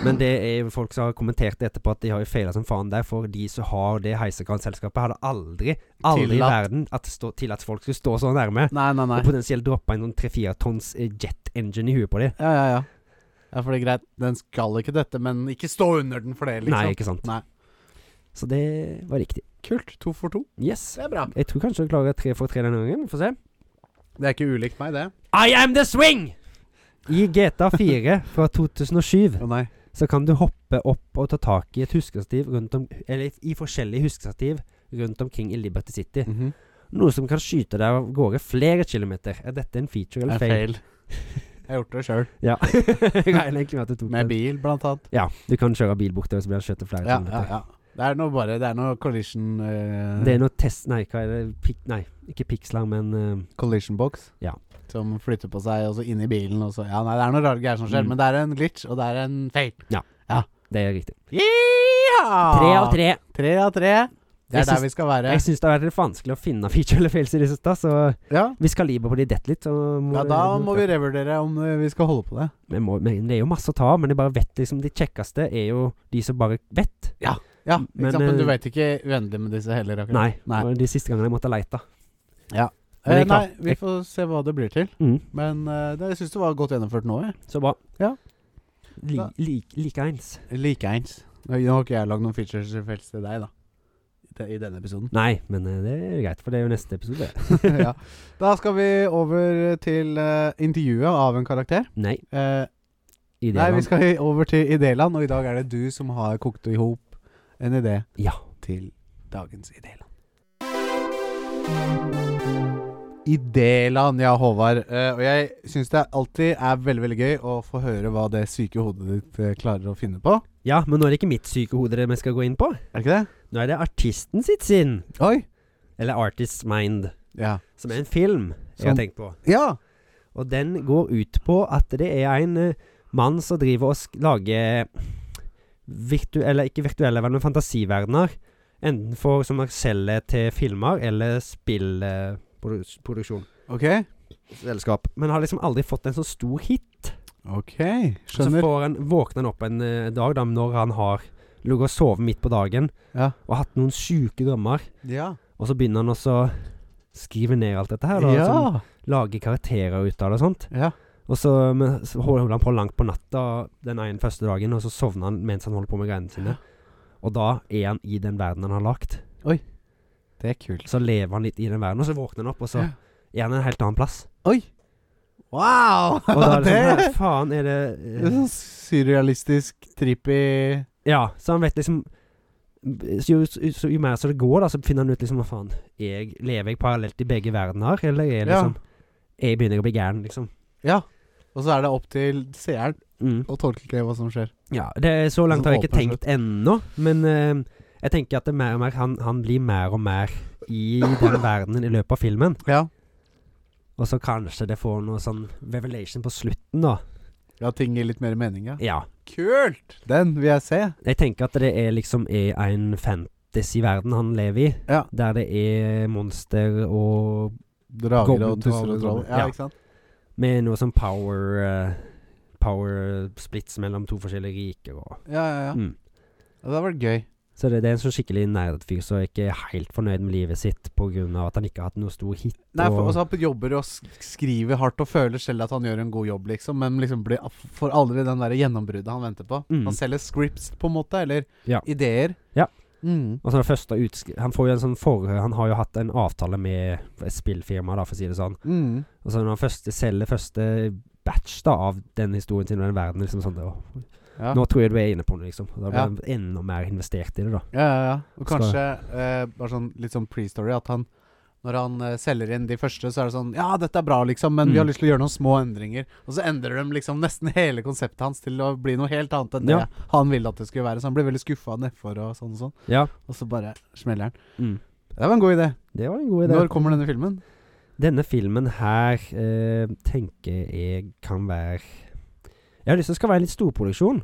Speaker 2: Men det er jo folk som har kommentert det etterpå at de har jo feila som faen der. For de som har det heisekranselskapet, hadde aldri, aldri i
Speaker 1: Tillatt.
Speaker 2: verden at stå, tillatt folk skulle stå så nærme.
Speaker 1: Nei, nei, nei.
Speaker 2: Og potensielt droppa en sånn tre-fire tonns eh, jet engine i huet på dem.
Speaker 1: Ja, ja, ja. Ja, for det er greit. Den skal ikke dette, men ikke stå under den for det, liksom.
Speaker 2: Nei, ikke sant.
Speaker 1: Nei.
Speaker 2: Så det var riktig.
Speaker 1: Kult. To for to.
Speaker 2: Yes.
Speaker 1: Det er bra.
Speaker 2: Jeg tror kanskje jeg klarer tre for tre denne gangen. Få se.
Speaker 1: Det er ikke ulikt meg, det.
Speaker 2: I am the swing! I GTA 4 fra 2007
Speaker 1: Å nei.
Speaker 2: så kan du hoppe opp og ta tak i et huskestativ rundt om Eller i forskjellige huskestativ rundt omkring i Liberty City.
Speaker 1: Mhm.
Speaker 2: Noe som kan skyte deg av gårde flere kilometer. Er dette en feature
Speaker 1: Det
Speaker 2: eller
Speaker 1: er
Speaker 2: fail?
Speaker 1: feil. Jeg har gjort det sjøl.
Speaker 2: Ja. Jeg regner egentlig med at du tok
Speaker 1: Med
Speaker 2: den.
Speaker 1: bil, blant annet.
Speaker 2: Ja, du kan kjøre bil bortover, så blir han skjøtet flere
Speaker 1: Ja, ja,
Speaker 2: kilometer.
Speaker 1: ja. Det er noe bare Det er noe collision eh,
Speaker 2: Det er noe test... Nei, hva er det? Pik, nei, ikke piksler, men eh,
Speaker 1: Collision box.
Speaker 2: Ja.
Speaker 1: Som flytter på seg, og så inn i bilen, og så Ja, nei, det er noe rare greier som skjer,
Speaker 2: Mm.
Speaker 1: men det er en glitch, og det er en feil.
Speaker 2: det er riktig.
Speaker 1: Yeehaw!
Speaker 2: Tre av tre.
Speaker 1: Tre av tre. Ah. Det
Speaker 2: Jeg
Speaker 1: er der
Speaker 2: syns-
Speaker 1: vi skal være.
Speaker 2: Jeg syns det har vært litt vanskelig å finne feature eller fails i det siste, så
Speaker 1: Ja.
Speaker 2: hvis kaliber på de detter litt, så må
Speaker 1: ja, da må vi revurdere om eh, vi skal holde på det.
Speaker 2: Vi må, men Det er jo masse å ta av, men jeg bare vet liksom de kjekkeste er jo de som bare vet.
Speaker 1: Ja,
Speaker 2: Men,
Speaker 1: ikke sant? men du
Speaker 2: eh,
Speaker 1: vet ikke uendelig med disse heller? akkurat
Speaker 2: Nei.
Speaker 1: Nei.
Speaker 2: Det var de siste gangene jeg måtte leite. Men
Speaker 1: Eh,
Speaker 2: jeg er
Speaker 1: nei,
Speaker 2: klar.
Speaker 1: vi
Speaker 2: Jeg-
Speaker 1: får se hva det blir til.
Speaker 2: Mm.
Speaker 1: Men eh, det, jeg syns det var godt gjennomført nå. jeg.
Speaker 2: Så bra.
Speaker 1: Ja.
Speaker 2: Li,
Speaker 1: Da-
Speaker 2: li, Likeens.
Speaker 1: Likeens. Nå nå har ikke jeg lagd noen features i felles til deg, da. I de- I denne episoden.
Speaker 2: Nei, men eh, det er greit, for det er jo neste episode.
Speaker 1: ja. Da skal vi over til eh, intervjuet av en karakter.
Speaker 2: Nei.
Speaker 1: Eh,
Speaker 2: Idealand.
Speaker 1: nei, vi skal i- over til idéland, og i dag er det du som har kokt i hop en idé
Speaker 2: Ja.
Speaker 1: til dagens idéland. Idéland, ja, Håvard. Eh, og jeg syns det alltid er veldig veldig gøy å få høre hva det syke hodet ditt eh, klarer å finne på.
Speaker 2: ja, men nå er det ikke mitt syke hode dere- vi skal gå inn på.
Speaker 1: Er det ikke det?
Speaker 2: Nå er det artisten sitt sinn.
Speaker 1: Oi!
Speaker 2: Eller Artist's Mind,
Speaker 1: Ja.
Speaker 2: som er en film jeg
Speaker 1: Som-
Speaker 2: har tenkt på.
Speaker 1: ja.
Speaker 2: Og den går ut på at det er en eh, mann som driver og sk- lager virtuelle, ikke virtuelle, verdener, men fantasiverdener. Enten for, som han selger til filmer eller spillproduksjon.
Speaker 1: Ok.
Speaker 2: Selskap. Men har liksom aldri fått en så stor hit.
Speaker 1: Ok,
Speaker 2: Så
Speaker 1: skjønner.
Speaker 2: får han, våkner han opp en eh, dag da, når han har ligget og sovet midt på dagen
Speaker 1: Ja.
Speaker 2: og hatt noen sjuke drømmer,
Speaker 1: Ja.
Speaker 2: og så begynner han også å skrive ned alt dette her. Da, sånn. som
Speaker 1: Ja.
Speaker 2: lager karakterer ut av det og sånt.
Speaker 1: ja.
Speaker 2: Og så, men, så holder han på langt på natta den ene første dagen, og så sovner han mens han holder på med greiene sine. Og da er han i den verden han har lagt.
Speaker 1: Det er kult.
Speaker 2: Så lever han litt i den verden, og så våkner han opp, og så
Speaker 1: Ja.
Speaker 2: er han en helt annen plass.
Speaker 1: Oi! Wow!
Speaker 2: Og da er det
Speaker 1: det,
Speaker 2: sånn Hva faen er det
Speaker 1: det er
Speaker 2: eh,
Speaker 1: sånn surrealistisk, trippy
Speaker 2: Ja, så han vet liksom så jo, så jo mer så det går, da, så finner han ut liksom Hva faen, jeg, lever jeg parallelt i begge verdener, eller er jeg
Speaker 1: Ja.
Speaker 2: liksom Jeg begynner å bli gæren, liksom.
Speaker 1: Ja. Og så er det opp til seeren
Speaker 2: Mm.
Speaker 1: å tolke hva som skjer.
Speaker 2: Ja, det er så langt har jeg ikke
Speaker 1: Sånn åpen
Speaker 2: tenkt ennå, men eh, jeg tenker at det er mer og mer, han, han blir mer og mer i den verdenen i løpet av filmen.
Speaker 1: Ja.
Speaker 2: Og så kanskje det får noe sånn revelation på slutten, da.
Speaker 1: Ja, ting gir litt mer mening, ja.
Speaker 2: Ja.
Speaker 1: Kult! Den vil jeg se.
Speaker 2: Jeg tenker at det er liksom er en fan, fantasyverden han lever i,
Speaker 1: Ja.
Speaker 2: der det er monster og
Speaker 1: Drager og
Speaker 2: Goblin,
Speaker 1: tusser og
Speaker 2: drager,
Speaker 1: troll.
Speaker 2: goblin.
Speaker 1: Ja,
Speaker 2: Ja.
Speaker 1: ikke sant?
Speaker 2: Med noe sånn power eh, Power splits mellom to forskjellige riker og
Speaker 1: Ja, ja, ja.
Speaker 2: mm.
Speaker 1: ja det hadde vært gøy.
Speaker 2: Så det, det er en sånn skikkelig nerdfyr som ikke er helt fornøyd med livet sitt pga. at han ikke har hatt noe stor hit.
Speaker 1: Nei, for
Speaker 2: og-
Speaker 1: også han jobber og sk- skriver hardt og føler selv at han gjør en god jobb, liksom, men liksom blir, får aldri den der gjennombruddet han venter på.
Speaker 2: Mm.
Speaker 1: Han selger scripts, på en måte, eller
Speaker 2: Ja.
Speaker 1: ideer.
Speaker 2: Ja.
Speaker 1: Mm.
Speaker 2: Og så Altså, det første utsk Han får jo en sånn for Han har jo hatt en avtale med et spillfirma, da, for å si det sånn.
Speaker 1: Mm.
Speaker 2: Og så når han første, selger første batch da av den historien sin og den verden, liksom sånn det, og,
Speaker 1: Ja.
Speaker 2: Nå tror jeg du er inne på det, liksom. Og Da blir
Speaker 1: Ja.
Speaker 2: han enda mer investert i det, da.
Speaker 1: Ja, ja, ja. Og
Speaker 2: Skal-
Speaker 1: kanskje eh, bare sånn, litt sånn pre-story at han når han eh, selger inn de første, så er det sånn Ja, dette er bra, liksom, men vi har
Speaker 2: Mm.
Speaker 1: lyst til å gjøre noen små endringer. Og så endrer de liksom nesten hele konseptet hans til å bli noe helt annet enn
Speaker 2: Ja.
Speaker 1: det han ville at det skulle være. Så han blir veldig skuffa nedfor og sånn og sånn.
Speaker 2: Ja.
Speaker 1: Og så bare smeller han.
Speaker 2: Mm.
Speaker 1: Det var en god idé.
Speaker 2: Det var en god idé.
Speaker 1: Når kommer denne filmen?
Speaker 2: Denne filmen her eh, tenker jeg kan være Jeg har lyst til at det skal være en litt storproduksjon.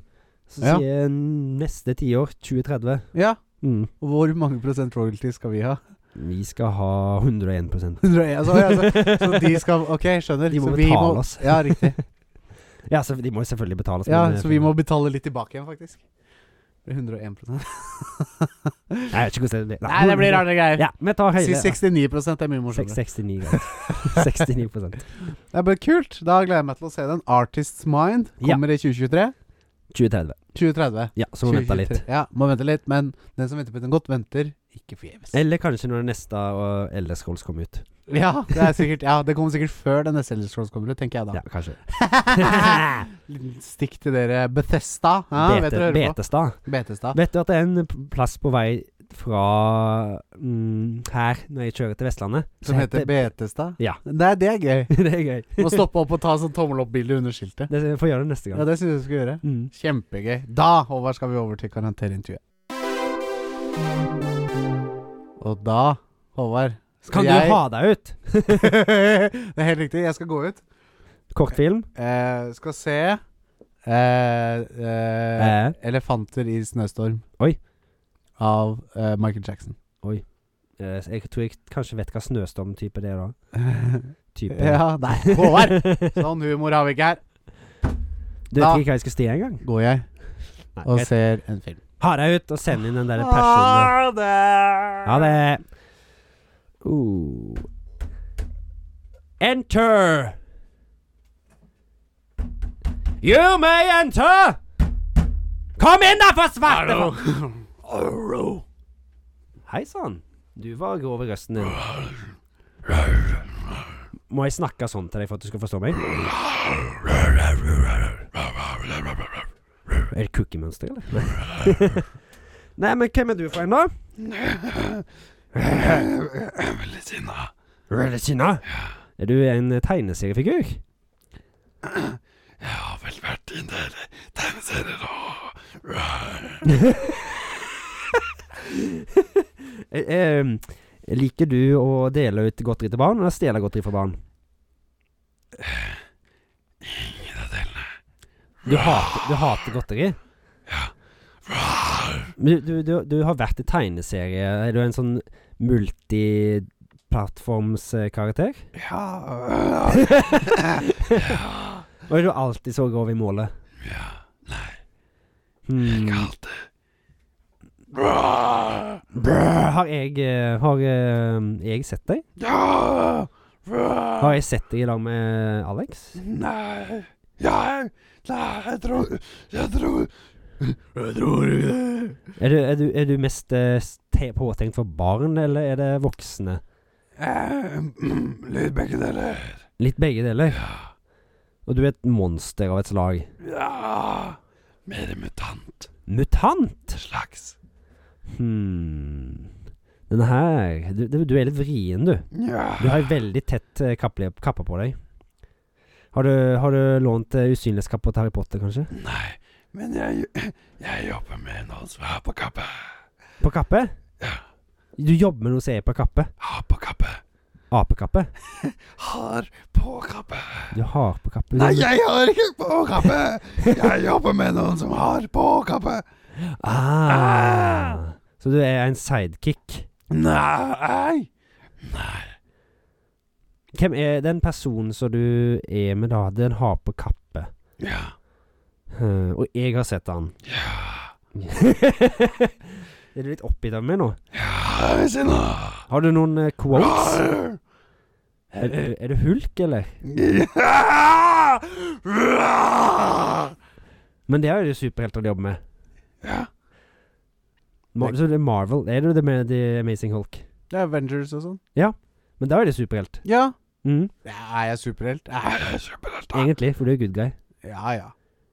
Speaker 2: Så
Speaker 1: Ja.
Speaker 2: sier jeg neste tiår 2030.
Speaker 1: Ja.
Speaker 2: Mm.
Speaker 1: Og hvor mange prosent royalty skal vi ha?
Speaker 2: Vi skal ha 101
Speaker 1: altså, ja, så, så de skal Ok, skjønner.
Speaker 2: De må
Speaker 1: så
Speaker 2: betale oss.
Speaker 1: Ja, riktig.
Speaker 2: Ja, så de må jo selvfølgelig betales.
Speaker 1: Ja,
Speaker 2: men, eh,
Speaker 1: så vi må betale litt tilbake igjen, faktisk. Det blir 101
Speaker 2: Nei, jeg vet ikke hvordan det blir.
Speaker 1: Nei, det blir rare greier.
Speaker 2: Ja, vi tar
Speaker 1: Si
Speaker 2: høyde.
Speaker 1: 69 er mye
Speaker 2: Seks-
Speaker 1: morsommere.
Speaker 2: 69 greit. 69
Speaker 1: Det er bare kult. Da gleder jeg meg til å se den. 'Artist's Mind'
Speaker 2: Ja.
Speaker 1: kommer i 2023.
Speaker 2: 2030.
Speaker 1: 2030.
Speaker 2: Ja, så må vi vente litt.
Speaker 1: 2023. Ja, må vente litt, men den som venter på den godt, venter ikke forgjeves.
Speaker 2: Eller kanskje når det neste uh, Elder Scrolls kommer ut.
Speaker 1: Ja, det er sikkert Ja, det kommer sikkert før den neste Elder Scrolls kommer ut, tenker jeg da.
Speaker 2: Ja, kanskje.
Speaker 1: Liten stikk til dere Bethesda. Ja, vet
Speaker 2: Bete,
Speaker 1: dere hører på.
Speaker 2: Betestad.
Speaker 1: Betestad.
Speaker 2: Vet du at det er en p- plass på vei fra mm, her, når jeg kjører til Vestlandet?
Speaker 1: Som
Speaker 2: så
Speaker 1: heter Betestad?
Speaker 2: Ja.
Speaker 1: Nei, det er gøy.
Speaker 2: det er gøy.
Speaker 1: Må stoppe opp og ta sånn tommel opp-bilde under skiltet.
Speaker 2: Det får jeg gjøre det neste gang.
Speaker 1: Ja, det syns jeg du skal gjøre.
Speaker 2: Mm.
Speaker 1: Kjempegøy. Da, Håvard, skal vi over til karakterintervjuet. Og da, Håvard skal
Speaker 2: Kan
Speaker 1: jeg...
Speaker 2: du ha deg ut?
Speaker 1: det er helt riktig. Jeg skal gå ut.
Speaker 2: Kortfilm?
Speaker 1: Eh, skal se eh, eh,
Speaker 2: Eh.
Speaker 1: 'Elefanter i snøstorm'
Speaker 2: Oi.
Speaker 1: av eh, Michael Jackson.
Speaker 2: Eh, så jeg tror jeg kanskje vet hva snøstormtype det er da. Type.
Speaker 1: ja, nei, Håvard! Sånn humor har vi ikke her.
Speaker 2: Du
Speaker 1: Da-
Speaker 2: vet ikke hva jeg skal stige engang?
Speaker 1: Går jeg
Speaker 2: Nei,
Speaker 1: og
Speaker 2: greit.
Speaker 1: ser en film.
Speaker 2: Ha deg ut og send inn den der
Speaker 1: Ah.
Speaker 2: personen. Ha det. Uh. Enter. You may enter. Kom inn da, for svarte Hei sann. Du var grov i røsten din. Må jeg snakke sånn til deg for at du skal forstå meg? Er det cookie-mønster, eller? Nei, men hvem er du for en, da? Really sinna? Er du en tegneseriefigur?
Speaker 3: Jeg har vel vært i en del tegneserier og
Speaker 2: Eh, eh, liker du å dele ut godteri til barn, eller stjele godteri fra barn?
Speaker 3: Ingen av delene.
Speaker 2: Du hater, du hater godteri? Men Du, du, du har vært i tegneserie. Er du en sånn multiplattformskarakter?
Speaker 3: Ja
Speaker 2: Og er du alltid så grov i målet?
Speaker 3: Ja. Nei,
Speaker 2: Hmm.
Speaker 3: ikke alltid.
Speaker 2: Brr, Har jeg eh, Har eh, jeg sett deg?
Speaker 3: Ja!
Speaker 2: Har jeg sett deg i lag med eh, Alex?
Speaker 3: Nei Jeg Nei, jeg tror Jeg tror Jeg tror ikke det.
Speaker 2: Er du, er du, er du mest eh, s- te- påtenkt for barn, eller er det voksne?
Speaker 3: Eh, Litt begge deler.
Speaker 2: Litt begge deler. Og du er et monster av et slag.
Speaker 3: Ja Mer mutant.
Speaker 2: Mutant!
Speaker 3: Slags.
Speaker 2: Hmm. Den her du, du, du er litt vrien, du.
Speaker 3: Ja.
Speaker 2: Du har en veldig tett eh, kapple, kappe på deg. Har du, har du lånt uh, usynlighetskappe til Harry Potter, kanskje?
Speaker 3: Nei, men jeg, jeg jobber med noen som er på kappe.
Speaker 2: På kappe?
Speaker 3: Ja.
Speaker 2: Du jobber med noe som er på kappe?
Speaker 3: Har på kappe.
Speaker 2: Apekappe?
Speaker 3: Har på kappe.
Speaker 2: Du har på kappe?
Speaker 3: Nei, jeg har ikke på kappe. Jeg jobber med noen som har på kappe.
Speaker 2: Ah. Så du er en sidekick.
Speaker 3: Nei! Nei.
Speaker 2: Hvem er den personen som du er med da? Den har på kappe.
Speaker 3: Ja.
Speaker 2: Eh, og jeg har sett han.
Speaker 3: Ja.
Speaker 2: er du litt oppgitt av meg nå?
Speaker 3: Ja, jeg ser nå.
Speaker 2: Har du noen eh, quotes?
Speaker 3: Rar.
Speaker 2: Er, er, er du hulk, eller?
Speaker 3: Ja! Rar.
Speaker 2: Men det er jo superhelter å jobbe med.
Speaker 3: Ja.
Speaker 2: Mar så det er Marvel. Er det det med The Amazing Hulk?
Speaker 1: Det er Avengers og sånn.
Speaker 2: Men da er det superhelt.
Speaker 1: Ja.
Speaker 2: Mm,
Speaker 1: ja. Er jeg superhelt? Ja,
Speaker 3: Jeg er superhelt, da.
Speaker 2: egentlig, for du er good guy.
Speaker 1: ja. Ja,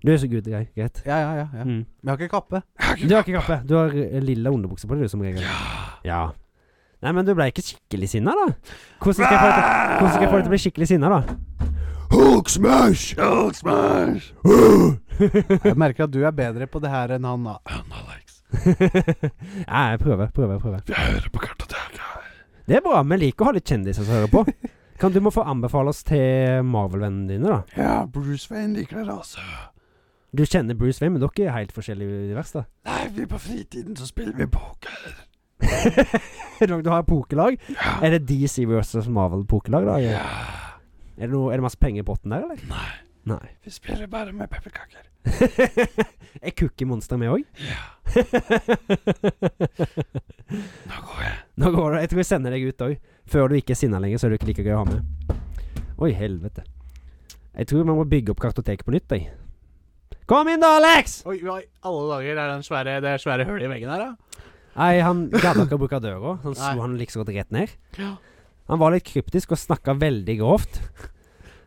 Speaker 2: Du er så good guy, greit.
Speaker 1: ja. ja, ja, ja.
Speaker 2: Mm.
Speaker 1: Men jeg har ikke kappe.
Speaker 2: Du har ikke kappe. Du har eh, lilla underbukse på deg, du, som regel.
Speaker 3: Ja.
Speaker 2: Ja. Nei, men du ble ikke skikkelig sinna, da? Hvordan skal jeg få deg til, hvordan skal jeg få deg til å bli skikkelig sinna, da?
Speaker 3: Hulk smash! Hulk smash!
Speaker 1: Jeg merker at du er bedre på det her enn han, da.
Speaker 3: Han Alex,
Speaker 2: Nei, jeg prøver, prøver, prøver.
Speaker 3: jeg hører på kartoteket.
Speaker 2: Det er bra. Vi liker å ha litt kjendiser som hører på. Kan du må få anbefale oss til Marvel-vennene dine, da?
Speaker 3: Ja, Bruce Wayne liker dere altså. også.
Speaker 2: Du kjenner Bruce Wayne, men dere er helt forskjellige univers, da.
Speaker 3: Nei, vi på fritiden så spiller vi poker.
Speaker 2: Dere du har pokerlag.
Speaker 3: Ja.
Speaker 2: Er det DC versus Marvel-pokerlag, da?
Speaker 3: ja.
Speaker 2: Er det, noe, er det masse penger i potten der, eller?
Speaker 3: Nei,
Speaker 2: Nei.
Speaker 3: vi spiller bare med pepperkaker.
Speaker 2: er Cookie Monster med òg?
Speaker 3: Ja, nå går jeg.
Speaker 2: Nå går det. Jeg tror jeg sender deg ut òg. Før du ikke er sinna lenger, så er du ikke like gøy å ha med. Oi, helvete. Jeg tror man må bygge opp kartoteket på nytt, jeg. Kom inn da, Alex!
Speaker 1: Oi, oi, alle dager. Er det, en svære, det er svære hullet i veggen her, da?
Speaker 2: Nei, han gadd ikke å bruke døra. Han
Speaker 1: Nei.
Speaker 2: slo han liksom godt rett ned.
Speaker 1: Ja.
Speaker 2: Han var litt kryptisk og snakka veldig grovt.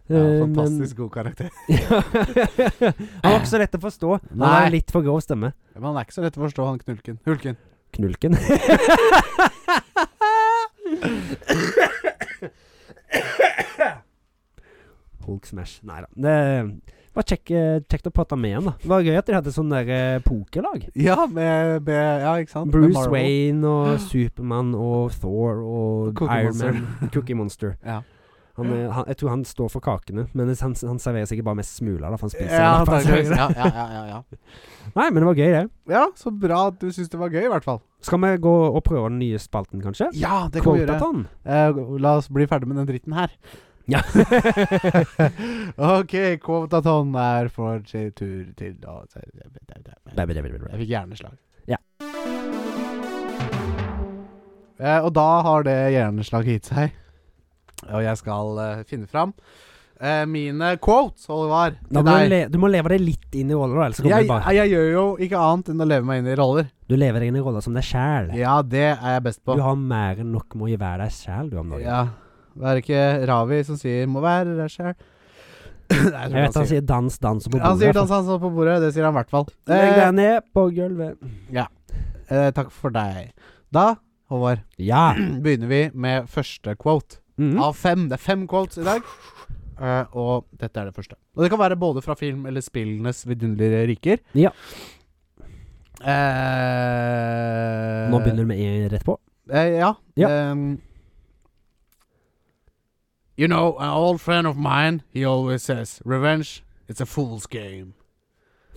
Speaker 1: Ja,
Speaker 2: Eh, men-
Speaker 1: fantastisk god karakter.
Speaker 2: Ja. han var ikke så lett å forstå. Han
Speaker 1: Nei.
Speaker 2: har en litt for grov stemme.
Speaker 1: Men han er ikke så lett å forstå, han Knulken. Hulken.
Speaker 2: Knulken. Hulk smash. Nei da. Det var kjekk, eh, kjekt å prate med han da. Det var gøy at de hadde sånn der eh, pokerlag.
Speaker 1: Ja, med, med Ja, ikke sant? Med
Speaker 2: Bruce
Speaker 1: Marvel.
Speaker 2: Wayne og Supermann og Thor og
Speaker 1: Cookie
Speaker 2: Iron Man. Cookie Monster.
Speaker 1: Ja.
Speaker 2: Han, eh, han, jeg tror han står for kakene, men han, han serverer sikkert bare mest smuler. da, for han
Speaker 1: Ja,
Speaker 2: spiser den, for han
Speaker 1: antageligvis.
Speaker 2: serverer
Speaker 1: ja, ja,
Speaker 2: det.
Speaker 1: ja, ja, ja.
Speaker 2: Nei, men det var gøy, det.
Speaker 1: ja, så bra at du syns det var gøy, i hvert fall.
Speaker 2: Skal vi gå og prøve den nye spalten, kanskje?
Speaker 1: Ja, det kan vi gjøre.
Speaker 2: Quotathon.
Speaker 1: Eh, la oss bli ferdig med den dritten her.
Speaker 2: Ja.
Speaker 1: ok, Kvovtaton er for sin tur til å Jeg fikk hjerneslag.
Speaker 2: Ja.
Speaker 1: Eh, og da har det hjerneslaget gitt seg. Og jeg skal eh, finne fram eh, mine quotes, Oliver, til
Speaker 2: Da må du,
Speaker 1: deg.
Speaker 2: le du må leve deg litt inn i roller, da, ellers kommer
Speaker 1: Jeg,
Speaker 2: du bare
Speaker 1: jeg, gjør jo ikke annet enn å leve meg inn i roller.
Speaker 2: Du lever deg inn i roller som deg sjæl.
Speaker 1: Ja, det er jeg best på.
Speaker 2: Du har mer enn nok med å være deg sjæl, du, om dagen.
Speaker 1: Ja. Det er ikke Ravi som sier 'må være deg sjæl'.
Speaker 2: Jeg vet han sier dans, dans og på bordet.
Speaker 1: Han sier dans, han står på bordet. Det sier han i hvert fall.
Speaker 2: Legg
Speaker 1: Eh,
Speaker 2: deg ned på gulvet.
Speaker 1: eh, takk for deg. Da, Håvard,
Speaker 2: Ja.
Speaker 1: begynner vi med første quote
Speaker 2: Mhm.
Speaker 1: av fem. Det er fem quotes i dag. Eh, og dette er det første. Og det kan være både fra film eller spillenes vidunderlige riker.
Speaker 2: Ja.
Speaker 1: Eh,
Speaker 2: Nå begynner du med en rett på.
Speaker 1: Eh, ja.
Speaker 2: Ja.
Speaker 1: Um, you know, an old friend of mine, he always says, revenge, it's a fool's game.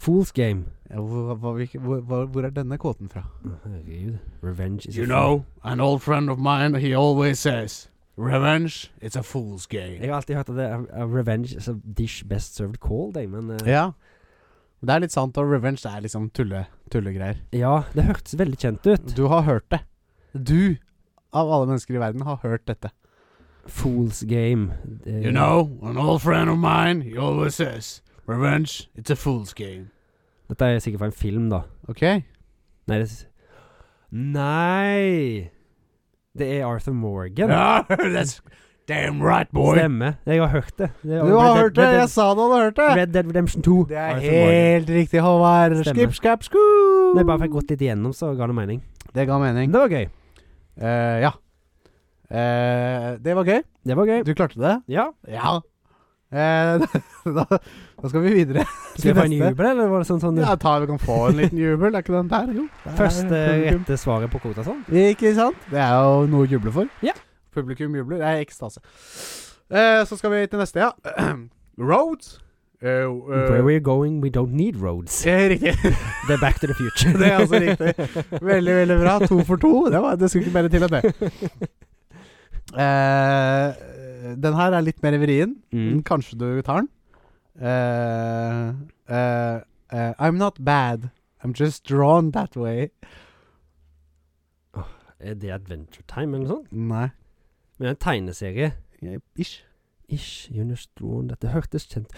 Speaker 2: Fools game.
Speaker 1: Hvor, er denne kåten fra?
Speaker 2: Herregud. Revenge is a
Speaker 3: You
Speaker 2: fool.
Speaker 3: know, an old friend of mine, he always says, revenge, it's a fool's game.
Speaker 2: Jeg har alltid hørt at det er a revenge is a dish best served cold, jeg, men eh,
Speaker 1: Ja. Det er litt sant, og revenge det er liksom tulle, tullegreier.
Speaker 2: ja, det hørtes veldig kjent ut.
Speaker 1: Du har hørt det. Du, av alle mennesker i verden, har hørt dette.
Speaker 2: Fools game. Det-
Speaker 3: You know, an old friend of mine, he always says, revenge, it's a fool's game.
Speaker 2: Dette er sikkert fra en film, da.
Speaker 1: Ok?
Speaker 2: Nei, det s- Nei! Det er Arthur Morgan.
Speaker 3: Yeah, that's damn right, boy.
Speaker 2: Stemmer. Jeg har hørt det. det er
Speaker 1: Du har hørt det! Jeg
Speaker 2: Red,
Speaker 1: sa du hadde hørt
Speaker 2: Dead,
Speaker 1: det!
Speaker 2: Red Dead Redemption 2.
Speaker 1: Det er
Speaker 2: Arthur Morgan.
Speaker 1: helt riktig, Håvard.
Speaker 2: Stemmer.
Speaker 1: Skip, skap,
Speaker 2: Når
Speaker 1: skoo!
Speaker 2: jeg bare fikk gått litt igjennom, så ga det mening.
Speaker 1: Det ga mening.
Speaker 2: Men det var gøy.
Speaker 1: Eh, ja. Eh, det var gøy.
Speaker 2: Det var gøy.
Speaker 1: Du klarte det?
Speaker 2: Ja.
Speaker 1: Ja. Eh, da, da skal vi videre.
Speaker 2: Skal jeg få en
Speaker 1: neste.
Speaker 2: jubel, eller var det sånn sånn
Speaker 1: Ja, ta, vi kan få en liten jubel. Er ikke den der? Jo. der er
Speaker 2: Første
Speaker 1: publikum.
Speaker 2: rette svaret på kvota sånn?
Speaker 1: Ikke sant? Det er jo noe å juble for.
Speaker 2: Ja.
Speaker 1: Publikum jubler. Det er ekstase. Eh, så skal vi til neste, ja. Roads Eh,
Speaker 2: Where
Speaker 1: eh,
Speaker 2: we're going, we don't need roads.
Speaker 1: eh, Riktig.
Speaker 2: Det er back to the future.
Speaker 1: Det er altså riktig. Veldig, veldig bra. To for to. Det, var, det skulle ikke mer til enn det. Eh, den her er litt mer vrien.
Speaker 2: Mm.
Speaker 1: Kanskje du tar den. Eh, eh, eh, I'm not bad. I'm just drawn that way.
Speaker 2: Er det Eh, Adventure Time eller noe sånt?
Speaker 1: Nei.
Speaker 2: Men det er en tegneserie.
Speaker 1: Ish.
Speaker 2: Ish, Jonas Drawn Dette hørtes kjent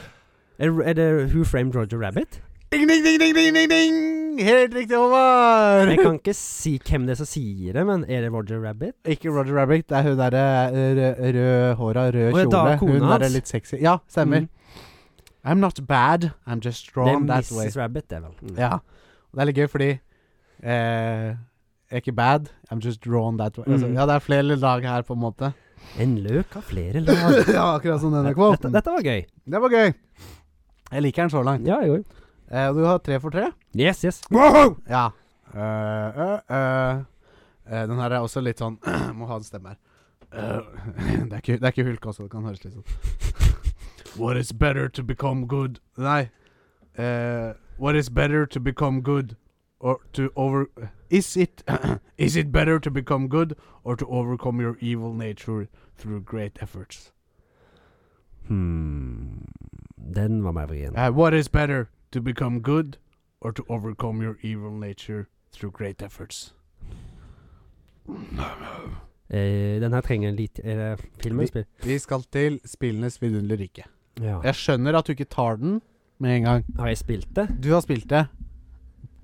Speaker 2: er, er det Who Framed Roger Rabbit?
Speaker 1: Ding, ding, ding, ding, ding, ding, ding! Helt riktig, Håvard!
Speaker 2: Jeg kan ikke si hvem det er som sier det, men er det Roger Rabbit?
Speaker 1: Ikke Roger Rabbit. Det er hun derre eh, rød, rødhåra, rød
Speaker 2: Å, ja,
Speaker 1: kjole.
Speaker 2: da, kona
Speaker 1: hun derre
Speaker 2: hans.
Speaker 1: litt sexy. Ja, stemmer.
Speaker 2: Mm.
Speaker 1: I'm not bad, I'm just
Speaker 2: Det er
Speaker 1: drawn that way.
Speaker 2: Mrs. Rabbit, det, vel. Mm.
Speaker 1: Ja. Og det er litt gøy, fordi eh, Jeg er ikke bad, I'm just drawn that way. Altså,
Speaker 2: Mhm.
Speaker 1: ja, det er flere lag her, på en måte.
Speaker 2: En løk har flere lag.
Speaker 1: ja, akkurat som denne
Speaker 2: dette,
Speaker 1: kvoten.
Speaker 2: dette var gøy.
Speaker 1: Det var gøy. Jeg liker den så langt.
Speaker 2: Ja, jeg òg.
Speaker 1: Eh, og du har tre for tre?
Speaker 2: Yes, yes.
Speaker 1: Ja. Eh, eh, eh. Eh, den her er også litt sånn Må ha en stemme her. Eh, det, er ikke, det er ikke hulk også, det kan høres litt sånn What is better to become good Nei. Eh, what is better to become good or to over Is it Is it better to become good or to overcome your evil nature through great efforts?
Speaker 2: Hmm. Den var mer vrien.
Speaker 1: Eh, what is better to become good or to overcome your evil nature through great efforts?
Speaker 2: Eh, den her trenger en liten Er det film eller spill?
Speaker 1: Vi skal til spillenes vidunderlige rike.
Speaker 2: Ja.
Speaker 1: Jeg skjønner at du ikke tar den med en gang.
Speaker 2: Har jeg spilt det?
Speaker 1: Du har spilt det.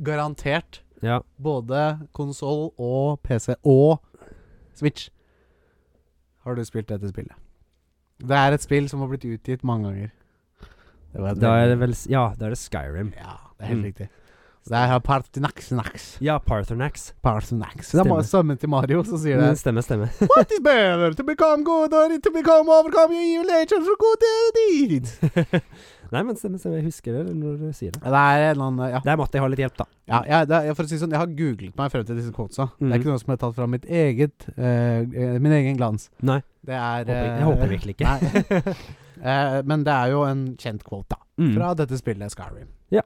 Speaker 1: Garantert.
Speaker 2: Ja.
Speaker 1: Både konsoll og PC og Switch har du spilt dette spillet. Det er et spill som har blitt utgitt mange ganger. Det var et
Speaker 2: Da er det
Speaker 1: veldig-
Speaker 2: vel s- Ja, da er det Skyrim.
Speaker 1: Ja, det er helt
Speaker 2: Mm.
Speaker 1: riktig. Så det er Parthenax-nax.
Speaker 2: Ja, Parthenax.
Speaker 1: Parthenax. Det er bare stemmen til Mario som sier
Speaker 2: Mm,
Speaker 1: det.
Speaker 2: Stemmer, stemmer.
Speaker 1: What is better to become good or to become overcome your evil nature for good uh, deeds?
Speaker 2: Nei, men stemmer, stemmer. Jeg husker det når du sier det.
Speaker 1: Det er en eller annen Ja.
Speaker 2: Der måtte jeg ha litt hjelp, da.
Speaker 1: Ja, jeg, det, er- jeg, for å si det sånn, jeg har googlet meg frem til disse quotesa. Det
Speaker 2: Mhm.
Speaker 1: er ikke noe som er tatt fra mitt eget eh, eh, min egen glans.
Speaker 2: Nei.
Speaker 1: Det er
Speaker 2: Håper, jeg- jeg
Speaker 1: eh,
Speaker 2: håper virkelig ikke.
Speaker 1: Nei. Eh, men det er jo en kjent quote, da.
Speaker 2: Mm.
Speaker 1: Fra dette spillet, Skyrim.
Speaker 2: Ja.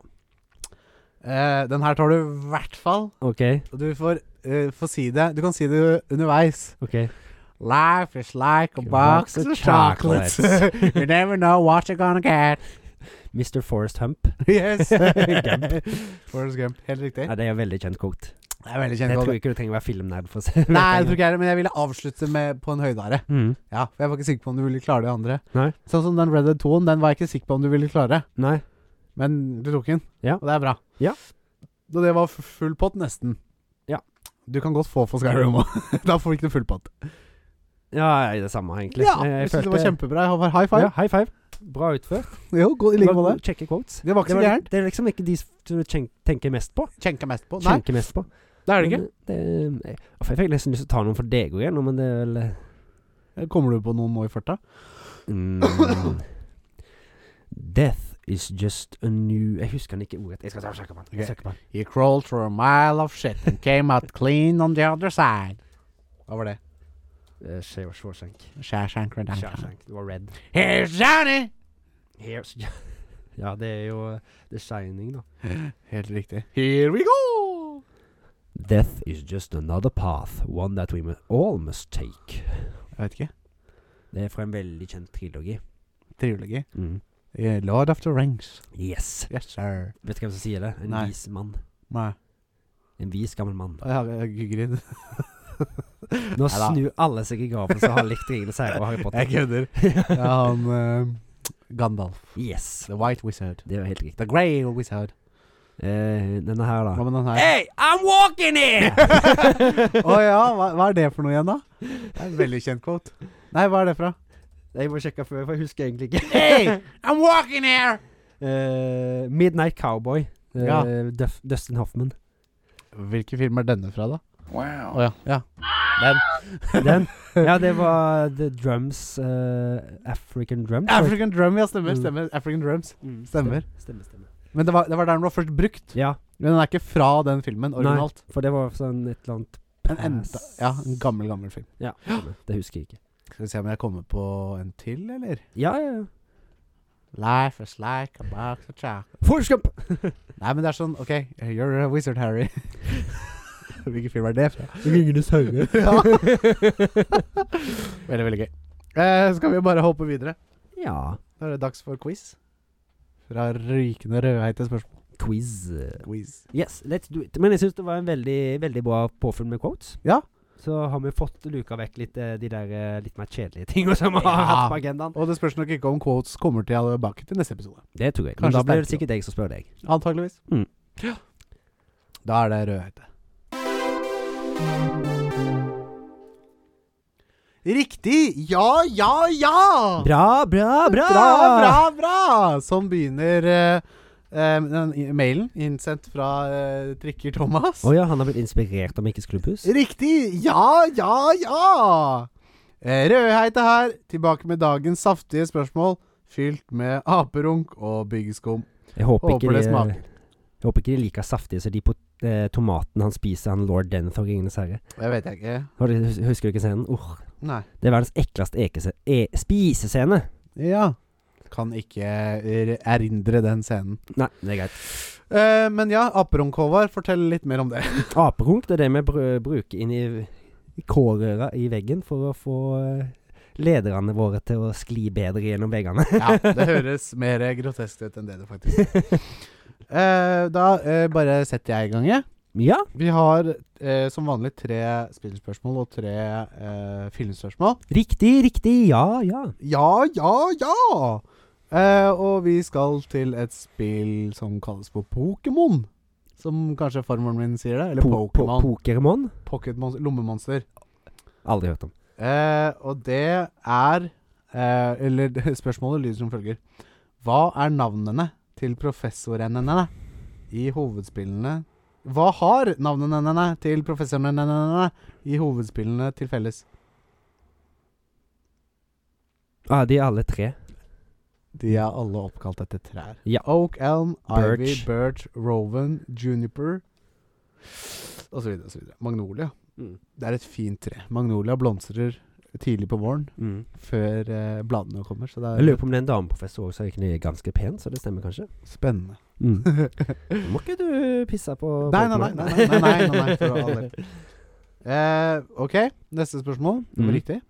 Speaker 1: Eh, den her tar du i hvert fall.
Speaker 2: OK.
Speaker 1: Og du får, eh, får si det Du kan si det underveis.
Speaker 2: ok
Speaker 1: Life is like a box, of chocolates. you never know what you're gonna get.
Speaker 2: Mr. Forest Hump.
Speaker 1: Yes.
Speaker 2: Gump.
Speaker 1: Forrest Gump. Helt riktig.
Speaker 2: Ja, det er en veldig kjent quote.
Speaker 1: Det er veldig
Speaker 2: Jeg
Speaker 1: kjent. quote.
Speaker 2: tror ikke du trenger å være filmnerd for å se
Speaker 1: Nei, jeg tror ikke jeg er det, men jeg ville avslutte med, på en høydare.
Speaker 2: Mm.
Speaker 1: Ja, for jeg var ikke sikker på om du ville klare det andre.
Speaker 2: Nei.
Speaker 1: Sånn som den Red Dead 2-en, den var jeg ikke sikker på om du ville klare.
Speaker 2: Nei.
Speaker 1: Men du tok den,
Speaker 2: Ja.
Speaker 1: og det er bra.
Speaker 2: Ja.
Speaker 1: Og det var f- full pott, nesten.
Speaker 2: Ja.
Speaker 1: Du kan godt få for Skyrim òg. da får du ikke full pott.
Speaker 2: Ja, det er det samme, egentlig.
Speaker 1: Ja,
Speaker 2: Jeg-
Speaker 1: jeg
Speaker 2: jeg
Speaker 1: syns det
Speaker 2: følte-
Speaker 1: var kjempebra. Jeg har High
Speaker 2: Ja,
Speaker 1: five.
Speaker 2: high five. Bra utført.
Speaker 1: Jo, god, i like måte.
Speaker 2: Kjekke quotes.
Speaker 1: Det var ikke
Speaker 2: Det,
Speaker 1: så
Speaker 2: var,
Speaker 1: gærent.
Speaker 2: det er liksom ikke de s- du kjen- tenker mest på.
Speaker 1: Kjenka mest på. Nei,
Speaker 2: Kjenker mest på.
Speaker 1: det er det ikke.
Speaker 2: Men det- jeg- jeg fikk nesten lyst til å ta noen for deg òg, nå, men det er vel eh,
Speaker 1: Kommer du på noen nå i farta?
Speaker 2: mm, Death is just a new Jeg husker den ikke ordet. Jeg skal ta og sjekke på den. Jeg
Speaker 1: Ok.
Speaker 2: søker på den.
Speaker 1: You crawled through a mile of shit and came out clean on the other side. Hva var det?
Speaker 2: Eh, Shawshank. Shawshank.
Speaker 1: Shawshank Redemption.
Speaker 2: Shawshank. Det var red.
Speaker 1: Here's Johnny!
Speaker 2: Here's Ja, det er jo eh, The Shining, da.
Speaker 1: Helt riktig. Here we go!
Speaker 2: Death is just another path, one that we mu- all must take.
Speaker 1: Jeg vet ikke.
Speaker 2: Det er fra en veldig kjent trilogi.
Speaker 1: Trilogi. Eh, Lord of the Rings.
Speaker 2: Yes.
Speaker 1: Yes, sir.
Speaker 2: Vet du hvem som sier det? En
Speaker 1: Nei.
Speaker 2: vis mann.
Speaker 1: Nei.
Speaker 2: En vis gammel mann.
Speaker 1: Jeg har jeg Gugrid.
Speaker 2: Nå
Speaker 1: Neida.
Speaker 2: snur alle seg i graven som har likt Ringenes herre og Harry
Speaker 1: Jeg
Speaker 2: Potter.
Speaker 1: kødder. Ja, han eh, Gandalf.
Speaker 2: Yes.
Speaker 1: The White Wizard.
Speaker 2: Det var helt riktig.
Speaker 1: The Grey Wizard.
Speaker 2: Eh, denne her,
Speaker 1: Hva
Speaker 2: da.
Speaker 1: med den her?
Speaker 2: Hey, I'm walking here!
Speaker 1: Å ja, hva, hva er det for noe igjen, da? Det er en veldig kjent quote. Nei, hva er det fra?
Speaker 2: Jeg må sjekke før, for jeg husker egentlig ikke.
Speaker 1: Hey, I'm walking here!
Speaker 2: Eh, Midnight Cowboy. Eh,
Speaker 1: Ja.
Speaker 2: Duff, Dustin Hoffman.
Speaker 1: Hvilken film er denne fra, da? Å
Speaker 3: Wow.
Speaker 1: ja. ja. Den.
Speaker 2: Den. Ja, det var The Drums. eh, African Drums. var det
Speaker 1: African Drum, ja. Stemmer.
Speaker 2: Mm.
Speaker 1: stemmer. African Drums.
Speaker 2: Mm,
Speaker 1: Stemmer.
Speaker 2: Stemmer, stemmer.
Speaker 1: Men det var, det var der den var først brukt.
Speaker 2: Ja,
Speaker 1: Men den er ikke fra den filmen originalt.
Speaker 2: for det var sånn et eller annet
Speaker 1: En enda,
Speaker 2: pass.
Speaker 1: ja, en gammel, gammel film.
Speaker 2: Ja, stemmer. det husker jeg ikke.
Speaker 1: Skal vi se om jeg kommer på en til, eller?
Speaker 2: Ja, ja, ja.
Speaker 1: Life is like a box of chocolate
Speaker 2: Forrest Gump!
Speaker 1: Nei, men det er sånn OK, you're a wizard, Harry. Hvilken film er det fra?
Speaker 2: Ringenes herre.
Speaker 1: Veldig, veldig gøy. Eh, skal vi bare hoppe videre?
Speaker 2: ja.
Speaker 1: Da er det dags for quiz. Fra rykende rødheite spørsmål.
Speaker 2: Quiz.
Speaker 1: Quiz.
Speaker 2: Yes, let's do it. Men jeg syns det var en veldig, veldig bra påfyll med quotes.
Speaker 1: Ja.
Speaker 2: Så har vi fått luka vekk litt eh, de der eh, litt mer kjedelige tingene som har
Speaker 1: Ja.
Speaker 2: hatt på agendaen.
Speaker 1: Og det spørs nok ikke om quotes kommer tilbake til neste episode.
Speaker 2: Det tror jeg.
Speaker 1: Kanskje
Speaker 2: Men da blir det
Speaker 1: sterkere.
Speaker 2: sikkert jeg som spør deg.
Speaker 1: Antakeligvis.
Speaker 2: Mm.
Speaker 1: Ja. Da er det rødhette. Riktig! Ja, ja, ja!
Speaker 2: Bra, bra, bra!
Speaker 1: Bra, bra, bra! Som begynner eh, eh, den i- mailen innsendt fra eh, Trikker Thomas.
Speaker 2: Å ja, han har blitt inspirert av Mikkels klubbhus?
Speaker 1: Riktig! Ja, ja, ja! Eh, Rødheite her, tilbake med dagens saftige spørsmål. Fylt med aperunk og byggeskum.
Speaker 2: Jeg håper,
Speaker 1: Håper
Speaker 2: ikke
Speaker 1: det
Speaker 2: de,
Speaker 1: smaker.
Speaker 2: Jeg håper ikke de er like saftige som de pot eh, tomatene han spiser, han lord Denethor i Ringenes herre.
Speaker 1: Det vet jeg ikke.
Speaker 2: Har du- hus- Husker du ikke scenen? Uh,
Speaker 1: Nei.
Speaker 2: det er verdens ekleste ekese e spisescene.
Speaker 1: Ja. Kan ikke er- erindre den scenen.
Speaker 2: Nei, det er greit.
Speaker 1: Eh, men ja, aperunk, Håvard. Fortell litt mer om det.
Speaker 2: Aperunk det er det vi br bruker inn i, i kårøra i veggen for å få eh, lederne våre til å skli bedre gjennom veggene.
Speaker 1: Ja, det høres mer grotesk ut enn det det faktisk er. Eh, da eh, bare setter jeg i gang, jeg.
Speaker 2: ja.
Speaker 1: Vi har eh, som vanlig tre spillspørsmål og tre eh, filmspørsmål.
Speaker 2: Riktig, riktig. Ja, ja.
Speaker 1: Ja, ja, ja! Eh, og vi skal til et spill som kalles for Pokémon. Som kanskje farmoren min sier det. Eller
Speaker 2: Po- po-
Speaker 1: Pokémon.
Speaker 2: Pokémon?
Speaker 1: Pocketmonster. Lommemonster.
Speaker 2: Aldri hørt om.
Speaker 1: Eh, og det er eh, Eller det- spørsmålet lyder som følger. Hva er navnene til professorene i hovedspillene Hva har navnene til professorene i hovedspillene til felles?
Speaker 2: Ah, de er alle tre.
Speaker 1: De er alle oppkalt etter trær.
Speaker 2: Ja.
Speaker 1: Oak, Elm, Ivy,
Speaker 2: Birch.
Speaker 1: Birch, Rowan, Juniper Og så videre og så videre. Magnolia.
Speaker 2: Mm.
Speaker 1: Det er et fint tre. Magnolia blomstrer tidlig på våren
Speaker 2: Mm.
Speaker 1: før eh, bladene kommer. Så det
Speaker 2: Jeg lurer
Speaker 1: er
Speaker 2: på om det er en dameprofessor også, som er ganske pen, så det stemmer kanskje?
Speaker 1: spennende.
Speaker 2: Må ikke du pisse på
Speaker 1: Mm. Nei, nei, nei,
Speaker 2: Pokémon?
Speaker 1: nei, nei, nei, nei, nei, for all del. Eh, OK, neste spørsmål. Det var
Speaker 2: Mm.
Speaker 1: riktig.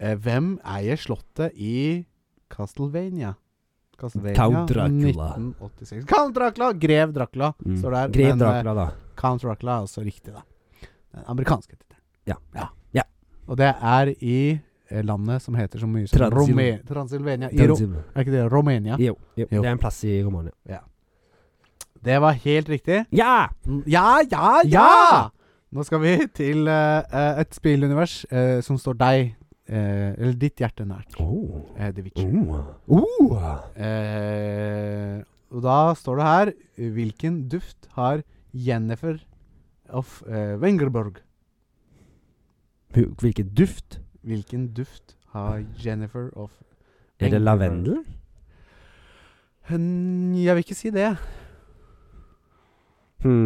Speaker 1: Eh, hvem eier slottet i Castlevania? Castlevania
Speaker 2: Count Dracula.
Speaker 1: 1986. Count Dracula! Grev Dracula
Speaker 2: Mm.
Speaker 1: står der.
Speaker 2: Grev
Speaker 1: men, eh,
Speaker 2: Dracula, da.
Speaker 1: Count Dracula er også riktig, da. Den amerikanske tittelen.
Speaker 2: Ja. Ja.
Speaker 1: ja. Og det er i eh, landet som heter så mye som
Speaker 2: Transil-
Speaker 1: Rome- Transylvania. I Ro
Speaker 2: Danzig-
Speaker 1: er ikke det Romania?
Speaker 2: Jo, jo,
Speaker 1: Jo.
Speaker 2: det er en plass i Romania.
Speaker 1: Det var helt riktig.
Speaker 2: Ja!
Speaker 1: Ja, ja, ja!
Speaker 2: Ja!
Speaker 1: Nå skal vi til eh, eh, et spillunivers eh, som står deg, eh, eller ditt hjerte nært.
Speaker 2: Oh.
Speaker 1: eh, The Witcher.
Speaker 2: Oh. Oh.
Speaker 1: Eh, og da står det her Hvilken duft har Jennifer of eh, Wengerborg?
Speaker 2: Hu- Hvilken duft?
Speaker 1: Hvilken duft har Jennifer of
Speaker 2: Er det
Speaker 1: Wengerberg?
Speaker 2: lavendel?
Speaker 1: Hm, Jeg vil ikke si det.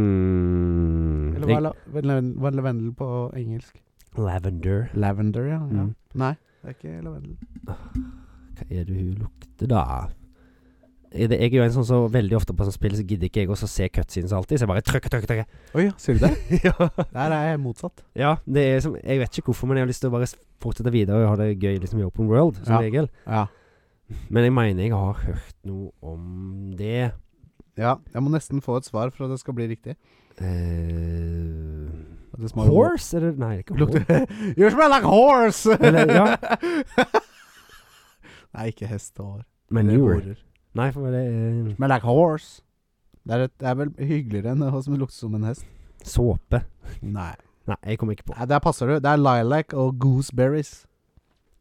Speaker 2: Hmm.
Speaker 1: Eller hva
Speaker 2: Jeg-
Speaker 1: er la- vel- hva er lavendel på engelsk?
Speaker 2: Lavender.
Speaker 1: Lavender, ja. ja.
Speaker 2: Mm.
Speaker 1: Nei, det er ikke lavendel.
Speaker 2: Hva er det hun lukter, da? Er det, jeg er jo en sånn som veldig ofte på sånne spill så gidder ikke jeg også se cutscenes alltid, så jeg bare trykker, trykker, trykker.
Speaker 1: Oi, sier du det?
Speaker 2: ja.
Speaker 1: Der er jeg motsatt.
Speaker 2: ja, det er som Jeg vet ikke hvorfor, men jeg har lyst til å bare s- fortsette videre og ha det gøy liksom i Open World,
Speaker 1: Ja.
Speaker 2: som regel.
Speaker 1: Ja.
Speaker 2: Men jeg mener jeg har hørt noe om det.
Speaker 1: Ja, jeg må nesten få et svar for at det skal bli riktig.
Speaker 2: Eh,
Speaker 1: At det smaker-
Speaker 2: horse? Er det, nei, det er ikke
Speaker 1: Lukter
Speaker 2: horse.
Speaker 1: You smell like horse!
Speaker 2: Eller, ja.
Speaker 1: Nei, ikke hest og hår.
Speaker 2: Manure.
Speaker 1: Horer.
Speaker 2: Nei, for det er
Speaker 1: Smell like horse. Det er, et, det er vel hyggeligere enn å som lukte som en hest.
Speaker 2: såpe.
Speaker 1: Nei.
Speaker 2: Nei, jeg kommer ikke på.
Speaker 1: Nei, Der passer du. Det er lilac og gooseberries.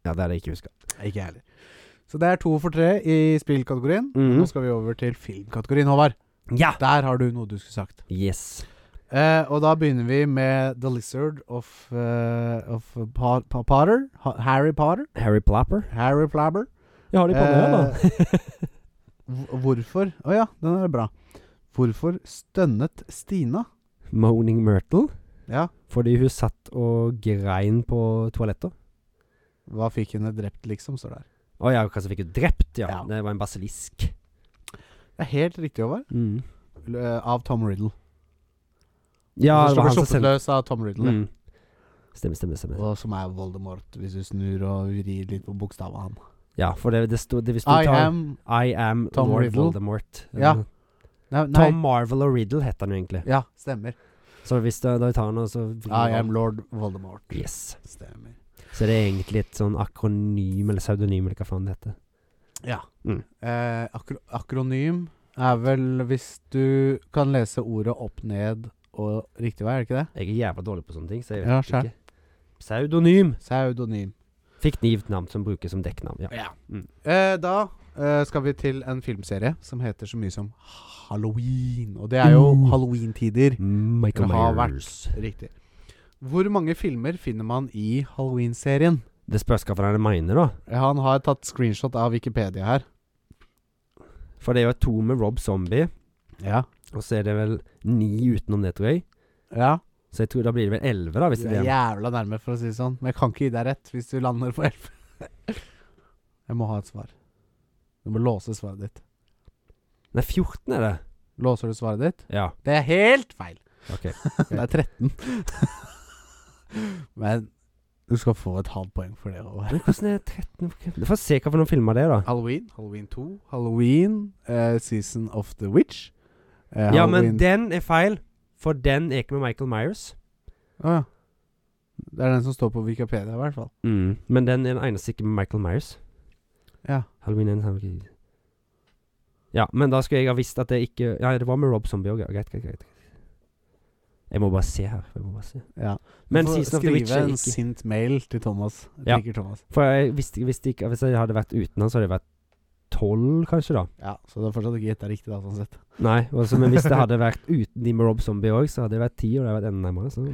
Speaker 2: Ja, det er det jeg ikke huska.
Speaker 1: Ikke jeg heller. Så det er to for tre i spillkategorien.
Speaker 2: Mhm.
Speaker 1: Nå skal vi over til filmkategorien, Håvard.
Speaker 2: Ja!
Speaker 1: Der har du noe du skulle sagt.
Speaker 2: Yes.
Speaker 1: Eh, og da begynner vi med The Lizard of, eh, of pa pa Potter. Ha Harry Potter.
Speaker 2: Harry Plapper.
Speaker 1: Harry Plabber.
Speaker 2: Jeg har
Speaker 1: de på nå,
Speaker 2: da.
Speaker 1: Hv- Hvorfor Å ja, den er bra. Hvorfor stønnet Stina?
Speaker 2: Moaning Myrtle.
Speaker 1: Ja,
Speaker 2: Fordi hun satt og grein på toalettet.
Speaker 1: hva fikk henne drept, liksom, står der.
Speaker 2: Å ja, hva som fikk henne drept? Ja.
Speaker 1: Ja.
Speaker 2: Det var en basilisk.
Speaker 1: Det er helt riktig, Håvard.
Speaker 2: Mm.
Speaker 1: L- eh, Av Tom Riddle.
Speaker 2: Ja, det var han som
Speaker 1: sluppet
Speaker 2: sendte
Speaker 1: løs av Tom Riddle.
Speaker 2: mm. Stemmer, stemmer. stemmer
Speaker 1: Og som er Voldemort, hvis du snur og vrir litt på bokstavene hans.
Speaker 2: Ja, for det, det sto det, hvis du
Speaker 1: I
Speaker 2: tar,
Speaker 1: am
Speaker 2: I am
Speaker 1: Tom
Speaker 2: Lord
Speaker 1: Riddle.
Speaker 2: Voldemort.
Speaker 1: Ja,
Speaker 2: Eller-
Speaker 1: Nei, nei.
Speaker 2: Tom Marvel og Riddle heter han jo egentlig.
Speaker 1: Ja, stemmer.
Speaker 2: Så hvis du, da vi tar han og så vrir
Speaker 1: I
Speaker 2: han-
Speaker 1: am lord Voldemort.
Speaker 2: Yes.
Speaker 1: Stemmer.
Speaker 2: Så det er egentlig et sånn akronym eller pseudonym eller hva faen det heter.
Speaker 1: Ja.
Speaker 2: Mm.
Speaker 1: Eh, akro akronym er vel hvis du kan lese ordet opp ned og riktig vei, er det ikke det?
Speaker 2: Jeg er jævla dårlig på sånne ting, så jeg vet
Speaker 1: Ja, skjønn.
Speaker 2: ikke. Pseudonym.
Speaker 1: Pseudonym.
Speaker 2: Fiktivt navn som brukes som dekknavn. Ja. Mm.
Speaker 1: Eh, da eh, skal vi til en filmserie som heter så mye som Halloween. Og det er jo
Speaker 2: Mm.
Speaker 1: halloween-tider.
Speaker 2: Michael
Speaker 1: Det har vært.
Speaker 2: Myers.
Speaker 1: Riktig. Hvor mange filmer finner man i halloween-serien?
Speaker 2: Det spørs hva for en mener, da.
Speaker 1: Eh, Han har tatt screenshot av Wikipedia her.
Speaker 2: For det er jo to med Rob Zombie,
Speaker 1: Ja.
Speaker 2: og så er det vel ni utenom det, tror jeg.
Speaker 1: Ja.
Speaker 2: Så jeg tror da blir det vel elleve, da, hvis
Speaker 1: Du
Speaker 2: det
Speaker 1: er
Speaker 2: er
Speaker 1: jævla nærme, for å si det sånn. Men jeg kan ikke gi deg rett hvis du lander på 11. jeg må ha et svar. Du må låse svaret ditt.
Speaker 2: Nei, 14 er det.
Speaker 1: Låser du svaret ditt?
Speaker 2: Ja,
Speaker 1: Det er helt feil!
Speaker 2: OK.
Speaker 1: Det er 13. Men du skal få et halvt poeng for det. Håvard.
Speaker 2: Men hvordan er 13 Du får se hva for noen filmer det er, da.
Speaker 1: Halloween, Halloween 2, Halloween, eh, Season of the Witch. eh,
Speaker 2: Ja,
Speaker 1: Halloween-
Speaker 2: men den er feil, for den er ikke med Michael Myers.
Speaker 1: Å, ja. Det er den som står på Wikipedia, i hvert fall.
Speaker 2: Mm. Men den er den eneste ikke med Michael Myers.
Speaker 1: Ja.
Speaker 2: Halloween er en sånn- Ja, men da skulle jeg ha visst at det ikke Ja, det var med Rob Zombie òg, ja. Greit, greit, greit. Jeg må bare se her. Jeg må bare se.
Speaker 1: ja.
Speaker 2: Men
Speaker 1: Du får
Speaker 2: Season of the Witch
Speaker 1: Skrive
Speaker 2: er
Speaker 1: en
Speaker 2: ikke
Speaker 1: sint mail til Thomas.
Speaker 2: Ja.
Speaker 1: Tenker Thomas.
Speaker 2: For jeg visste, visste ikke Hvis jeg hadde vært uten han, så hadde jeg vært tolv, kanskje, da.
Speaker 1: Ja, så det er fortsatt ikke gjetta riktig, da, sånn sett.
Speaker 2: Nei, altså, men hvis det hadde vært uten de med Rob Zombie òg, så hadde det vært ti, og det hadde vært enda nærmere. Så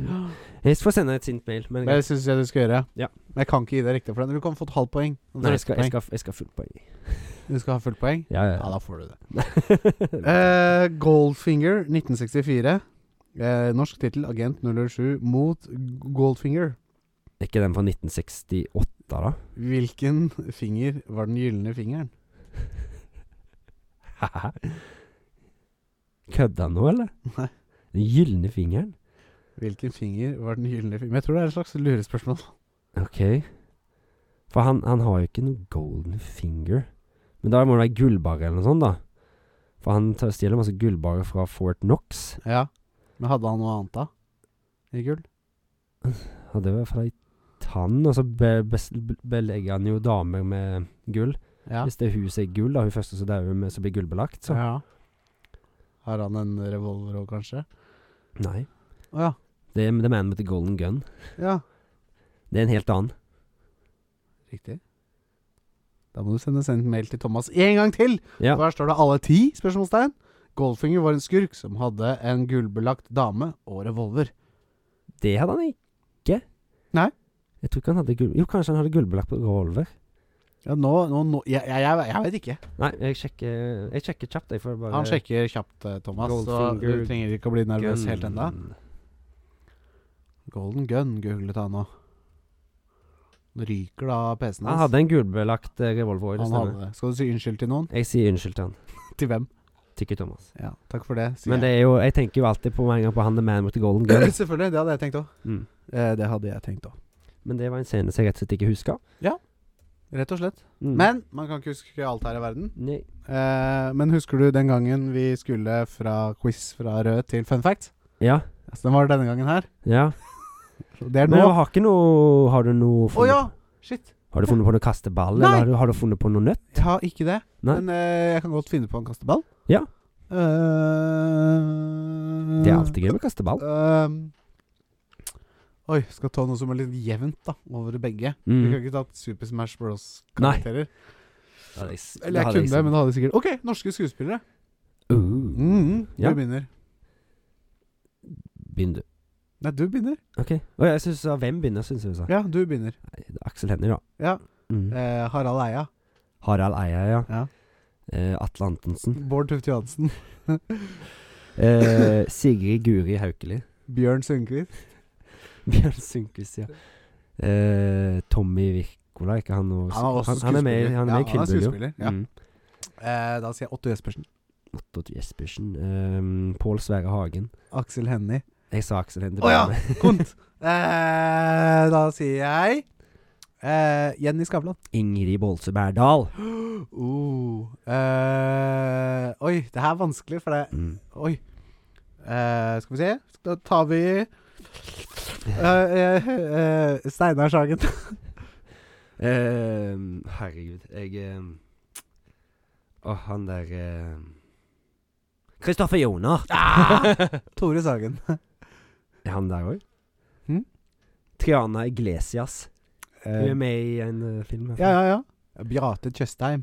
Speaker 2: jeg får sende et sint mail. Men
Speaker 1: Men
Speaker 2: greit.
Speaker 1: det syns jeg du skal gjøre.
Speaker 2: Ja.
Speaker 1: Men jeg kan ikke gi deg riktig for den. Du kan få et halvt poeng. Du får
Speaker 2: Nei, jeg
Speaker 1: ett
Speaker 2: skal, jeg skal, jeg skal ha fullt poeng.
Speaker 1: poeng. Du skal ha fullt poeng?
Speaker 2: Ja,
Speaker 1: Ja,
Speaker 2: ja.
Speaker 1: da får du det.
Speaker 2: ja.
Speaker 1: Eh, Goldfinger 1964. Eh, norsk tittel Agent 007 mot Goldfinger.
Speaker 2: Er ikke den fra 1968, da?
Speaker 1: Hvilken finger var den gylne fingeren?
Speaker 2: Kødda han nå, eller?
Speaker 1: Nei.
Speaker 2: Den gylne fingeren?
Speaker 1: Hvilken finger var den gylne fingeren? Men jeg tror det er et slags lurespørsmål.
Speaker 2: Ok. For han, han har jo ikke noe golden finger. Men da må det være gullbarre eller noe sånt, da. For han tar- stjeler masse gullbarre fra Fort Knox.
Speaker 1: Ja. Men hadde han noe annet da? I gull?
Speaker 2: Hadde jo fra ei tann, og så be, bes- be, belegger han jo damer med gull.
Speaker 1: Ja.
Speaker 2: Hvis det huset er gull, da, hun første som dauer med, så blir gullbelagt, så
Speaker 1: ja. Har han en revolver òg, kanskje?
Speaker 2: Nei.
Speaker 1: Å ja.
Speaker 2: Det er The Man with the Golden Gun.
Speaker 1: Ja.
Speaker 2: Det er en helt annen.
Speaker 1: Riktig. Da må du sende en mail til Thomas en gang til!
Speaker 2: Ja.
Speaker 1: Og her står det alle ti? spørsmålstegn. Goldfinger var en skurk som hadde en gullbelagt dame og revolver.
Speaker 2: Det hadde han ikke.
Speaker 1: Nei.
Speaker 2: Jeg tror ikke han hadde gull... Jo, kanskje han hadde gullbelagt revolver.
Speaker 1: Ja, nå, nå, nå jeg, jeg, jeg, jeg vet ikke.
Speaker 2: Nei, jeg sjekker, jeg sjekker kjapt. Jeg får bare
Speaker 1: Han sjekker kjapt, eh, Thomas. Så
Speaker 2: Goldfinger
Speaker 1: du trenger ikke å bli nervøs
Speaker 2: gun.
Speaker 1: helt ennå. Golden gun googlet han nå. Nå ryker da PC-en
Speaker 2: Han hadde en gulbelagt eh, revolver òg, det
Speaker 1: Han hadde
Speaker 2: stemmer.
Speaker 1: det. Skal du si unnskyld til noen?
Speaker 2: Jeg sier unnskyld til han.
Speaker 1: Til hvem?
Speaker 2: Tikke Thomas.
Speaker 1: Ja, takk for det. sier
Speaker 2: Men det
Speaker 1: jeg.
Speaker 2: er jo Jeg tenker jo alltid på med en gang på han the man with the golden gun.
Speaker 1: Selvfølgelig. Det hadde jeg tenkt òg.
Speaker 2: Mm.
Speaker 1: Eh, det hadde jeg tenkt òg.
Speaker 2: Men det var en scene som jeg rett og slett ikke huska.
Speaker 1: Rett og slett.
Speaker 2: Mm.
Speaker 1: Men man kan ikke huske alt her i verden.
Speaker 2: Nei.
Speaker 1: Eh, men husker du den gangen vi skulle fra quiz fra rød til fun fact?
Speaker 2: Ja.
Speaker 1: Altså, den var denne gangen her.
Speaker 2: Ja.
Speaker 1: Så Det er
Speaker 2: Men
Speaker 1: nå.
Speaker 2: du
Speaker 1: Å
Speaker 2: har ikke noe Har du noe funnet,
Speaker 1: ja! Shit.
Speaker 2: Har du funnet på noe kasteball,
Speaker 1: Nei.
Speaker 2: eller har du, har du funnet på noe nøtt?
Speaker 1: Jeg har ikke det.
Speaker 2: Nei.
Speaker 1: Men eh, jeg kan godt finne på en kasteball.
Speaker 2: Ja.
Speaker 1: Eh,
Speaker 2: Det er alltid gøy med kasteball.
Speaker 1: eh, ehm, Oi, skal ta noe som er litt jevnt, da. Over begge. Vi kan
Speaker 2: Mm.
Speaker 1: ikke ta Super Smash Bros-karakterer.
Speaker 2: Nei. Da hadde jeg s-
Speaker 1: Eller
Speaker 2: da
Speaker 1: jeg
Speaker 2: hadde
Speaker 1: kunne det, men da hadde jeg sikkert OK, norske skuespillere.
Speaker 2: Uh.
Speaker 1: Mm,
Speaker 2: Ja.
Speaker 1: Du begynner.
Speaker 2: Begynn du.
Speaker 1: Nei, du begynner.
Speaker 2: Ok. Og jeg synes, uh, Hvem begynner, syns du? sa?
Speaker 1: Ja, du begynner.
Speaker 2: Nei, det er Aksel Hennie, da.
Speaker 1: Ja.
Speaker 2: Mm.
Speaker 1: Eh, Harald Eia.
Speaker 2: Harald Eia, ja.
Speaker 1: Ja.
Speaker 2: Eh, Atle Antonsen.
Speaker 1: Bård Tufte Johansen.
Speaker 2: Eh, Sigrid Guri Haukeli.
Speaker 1: Bjørn Sundquist.
Speaker 2: Bjørn Sundquist, ja. Eh, Tommy Wirkola Nicola, ikke han og
Speaker 1: Han er også
Speaker 2: er med, i-
Speaker 1: skuespiller.
Speaker 2: han
Speaker 1: Ja,
Speaker 2: er med i
Speaker 1: han er
Speaker 2: Kill Bill, jo.
Speaker 1: skuespiller, ja.
Speaker 2: Mm.
Speaker 1: Eh, da sier jeg Otto Jespersen.
Speaker 2: Otto Jespersen. Um, Pål Sverre Hagen.
Speaker 1: Aksel Hennie.
Speaker 2: Jeg sa Aksel Hennie. det
Speaker 1: Å
Speaker 2: ble
Speaker 1: ja!
Speaker 2: meg.
Speaker 1: Kont! Eh, da sier jeg eh, Jenny Skavlan.
Speaker 2: Ingrid Bolse Berdal.
Speaker 1: Oh. Eh, oi, det her er vanskelig, for det
Speaker 2: Mm.
Speaker 1: Oi. Eh, skal vi se. Da tar vi eh, eh, eh, Steinar Sagen.
Speaker 2: Ehm, herregud, jeg ehm, Åh, han der ehm, Kristoffer Joner!
Speaker 1: Ah! Tore Sagen.
Speaker 2: Er han der òg?
Speaker 1: Hm?
Speaker 2: Triana Iglesias. Hun er
Speaker 1: Eh,
Speaker 2: med i en eh, film.
Speaker 1: ja, ja, ja. Beate Tjøstheim,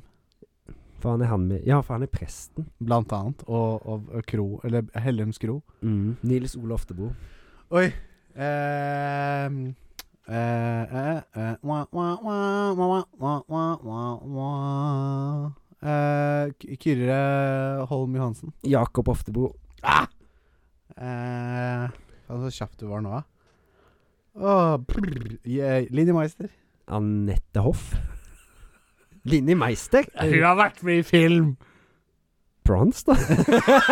Speaker 2: For han er han med Ja, for han er presten.
Speaker 1: blant annet. Og, og, og Kro, eller Hellems Kro.
Speaker 2: Nils Ole Oftebro.
Speaker 1: Oi. Ehm, eh, eh, eh, wah, wah, wah, wah, wah, wah, wah, wah. Eh, K- Kyrre Holm Johansen.
Speaker 2: Jakob Oftebro.
Speaker 1: Eh, faen, så kjapp du var nå, da. Åh, brr, yeah, Linni Meister.
Speaker 2: Anette Hoff. Linni Meister.
Speaker 1: har vært med i film!
Speaker 2: Bronze, da.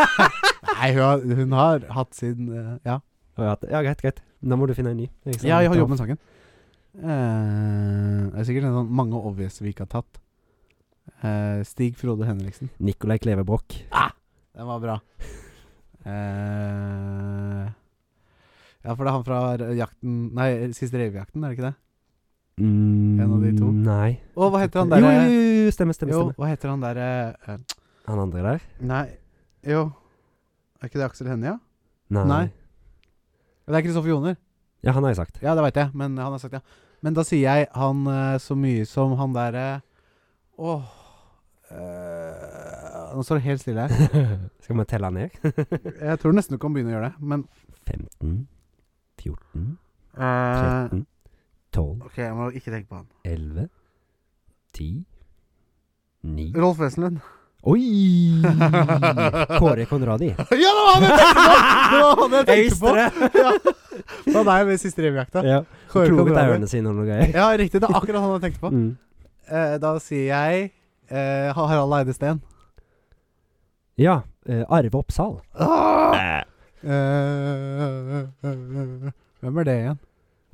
Speaker 1: Nei, hun har, hun har hatt sin eh, Ja,
Speaker 2: Ja, greit, greit. Da må du finne en ny. sa
Speaker 1: ja jeg har
Speaker 2: Anette
Speaker 1: jobbet med sangen. Eh, det er sikkert en sånn mange obvious vi ikke har tatt. Eh, Stig Frode Henriksen.
Speaker 2: Hoff. Nicolai Klevebrok.
Speaker 1: Den var bra. Eh, ja, for det er han fra r- jakten Nei, siste revejakten, er det ikke det?
Speaker 2: Mm,
Speaker 1: En av de to.
Speaker 2: Nei.
Speaker 1: Å, hva heter han
Speaker 2: Jo, jo,
Speaker 1: derre
Speaker 2: jo, jo, stemme, stemme,
Speaker 1: Jo,
Speaker 2: stemme.
Speaker 1: hva heter han derre eh,
Speaker 2: Han andre der?
Speaker 1: Nei, jo Er ikke det Aksel Hennie, ja?
Speaker 2: Nei.
Speaker 1: Nei. Det er Kristoffer Joner.
Speaker 2: Ja, han har jeg sagt.
Speaker 1: Ja, det veit jeg, men han har sagt ja. Men da sier jeg han eh, så mye som han derre Åh eh, Nå står det helt stille her.
Speaker 2: Skal vi telle ned?
Speaker 1: Jeg tror nesten du kan begynne å gjøre det, men
Speaker 2: 15, 14,
Speaker 1: eh,
Speaker 2: 13, 12,
Speaker 1: OK, jeg må ikke tenke på han.
Speaker 2: 11, 10, 9
Speaker 1: Rolf Wesenlund.
Speaker 2: Oi! Kåre Konradi.
Speaker 1: Ja, det var han jeg tenkte på! Det var han jeg tenkte på!
Speaker 2: det!
Speaker 1: Det var deg med siste revejakta.
Speaker 2: Ja.
Speaker 1: Kåre
Speaker 2: Kloet
Speaker 1: Konradi.
Speaker 2: ørene sine og noe greier.
Speaker 1: Ja, riktig. Det er akkurat han jeg tenkte på.
Speaker 2: Mm.
Speaker 1: Eh, da sier jeg eh, Harald Eide Steen.
Speaker 2: Ja. eh, Arve Oppsal.
Speaker 1: Ah! Eh, Hvem er det igjen?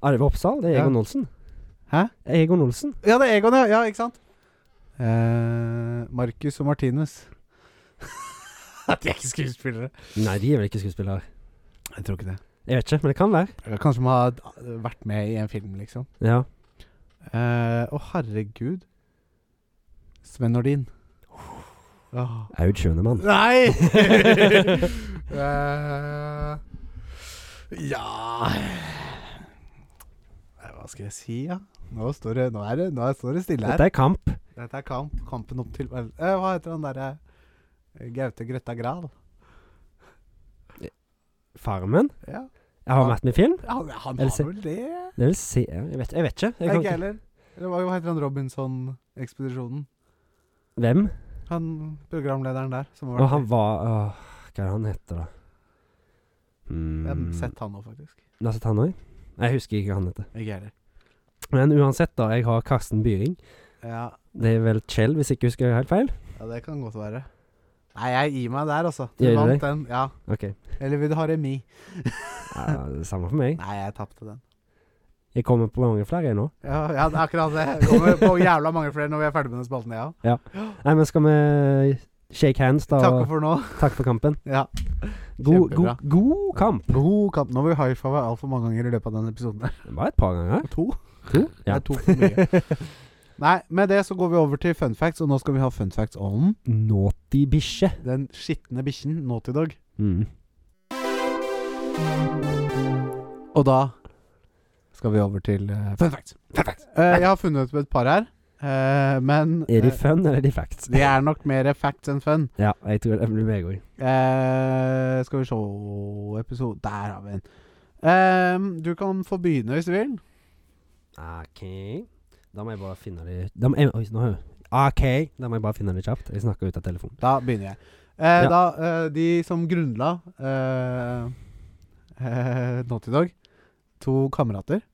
Speaker 2: Arve Oppsal, det er
Speaker 1: Ja.
Speaker 2: Egon Olsen.
Speaker 1: Hæ?
Speaker 2: Egon Olsen.
Speaker 1: Ja, det er Egon, ja. ja ikke sant? Eh, Marcus og Martinus. de er ikke skuespillere.
Speaker 2: Nei, de er vel ikke skuespillere.
Speaker 1: Jeg tror ikke det.
Speaker 2: Jeg vet ikke, men det kan være.
Speaker 1: Kanskje de har eh, vært med i en film, liksom.
Speaker 2: Ja.
Speaker 1: Eh, Å, herregud. Sven Nordin. Åh.
Speaker 2: Aud Schønemann.
Speaker 1: Nei! Eh, ja Nei, Hva skal jeg si, da? Ja? Nå, står det- nå, er det- nå står det stille her.
Speaker 2: Dette er kamp.
Speaker 1: Dette er kamp. Kampen opp til vel- eh, Hva heter han derre eh, Gaute Grøtta Gral?
Speaker 2: Farmen.
Speaker 1: Ja.
Speaker 2: Jeg har
Speaker 1: Ja.
Speaker 2: vært med i film.
Speaker 1: Han, han
Speaker 2: Eller
Speaker 1: har
Speaker 2: se-
Speaker 1: vel det?
Speaker 2: Det vil si Jeg vet, jeg vet ikke. Jeg
Speaker 1: Nei,
Speaker 2: kan
Speaker 1: Ikke heller. Eller hva hva heter han Robinson-ekspedisjonen?
Speaker 2: Hvem?
Speaker 1: Han programlederen der som har
Speaker 2: Og
Speaker 1: vært
Speaker 2: han var åh, Hva er det han heter, da?
Speaker 1: Jeg
Speaker 2: Mm,
Speaker 1: har sett han nå, faktisk.
Speaker 2: Du har sett han òg? Jeg husker ikke hva han heter.
Speaker 1: Ikke heller.
Speaker 2: Men uansett, da. Jeg har Karsten Byring.
Speaker 1: Ja,
Speaker 2: Det er vel Kjell, hvis ikke jeg husker helt feil?
Speaker 1: ja, det kan godt være. Nei, jeg gir meg der, altså. Du
Speaker 2: Gjør du
Speaker 1: vant
Speaker 2: det?
Speaker 1: den. Ja.
Speaker 2: Ok.
Speaker 1: Eller vil du ha remis?
Speaker 2: Ja, det er samme for meg.
Speaker 1: Nei, jeg tapte den.
Speaker 2: Jeg kommer på mange flere jeg nå.
Speaker 1: Ja, ja, det er akkurat det. Det Kommer på jævla mange flere når vi er ferdig med den spalten, jeg ja. òg.
Speaker 2: Nei, men skal vi shake hands, da?
Speaker 1: Takk
Speaker 2: og
Speaker 1: for nå.
Speaker 2: takk for kampen.
Speaker 1: Ja.
Speaker 2: God,
Speaker 1: Kjempebra.
Speaker 2: god, god kamp.
Speaker 1: God kamp. Nå har vi high five altfor mange ganger i løpet av denne episoden. her.
Speaker 2: Det var et par ganger.
Speaker 1: To?
Speaker 2: To?
Speaker 1: Det
Speaker 2: Ja.
Speaker 1: er to for mye. Nei, med det så går vi over til fun facts, og nå skal vi ha fun facts om
Speaker 2: Naughty bikkje.
Speaker 1: den skitne bikkjen Naughty Dog.
Speaker 2: Mm.
Speaker 1: Og da skal vi over til eh, fun facts.
Speaker 2: Fun facts.
Speaker 1: Eh, jeg har funnet ut et par her, eh, men
Speaker 2: Er de
Speaker 1: eh,
Speaker 2: fun, eller er de facts?
Speaker 1: de er nok mer facts enn fun.
Speaker 2: Ja, jeg tror det blir meg òg.
Speaker 1: Eh, skal vi se Episode Der har vi den. Ehm, du kan få begynne hvis du vil.
Speaker 2: OK. Da må jeg bare finne det da må jeg, Oi, nå hører jeg. OK. Da må jeg bare finne det kjapt. Jeg snakker ut av telefonen.
Speaker 1: Da begynner jeg. Eh,
Speaker 2: Ja.
Speaker 1: Da eh, De som grunnla eh, eh, Naughty Dog, to kamerater,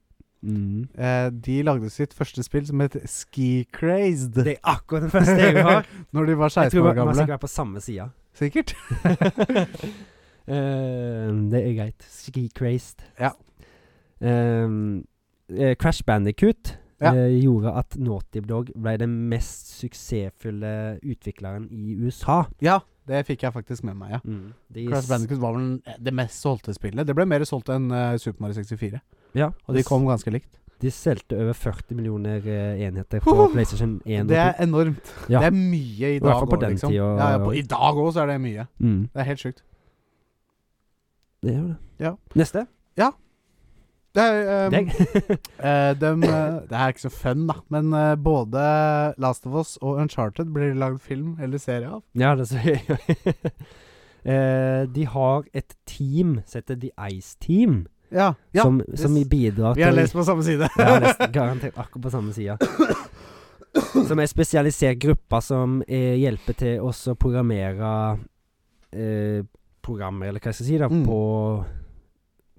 Speaker 2: Mm.
Speaker 1: Eh, de lagde sitt første spill som het Ski Crazed
Speaker 2: Det er akkurat den første jeg har.
Speaker 1: når de var
Speaker 2: Jeg
Speaker 1: 16
Speaker 2: tror
Speaker 1: år
Speaker 2: vi- vi har
Speaker 1: gamle.
Speaker 2: sikkert vært på samme side.
Speaker 1: Sikkert.
Speaker 2: Eh, det er greit. Ski crazed.
Speaker 1: Ja.
Speaker 2: Ehm, eh, Crash Bandicoot
Speaker 1: Ja.
Speaker 2: eh, gjorde at Naughty Dog ble den mest suksessfulle utvikleren i USA.
Speaker 1: Ja, det fikk jeg faktisk med meg, ja.
Speaker 2: De
Speaker 1: Mm. Crash
Speaker 2: s-
Speaker 1: Bandicoot var vel det mest solgte spillet. Det ble mer solgt enn eh, Super Mario 64,
Speaker 2: Ja,
Speaker 1: og de kom ganske likt.
Speaker 2: De solgte over 40 millioner eh, enheter på
Speaker 1: Hoho!
Speaker 2: PlayStation 1.
Speaker 1: Det
Speaker 2: og
Speaker 1: er enormt.
Speaker 2: Ja.
Speaker 1: Det er mye i
Speaker 2: I hvert
Speaker 1: dag
Speaker 2: fall på
Speaker 1: òg,
Speaker 2: den
Speaker 1: liksom.
Speaker 2: tida,
Speaker 1: ja, ja, på,
Speaker 2: og-
Speaker 1: I dag òg så er det mye.
Speaker 2: to. Mm,
Speaker 1: Det er helt sjukt.
Speaker 2: det er jo det.
Speaker 1: Ja.
Speaker 2: Neste.
Speaker 1: Det er, um,
Speaker 2: Deg.
Speaker 1: eh, dem, eh, det er ikke så fun, da, men eh, både Last of Us og Uncharted blir lagd film eller serie av.
Speaker 2: Ja, det ser jeg. Eh, de har et team som heter The Ice Team,
Speaker 1: Ja. ja
Speaker 2: som,
Speaker 1: det
Speaker 2: som
Speaker 1: s-
Speaker 2: bidrar
Speaker 1: vi har
Speaker 2: til
Speaker 1: lest på samme side.
Speaker 2: Jeg har lest garantert akkurat på samme sida. Som er en spesialisert gruppe som eh, hjelper til også å programmere eh, programmer, eller hva jeg skal si, da,
Speaker 1: Mm.
Speaker 2: på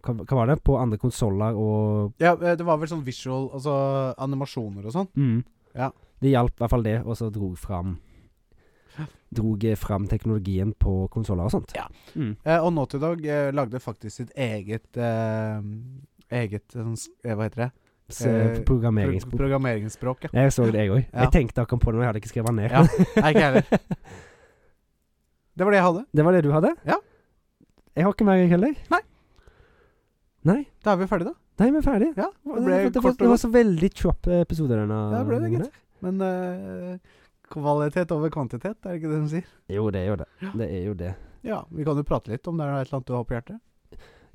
Speaker 2: hva, hva var det? På andre konsoller og
Speaker 1: ja, eh, det var vel sånn visual, altså animasjoner og sånn. Ja.
Speaker 2: Det hjalp i hvert fall det, og så drog fram Drog eh, fram teknologien på konsoller og sånt.
Speaker 1: Ja.
Speaker 2: Mm.
Speaker 1: Eh, og Naughty Dog eh, lagde faktisk sitt eget eh, Eget eh, sånn s- eh, Hva heter det?
Speaker 2: Så,
Speaker 1: Eh, Pro
Speaker 2: programmeringsbok.
Speaker 1: programmeringsspråk, ja.
Speaker 2: Jeg så det, jeg òg.
Speaker 1: Ja.
Speaker 2: Jeg tenkte akkurat på det, men jeg hadde ikke skrevet ned.
Speaker 1: Ja, Nei, ikke jeg heller. Det var det jeg hadde.
Speaker 2: Det var det du hadde?
Speaker 1: Ja.
Speaker 2: Jeg har ikke mer jeg heller.
Speaker 1: Nei.
Speaker 2: Nei,
Speaker 1: Da er vi ferdige, da.
Speaker 2: Nei, vi er ferdige.
Speaker 1: Ja, det
Speaker 2: Det,
Speaker 1: ble
Speaker 2: var- det, var,
Speaker 1: kort
Speaker 2: det
Speaker 1: og
Speaker 2: var
Speaker 1: godt.
Speaker 2: så veldig kjapp eh, episode denne
Speaker 1: Ja, det ble det,
Speaker 2: gangen
Speaker 1: gitt. Men eh, kvalitet over kvantitet, er det ikke det de sier?
Speaker 2: her. Jo, det er jo det. Det er jo det.
Speaker 1: Ja, vi kan jo prate litt om det er et eller annet du har på hjertet.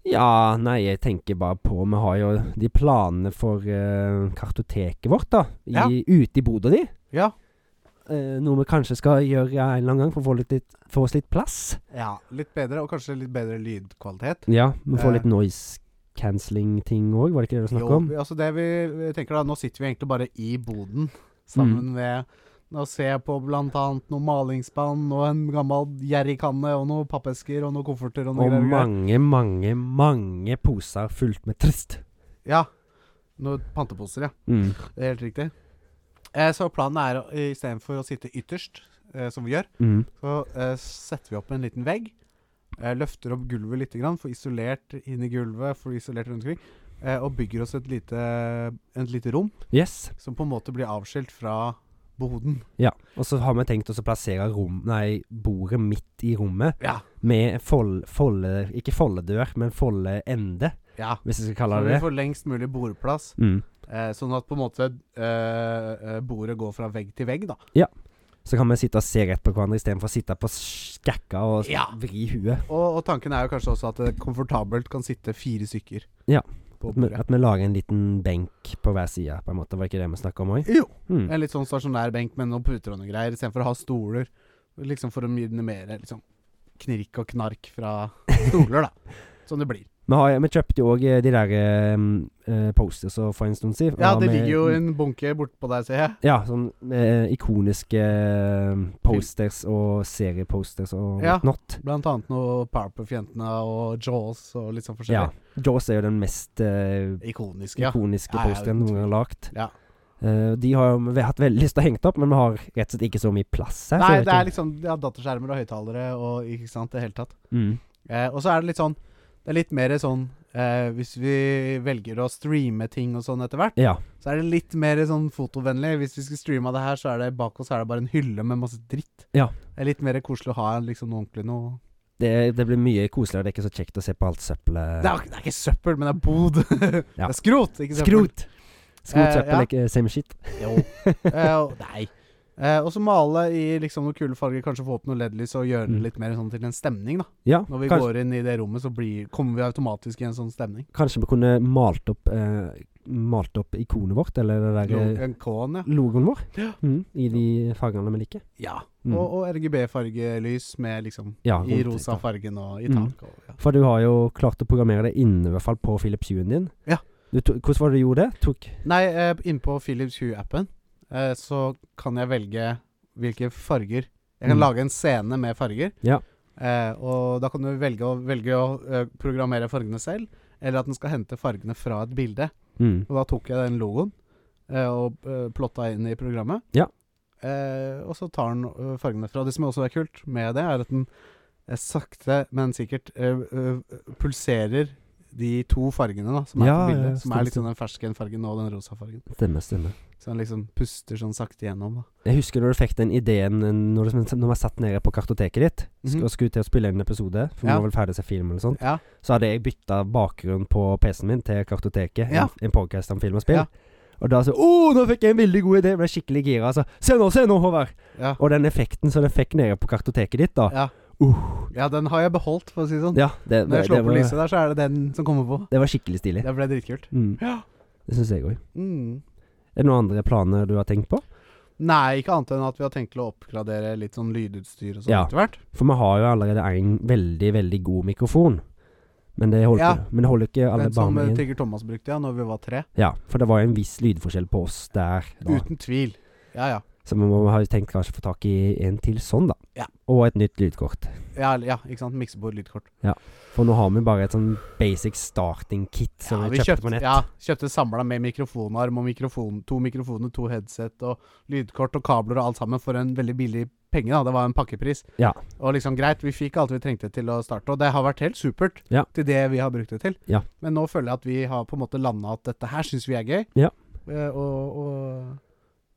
Speaker 2: Ja, nei, jeg tenker bare på Vi har jo de planene for eh, kartoteket vårt, da. I,
Speaker 1: Ja.
Speaker 2: Ute i boda di.
Speaker 1: Ja.
Speaker 2: Eh, noe vi kanskje skal gjøre en eller annen gang for å få, litt, litt, få oss litt plass.
Speaker 1: ja. Litt bedre, og kanskje litt bedre lydkvalitet.
Speaker 2: Ja, vi får
Speaker 1: Eh.
Speaker 2: litt noise cancelling-ting òg, var det ikke det du snakket
Speaker 1: Jo,
Speaker 2: om?
Speaker 1: vi- altså det vi vi tenker da, nå sitter vi egentlig bare i boden sammen med Nå ser jeg på blant annet noe malingsspann og en gammel jerrykanne og noen pappesker og noen kofferter og noe
Speaker 2: Og
Speaker 1: greier.
Speaker 2: mange, mange, mange poser fullt med trist.
Speaker 1: Ja. Noen panteposer, ja.
Speaker 2: Mm.
Speaker 1: Det er helt riktig. Eh, så planen er å- istedenfor å sitte ytterst, eh, som vi gjør,
Speaker 2: Mm.
Speaker 1: så eh, setter vi opp en liten vegg. Eh, løfter opp gulvet litt, grann, får isolert inn i gulvet, får isolert rundt omkring. Eh, og bygger oss et lite, et lite rom
Speaker 2: Yes.
Speaker 1: som på en måte blir avskilt fra boden.
Speaker 2: Ja, og så har vi tenkt oss å plassere rom, nei, bordet midt i rommet
Speaker 1: Ja.
Speaker 2: med fold, folde, ikke foldedør, men foldeende,
Speaker 1: ja.
Speaker 2: hvis
Speaker 1: Så
Speaker 2: jeg skal kalle det
Speaker 1: vi
Speaker 2: det.
Speaker 1: får lengst mulig bordplass,
Speaker 2: Mm.
Speaker 1: eh, sånn at på en måte eh, eh, bordet går fra vegg til vegg, da.
Speaker 2: Så kan vi sitte og se rett på hverandre istedenfor å sitte på skakka og
Speaker 1: Ja.
Speaker 2: vri huet.
Speaker 1: Og, og tanken er jo kanskje også at det komfortabelt kan sitte fire stykker
Speaker 2: Ja.
Speaker 1: på
Speaker 2: At vi,
Speaker 1: bordet.
Speaker 2: at vi lager en liten benk på hver side, på en måte. Var det ikke det vi snakka om òg?
Speaker 1: Jo.
Speaker 2: Mm.
Speaker 1: En litt sånn stasjonær benk med noen puter og noen greier, istedenfor å ha stoler. Liksom for å minimere liksom, knirk og knark fra stoler, da. Som det blir.
Speaker 2: Vi, har, vi kjøpte jo òg de der eh, posters for en stund siden.
Speaker 1: Ja,
Speaker 2: Og
Speaker 1: det
Speaker 2: vi-
Speaker 1: ligger jo en bunke bortpå der, ser jeg.
Speaker 2: Ja, sånn eh, ikoniske eh, posters og serieposters og
Speaker 1: Ja.
Speaker 2: whatnot.
Speaker 1: Blant annet noe Powerpuff-jentene og Jaws og litt sånn
Speaker 2: Ja.
Speaker 1: forskjellig.
Speaker 2: Jaws er jo den mest eh,
Speaker 1: Ikoniske, ja.
Speaker 2: ikoniske
Speaker 1: Ja, ja,
Speaker 2: posteren
Speaker 1: uten
Speaker 2: noen gang lagt.
Speaker 1: Ja.
Speaker 2: Eh, de har jo vi har hatt veldig lyst til å henge det opp, men vi har rett og slett ikke så mye plass her. så
Speaker 1: Nei,
Speaker 2: jeg vet
Speaker 1: det er
Speaker 2: ikke-
Speaker 1: liksom ja, dataskjermer og høyttalere og ikke sant, det hele tatt.
Speaker 2: mm.
Speaker 1: Eh, og så er det litt sånn Det er litt mer sånn eh, Hvis vi velger å streame ting og sånn etter hvert,
Speaker 2: Ja.
Speaker 1: så er det litt mer sånn fotovennlig. Hvis vi skulle streama det her, så er det bak oss er det bare en hylle med masse dritt.
Speaker 2: Ja.
Speaker 1: Det er litt mer koselig å ha liksom noe ordentlig noe
Speaker 2: Det, det blir mye koseligere. Det er ikke så kjekt å se på alt søppelet.
Speaker 1: det er, det er ikke søppel, men det er bod.
Speaker 2: Ja.
Speaker 1: Det er skrot, ikke søppel.
Speaker 2: Skrot! Skrotsøppel
Speaker 1: Eh, ja.
Speaker 2: er ikke same shit.
Speaker 1: Jo. Eh, og- nei. Eh, og så male i liksom noen kule farger, kanskje få opp noe LED-lys og gjøre det
Speaker 2: Mm.
Speaker 1: litt mer sånn til en stemning, da.
Speaker 2: Ja,
Speaker 1: Når vi
Speaker 2: kanskje,
Speaker 1: går inn i det rommet, så blir, kommer vi automatisk i en sånn stemning.
Speaker 2: kanskje vi kunne malt opp eh, Malt opp ikonet vårt, eller det der eh,
Speaker 1: Logoen, K-en, ja.
Speaker 2: logoen vår, mm, i de fargene vi liker.
Speaker 1: Ja.
Speaker 2: Mm.
Speaker 1: Og, og RGB-fargelys med liksom
Speaker 2: Ja,
Speaker 1: i
Speaker 2: rundt
Speaker 1: rosa
Speaker 2: litt, da.
Speaker 1: fargen og i
Speaker 2: Mm.
Speaker 1: taket. og- Ja.
Speaker 2: For du har jo klart å programmere det inne, i hvert fall på Philips Hue-en din.
Speaker 1: Ja.
Speaker 2: Du to, hvordan var det du gjorde det? Tok
Speaker 1: Nei, eh, innpå Philips Hue-appen eh, så kan jeg velge hvilke farger Jeg kan
Speaker 2: Mm.
Speaker 1: lage en scene med farger.
Speaker 2: Ja.
Speaker 1: Eh, og da kan du velge å, velge å eh, programmere fargene selv, eller at den skal hente fargene fra et bilde.
Speaker 2: Mm.
Speaker 1: Og da tok jeg den logoen eh, og eh, plotta inn i programmet.
Speaker 2: Ja.
Speaker 1: Eh, og så tar den eh, fargene fra. Det som også er kult med det, er at den eh, sakte, men sikkert eh, eh, pulserer de to fargene da, som er
Speaker 2: Ja,
Speaker 1: på bildet.
Speaker 2: ja,
Speaker 1: som
Speaker 2: stemmer,
Speaker 1: er liksom den ferskenfargen og den rosa fargen.
Speaker 2: Stemmer, stemmer.
Speaker 1: Så den liksom puster sånn sakte gjennom. Da.
Speaker 2: Jeg husker når du fikk den ideen eh, når du, når jeg satt nede på kartoteket ditt sk-
Speaker 1: Mhm.
Speaker 2: og skulle til å spille inn en episode, for vi
Speaker 1: Ja.
Speaker 2: var vel ferdig å se film eller sånt,
Speaker 1: Ja.
Speaker 2: så hadde jeg bytta bakgrunn på PC-en min til kartoteket,
Speaker 1: Ja.
Speaker 2: en, en podcast om film og spill.
Speaker 1: Ja.
Speaker 2: Og da så Å, nå fikk jeg en veldig god idé! Ble skikkelig gira. Altså. Se nå, se nå, Håvard!
Speaker 1: Ja.
Speaker 2: Og den effekten som den fikk nede på kartoteket ditt, da.
Speaker 1: Ja. ja, den har jeg beholdt, for å si det sånn.
Speaker 2: Uh. Ja, det,
Speaker 1: Når
Speaker 2: det,
Speaker 1: jeg
Speaker 2: det,
Speaker 1: slår på lyset
Speaker 2: var,
Speaker 1: der, så er det den som kommer på.
Speaker 2: det var skikkelig stilig.
Speaker 1: Det ble dritkult.
Speaker 2: Mm,
Speaker 1: Ja.
Speaker 2: det syns jeg òg.
Speaker 1: Mm.
Speaker 2: Er det noen andre planer du har tenkt på?
Speaker 1: Nei, ikke annet enn at vi har tenkt til å oppgradere litt sånn lydutstyr og sånn
Speaker 2: Ja.
Speaker 1: etter hvert.
Speaker 2: For vi har jo allerede en veldig, veldig god mikrofon. Men det holder,
Speaker 1: Ja.
Speaker 2: ikke. Men det holder ikke alle
Speaker 1: Den som
Speaker 2: barna
Speaker 1: eh,
Speaker 2: igjen.
Speaker 1: Tigger Thomas brukte ja, når vi var tre.
Speaker 2: Ja, for det var jo en viss lydforskjell på oss der da.
Speaker 1: Uten tvil. Ja, ja.
Speaker 2: Så vi må ha tenkt kanskje få tak i en til sånn, da.
Speaker 1: Ja.
Speaker 2: Og et nytt lydkort.
Speaker 1: Ja, ja ikke sant. Miksebord, lydkort.
Speaker 2: For nå har vi bare et sånn basic starting kit som
Speaker 1: ja,
Speaker 2: vi kjøpte på nett.
Speaker 1: ja, kjøpte samla med mikrofonarm og mikrofon, to mikrofoner, to headset og lydkort og kabler og alt sammen for en veldig billig penge. da Det var en pakkepris.
Speaker 2: Ja.
Speaker 1: Og liksom greit, vi fikk alt vi trengte til å starte, og det har vært helt supert
Speaker 2: Ja.
Speaker 1: til det vi har brukt det til.
Speaker 2: Ja.
Speaker 1: Men nå føler jeg at vi har på en måte landa at dette her syns vi er gøy.
Speaker 2: Ja.
Speaker 1: Eh, og, og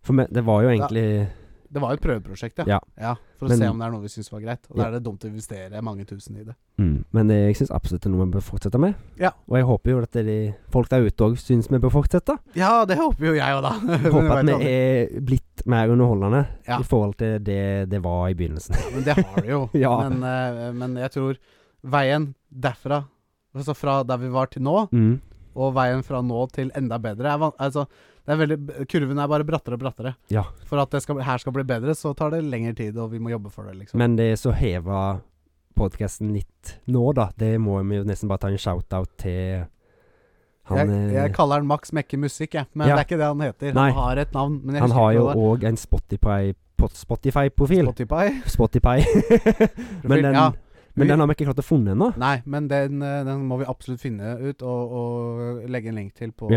Speaker 2: For vi, det var jo egentlig
Speaker 1: Det var jo et prøveprosjekt, ja.
Speaker 2: Ja.
Speaker 1: for å
Speaker 2: Men-
Speaker 1: se om det er noe vi syns var greit. Og da
Speaker 2: Ja.
Speaker 1: er det dumt å investere mange tusen i det.
Speaker 2: mm, Men det, jeg syns absolutt det er noe vi bør fortsette med.
Speaker 1: Ja.
Speaker 2: Og jeg håper jo at de, folk der ute òg syns vi bør fortsette.
Speaker 1: Ja, det håper jo jeg òg, da. Men
Speaker 2: Håper
Speaker 1: jeg vet
Speaker 2: at vi
Speaker 1: aldri.
Speaker 2: er blitt mer underholdende
Speaker 1: Ja.
Speaker 2: i forhold til det det var i begynnelsen.
Speaker 1: Ja, Men det har vi jo.
Speaker 2: Ja.
Speaker 1: men, eh, men jeg tror veien derfra, altså fra der vi var til nå,
Speaker 2: Mm.
Speaker 1: og veien fra nå til enda bedre er van altså, det er veldig, Kurven er bare brattere og brattere.
Speaker 2: Ja.
Speaker 1: For at det skal, her skal bli bedre, så tar det lengre tid, og vi må jobbe for det, liksom.
Speaker 2: Men det som heva podkasten litt nå, da, det må vi jo nesten bare ta en shout-out til han
Speaker 1: jeg, jeg
Speaker 2: eh,
Speaker 1: kaller han Max Mekke Musikk, jeg. Men
Speaker 2: Ja.
Speaker 1: det er ikke det han heter.
Speaker 2: Nei.
Speaker 1: Han har et navn, men jeg
Speaker 2: Han
Speaker 1: husker
Speaker 2: har jo
Speaker 1: ikke hva det
Speaker 2: òg en Spotify- pot- Spotify-profil.
Speaker 1: er. Spotify.
Speaker 2: Spotify. men den,
Speaker 1: Ja.
Speaker 2: men den har vi ikke klart å finne ennå.
Speaker 1: Nei, men den, eh, den må vi absolutt finne ut og, og legge en link til på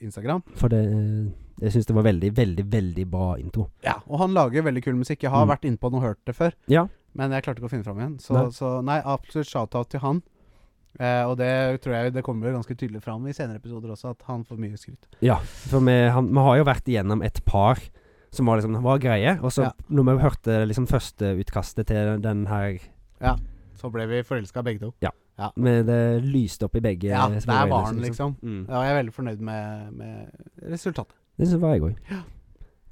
Speaker 1: Instagram.
Speaker 2: For det eh, Jeg syns det var veldig, veldig, veldig bra intro.
Speaker 1: Ja, Og han lager veldig kul musikk. Jeg har
Speaker 2: Mm.
Speaker 1: vært inne på den og hørt det før,
Speaker 2: Ja.
Speaker 1: men jeg klarte ikke å finne fram igjen. Så
Speaker 2: Nei.
Speaker 1: nei, så, nei absolutt shout-out til han. Eh, og det tror jeg det kommer ganske tydelig fram i senere episoder også, at han får mye skryt.
Speaker 2: Ja, for vi, han, vi har jo vært igjennom et par som var liksom var greie. Og så
Speaker 1: Ja.
Speaker 2: når vi hørte liksom førsteutkastet til den her
Speaker 1: Så ble vi forelska begge to.
Speaker 2: med Det lyste opp i begge
Speaker 1: Ja,
Speaker 2: små
Speaker 1: der var
Speaker 2: øyne,
Speaker 1: han, liksom.
Speaker 2: Mm.
Speaker 1: Ja, jeg er veldig fornøyd med, med resultatet.
Speaker 2: Det syns jeg òg.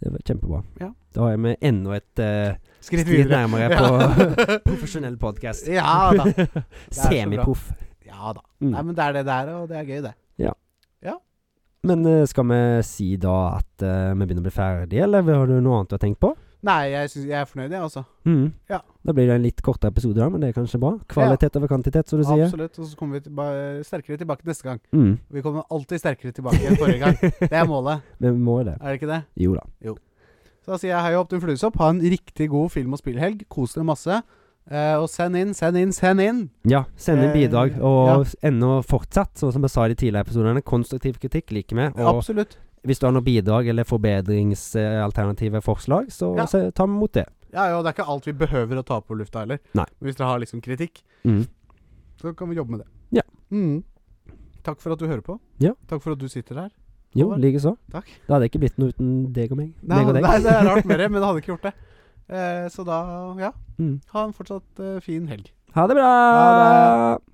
Speaker 2: Det var kjempebra.
Speaker 1: Ja.
Speaker 2: Da er vi enda et eh,
Speaker 1: Skritt
Speaker 2: skritt
Speaker 1: videre.
Speaker 2: nærmere på
Speaker 1: Ja.
Speaker 2: profesjonell podkast.
Speaker 1: Ja da. så bra.
Speaker 2: Semiproff.
Speaker 1: ja da.
Speaker 2: Mm.
Speaker 1: Nei, men det er det der, og det er gøy, det.
Speaker 2: Men eh, skal vi si da at eh, vi begynner å bli ferdige, eller har du noe annet du har tenkt på?
Speaker 1: Nei, jeg, synes, jeg er fornøyd, jeg, altså.
Speaker 2: Mm.
Speaker 1: Ja.
Speaker 2: Da blir det en litt kortere episode, da, men det er kanskje bra. Kvalitet over kvantitet, som du sier.
Speaker 1: Absolutt. Og så kommer vi tilba- sterkere tilbake neste gang.
Speaker 2: Mm.
Speaker 1: Vi kommer alltid sterkere tilbake enn forrige gang. Det er målet,
Speaker 2: Vi må jo det.
Speaker 1: er det ikke det?
Speaker 2: Jo da.
Speaker 1: Så da sier jeg hei opp til fluesopp. Ha en riktig god film- og spillhelg. Kos dere masse. Eh, og send inn, send inn, send inn!
Speaker 2: Ja, send inn
Speaker 1: Eh,
Speaker 2: bidrag, og ennå fortsatt, sånn som vi sa i de tidligere episodene, konstruktiv kritikk liker vi. Og
Speaker 1: Absolutt.
Speaker 2: hvis du har noen bidrag eller forbedringsalternative forslag, så
Speaker 1: Ja.
Speaker 2: se- ta imot det.
Speaker 1: Ja, ja, og det er ikke alt vi behøver å ta på lufta heller.
Speaker 2: Nei.
Speaker 1: Men hvis dere har liksom kritikk,
Speaker 2: Mm.
Speaker 1: så kan vi jobbe med det.
Speaker 2: Ja.
Speaker 1: Mm. Takk for at du hører på.
Speaker 2: Ja.
Speaker 1: Takk for at du sitter her.
Speaker 2: Jo,
Speaker 1: Håvard?
Speaker 2: likeså.
Speaker 1: Takk.
Speaker 2: Det hadde ikke blitt noe uten deg og meg.
Speaker 1: Nei,
Speaker 2: meg og deg.
Speaker 1: nei, det er rart med det, men jeg hadde ikke gjort det. Eh, så da, ja.
Speaker 2: Mm.
Speaker 1: Ha en fortsatt eh, fin helg.
Speaker 2: Ha det bra!
Speaker 1: Ha det!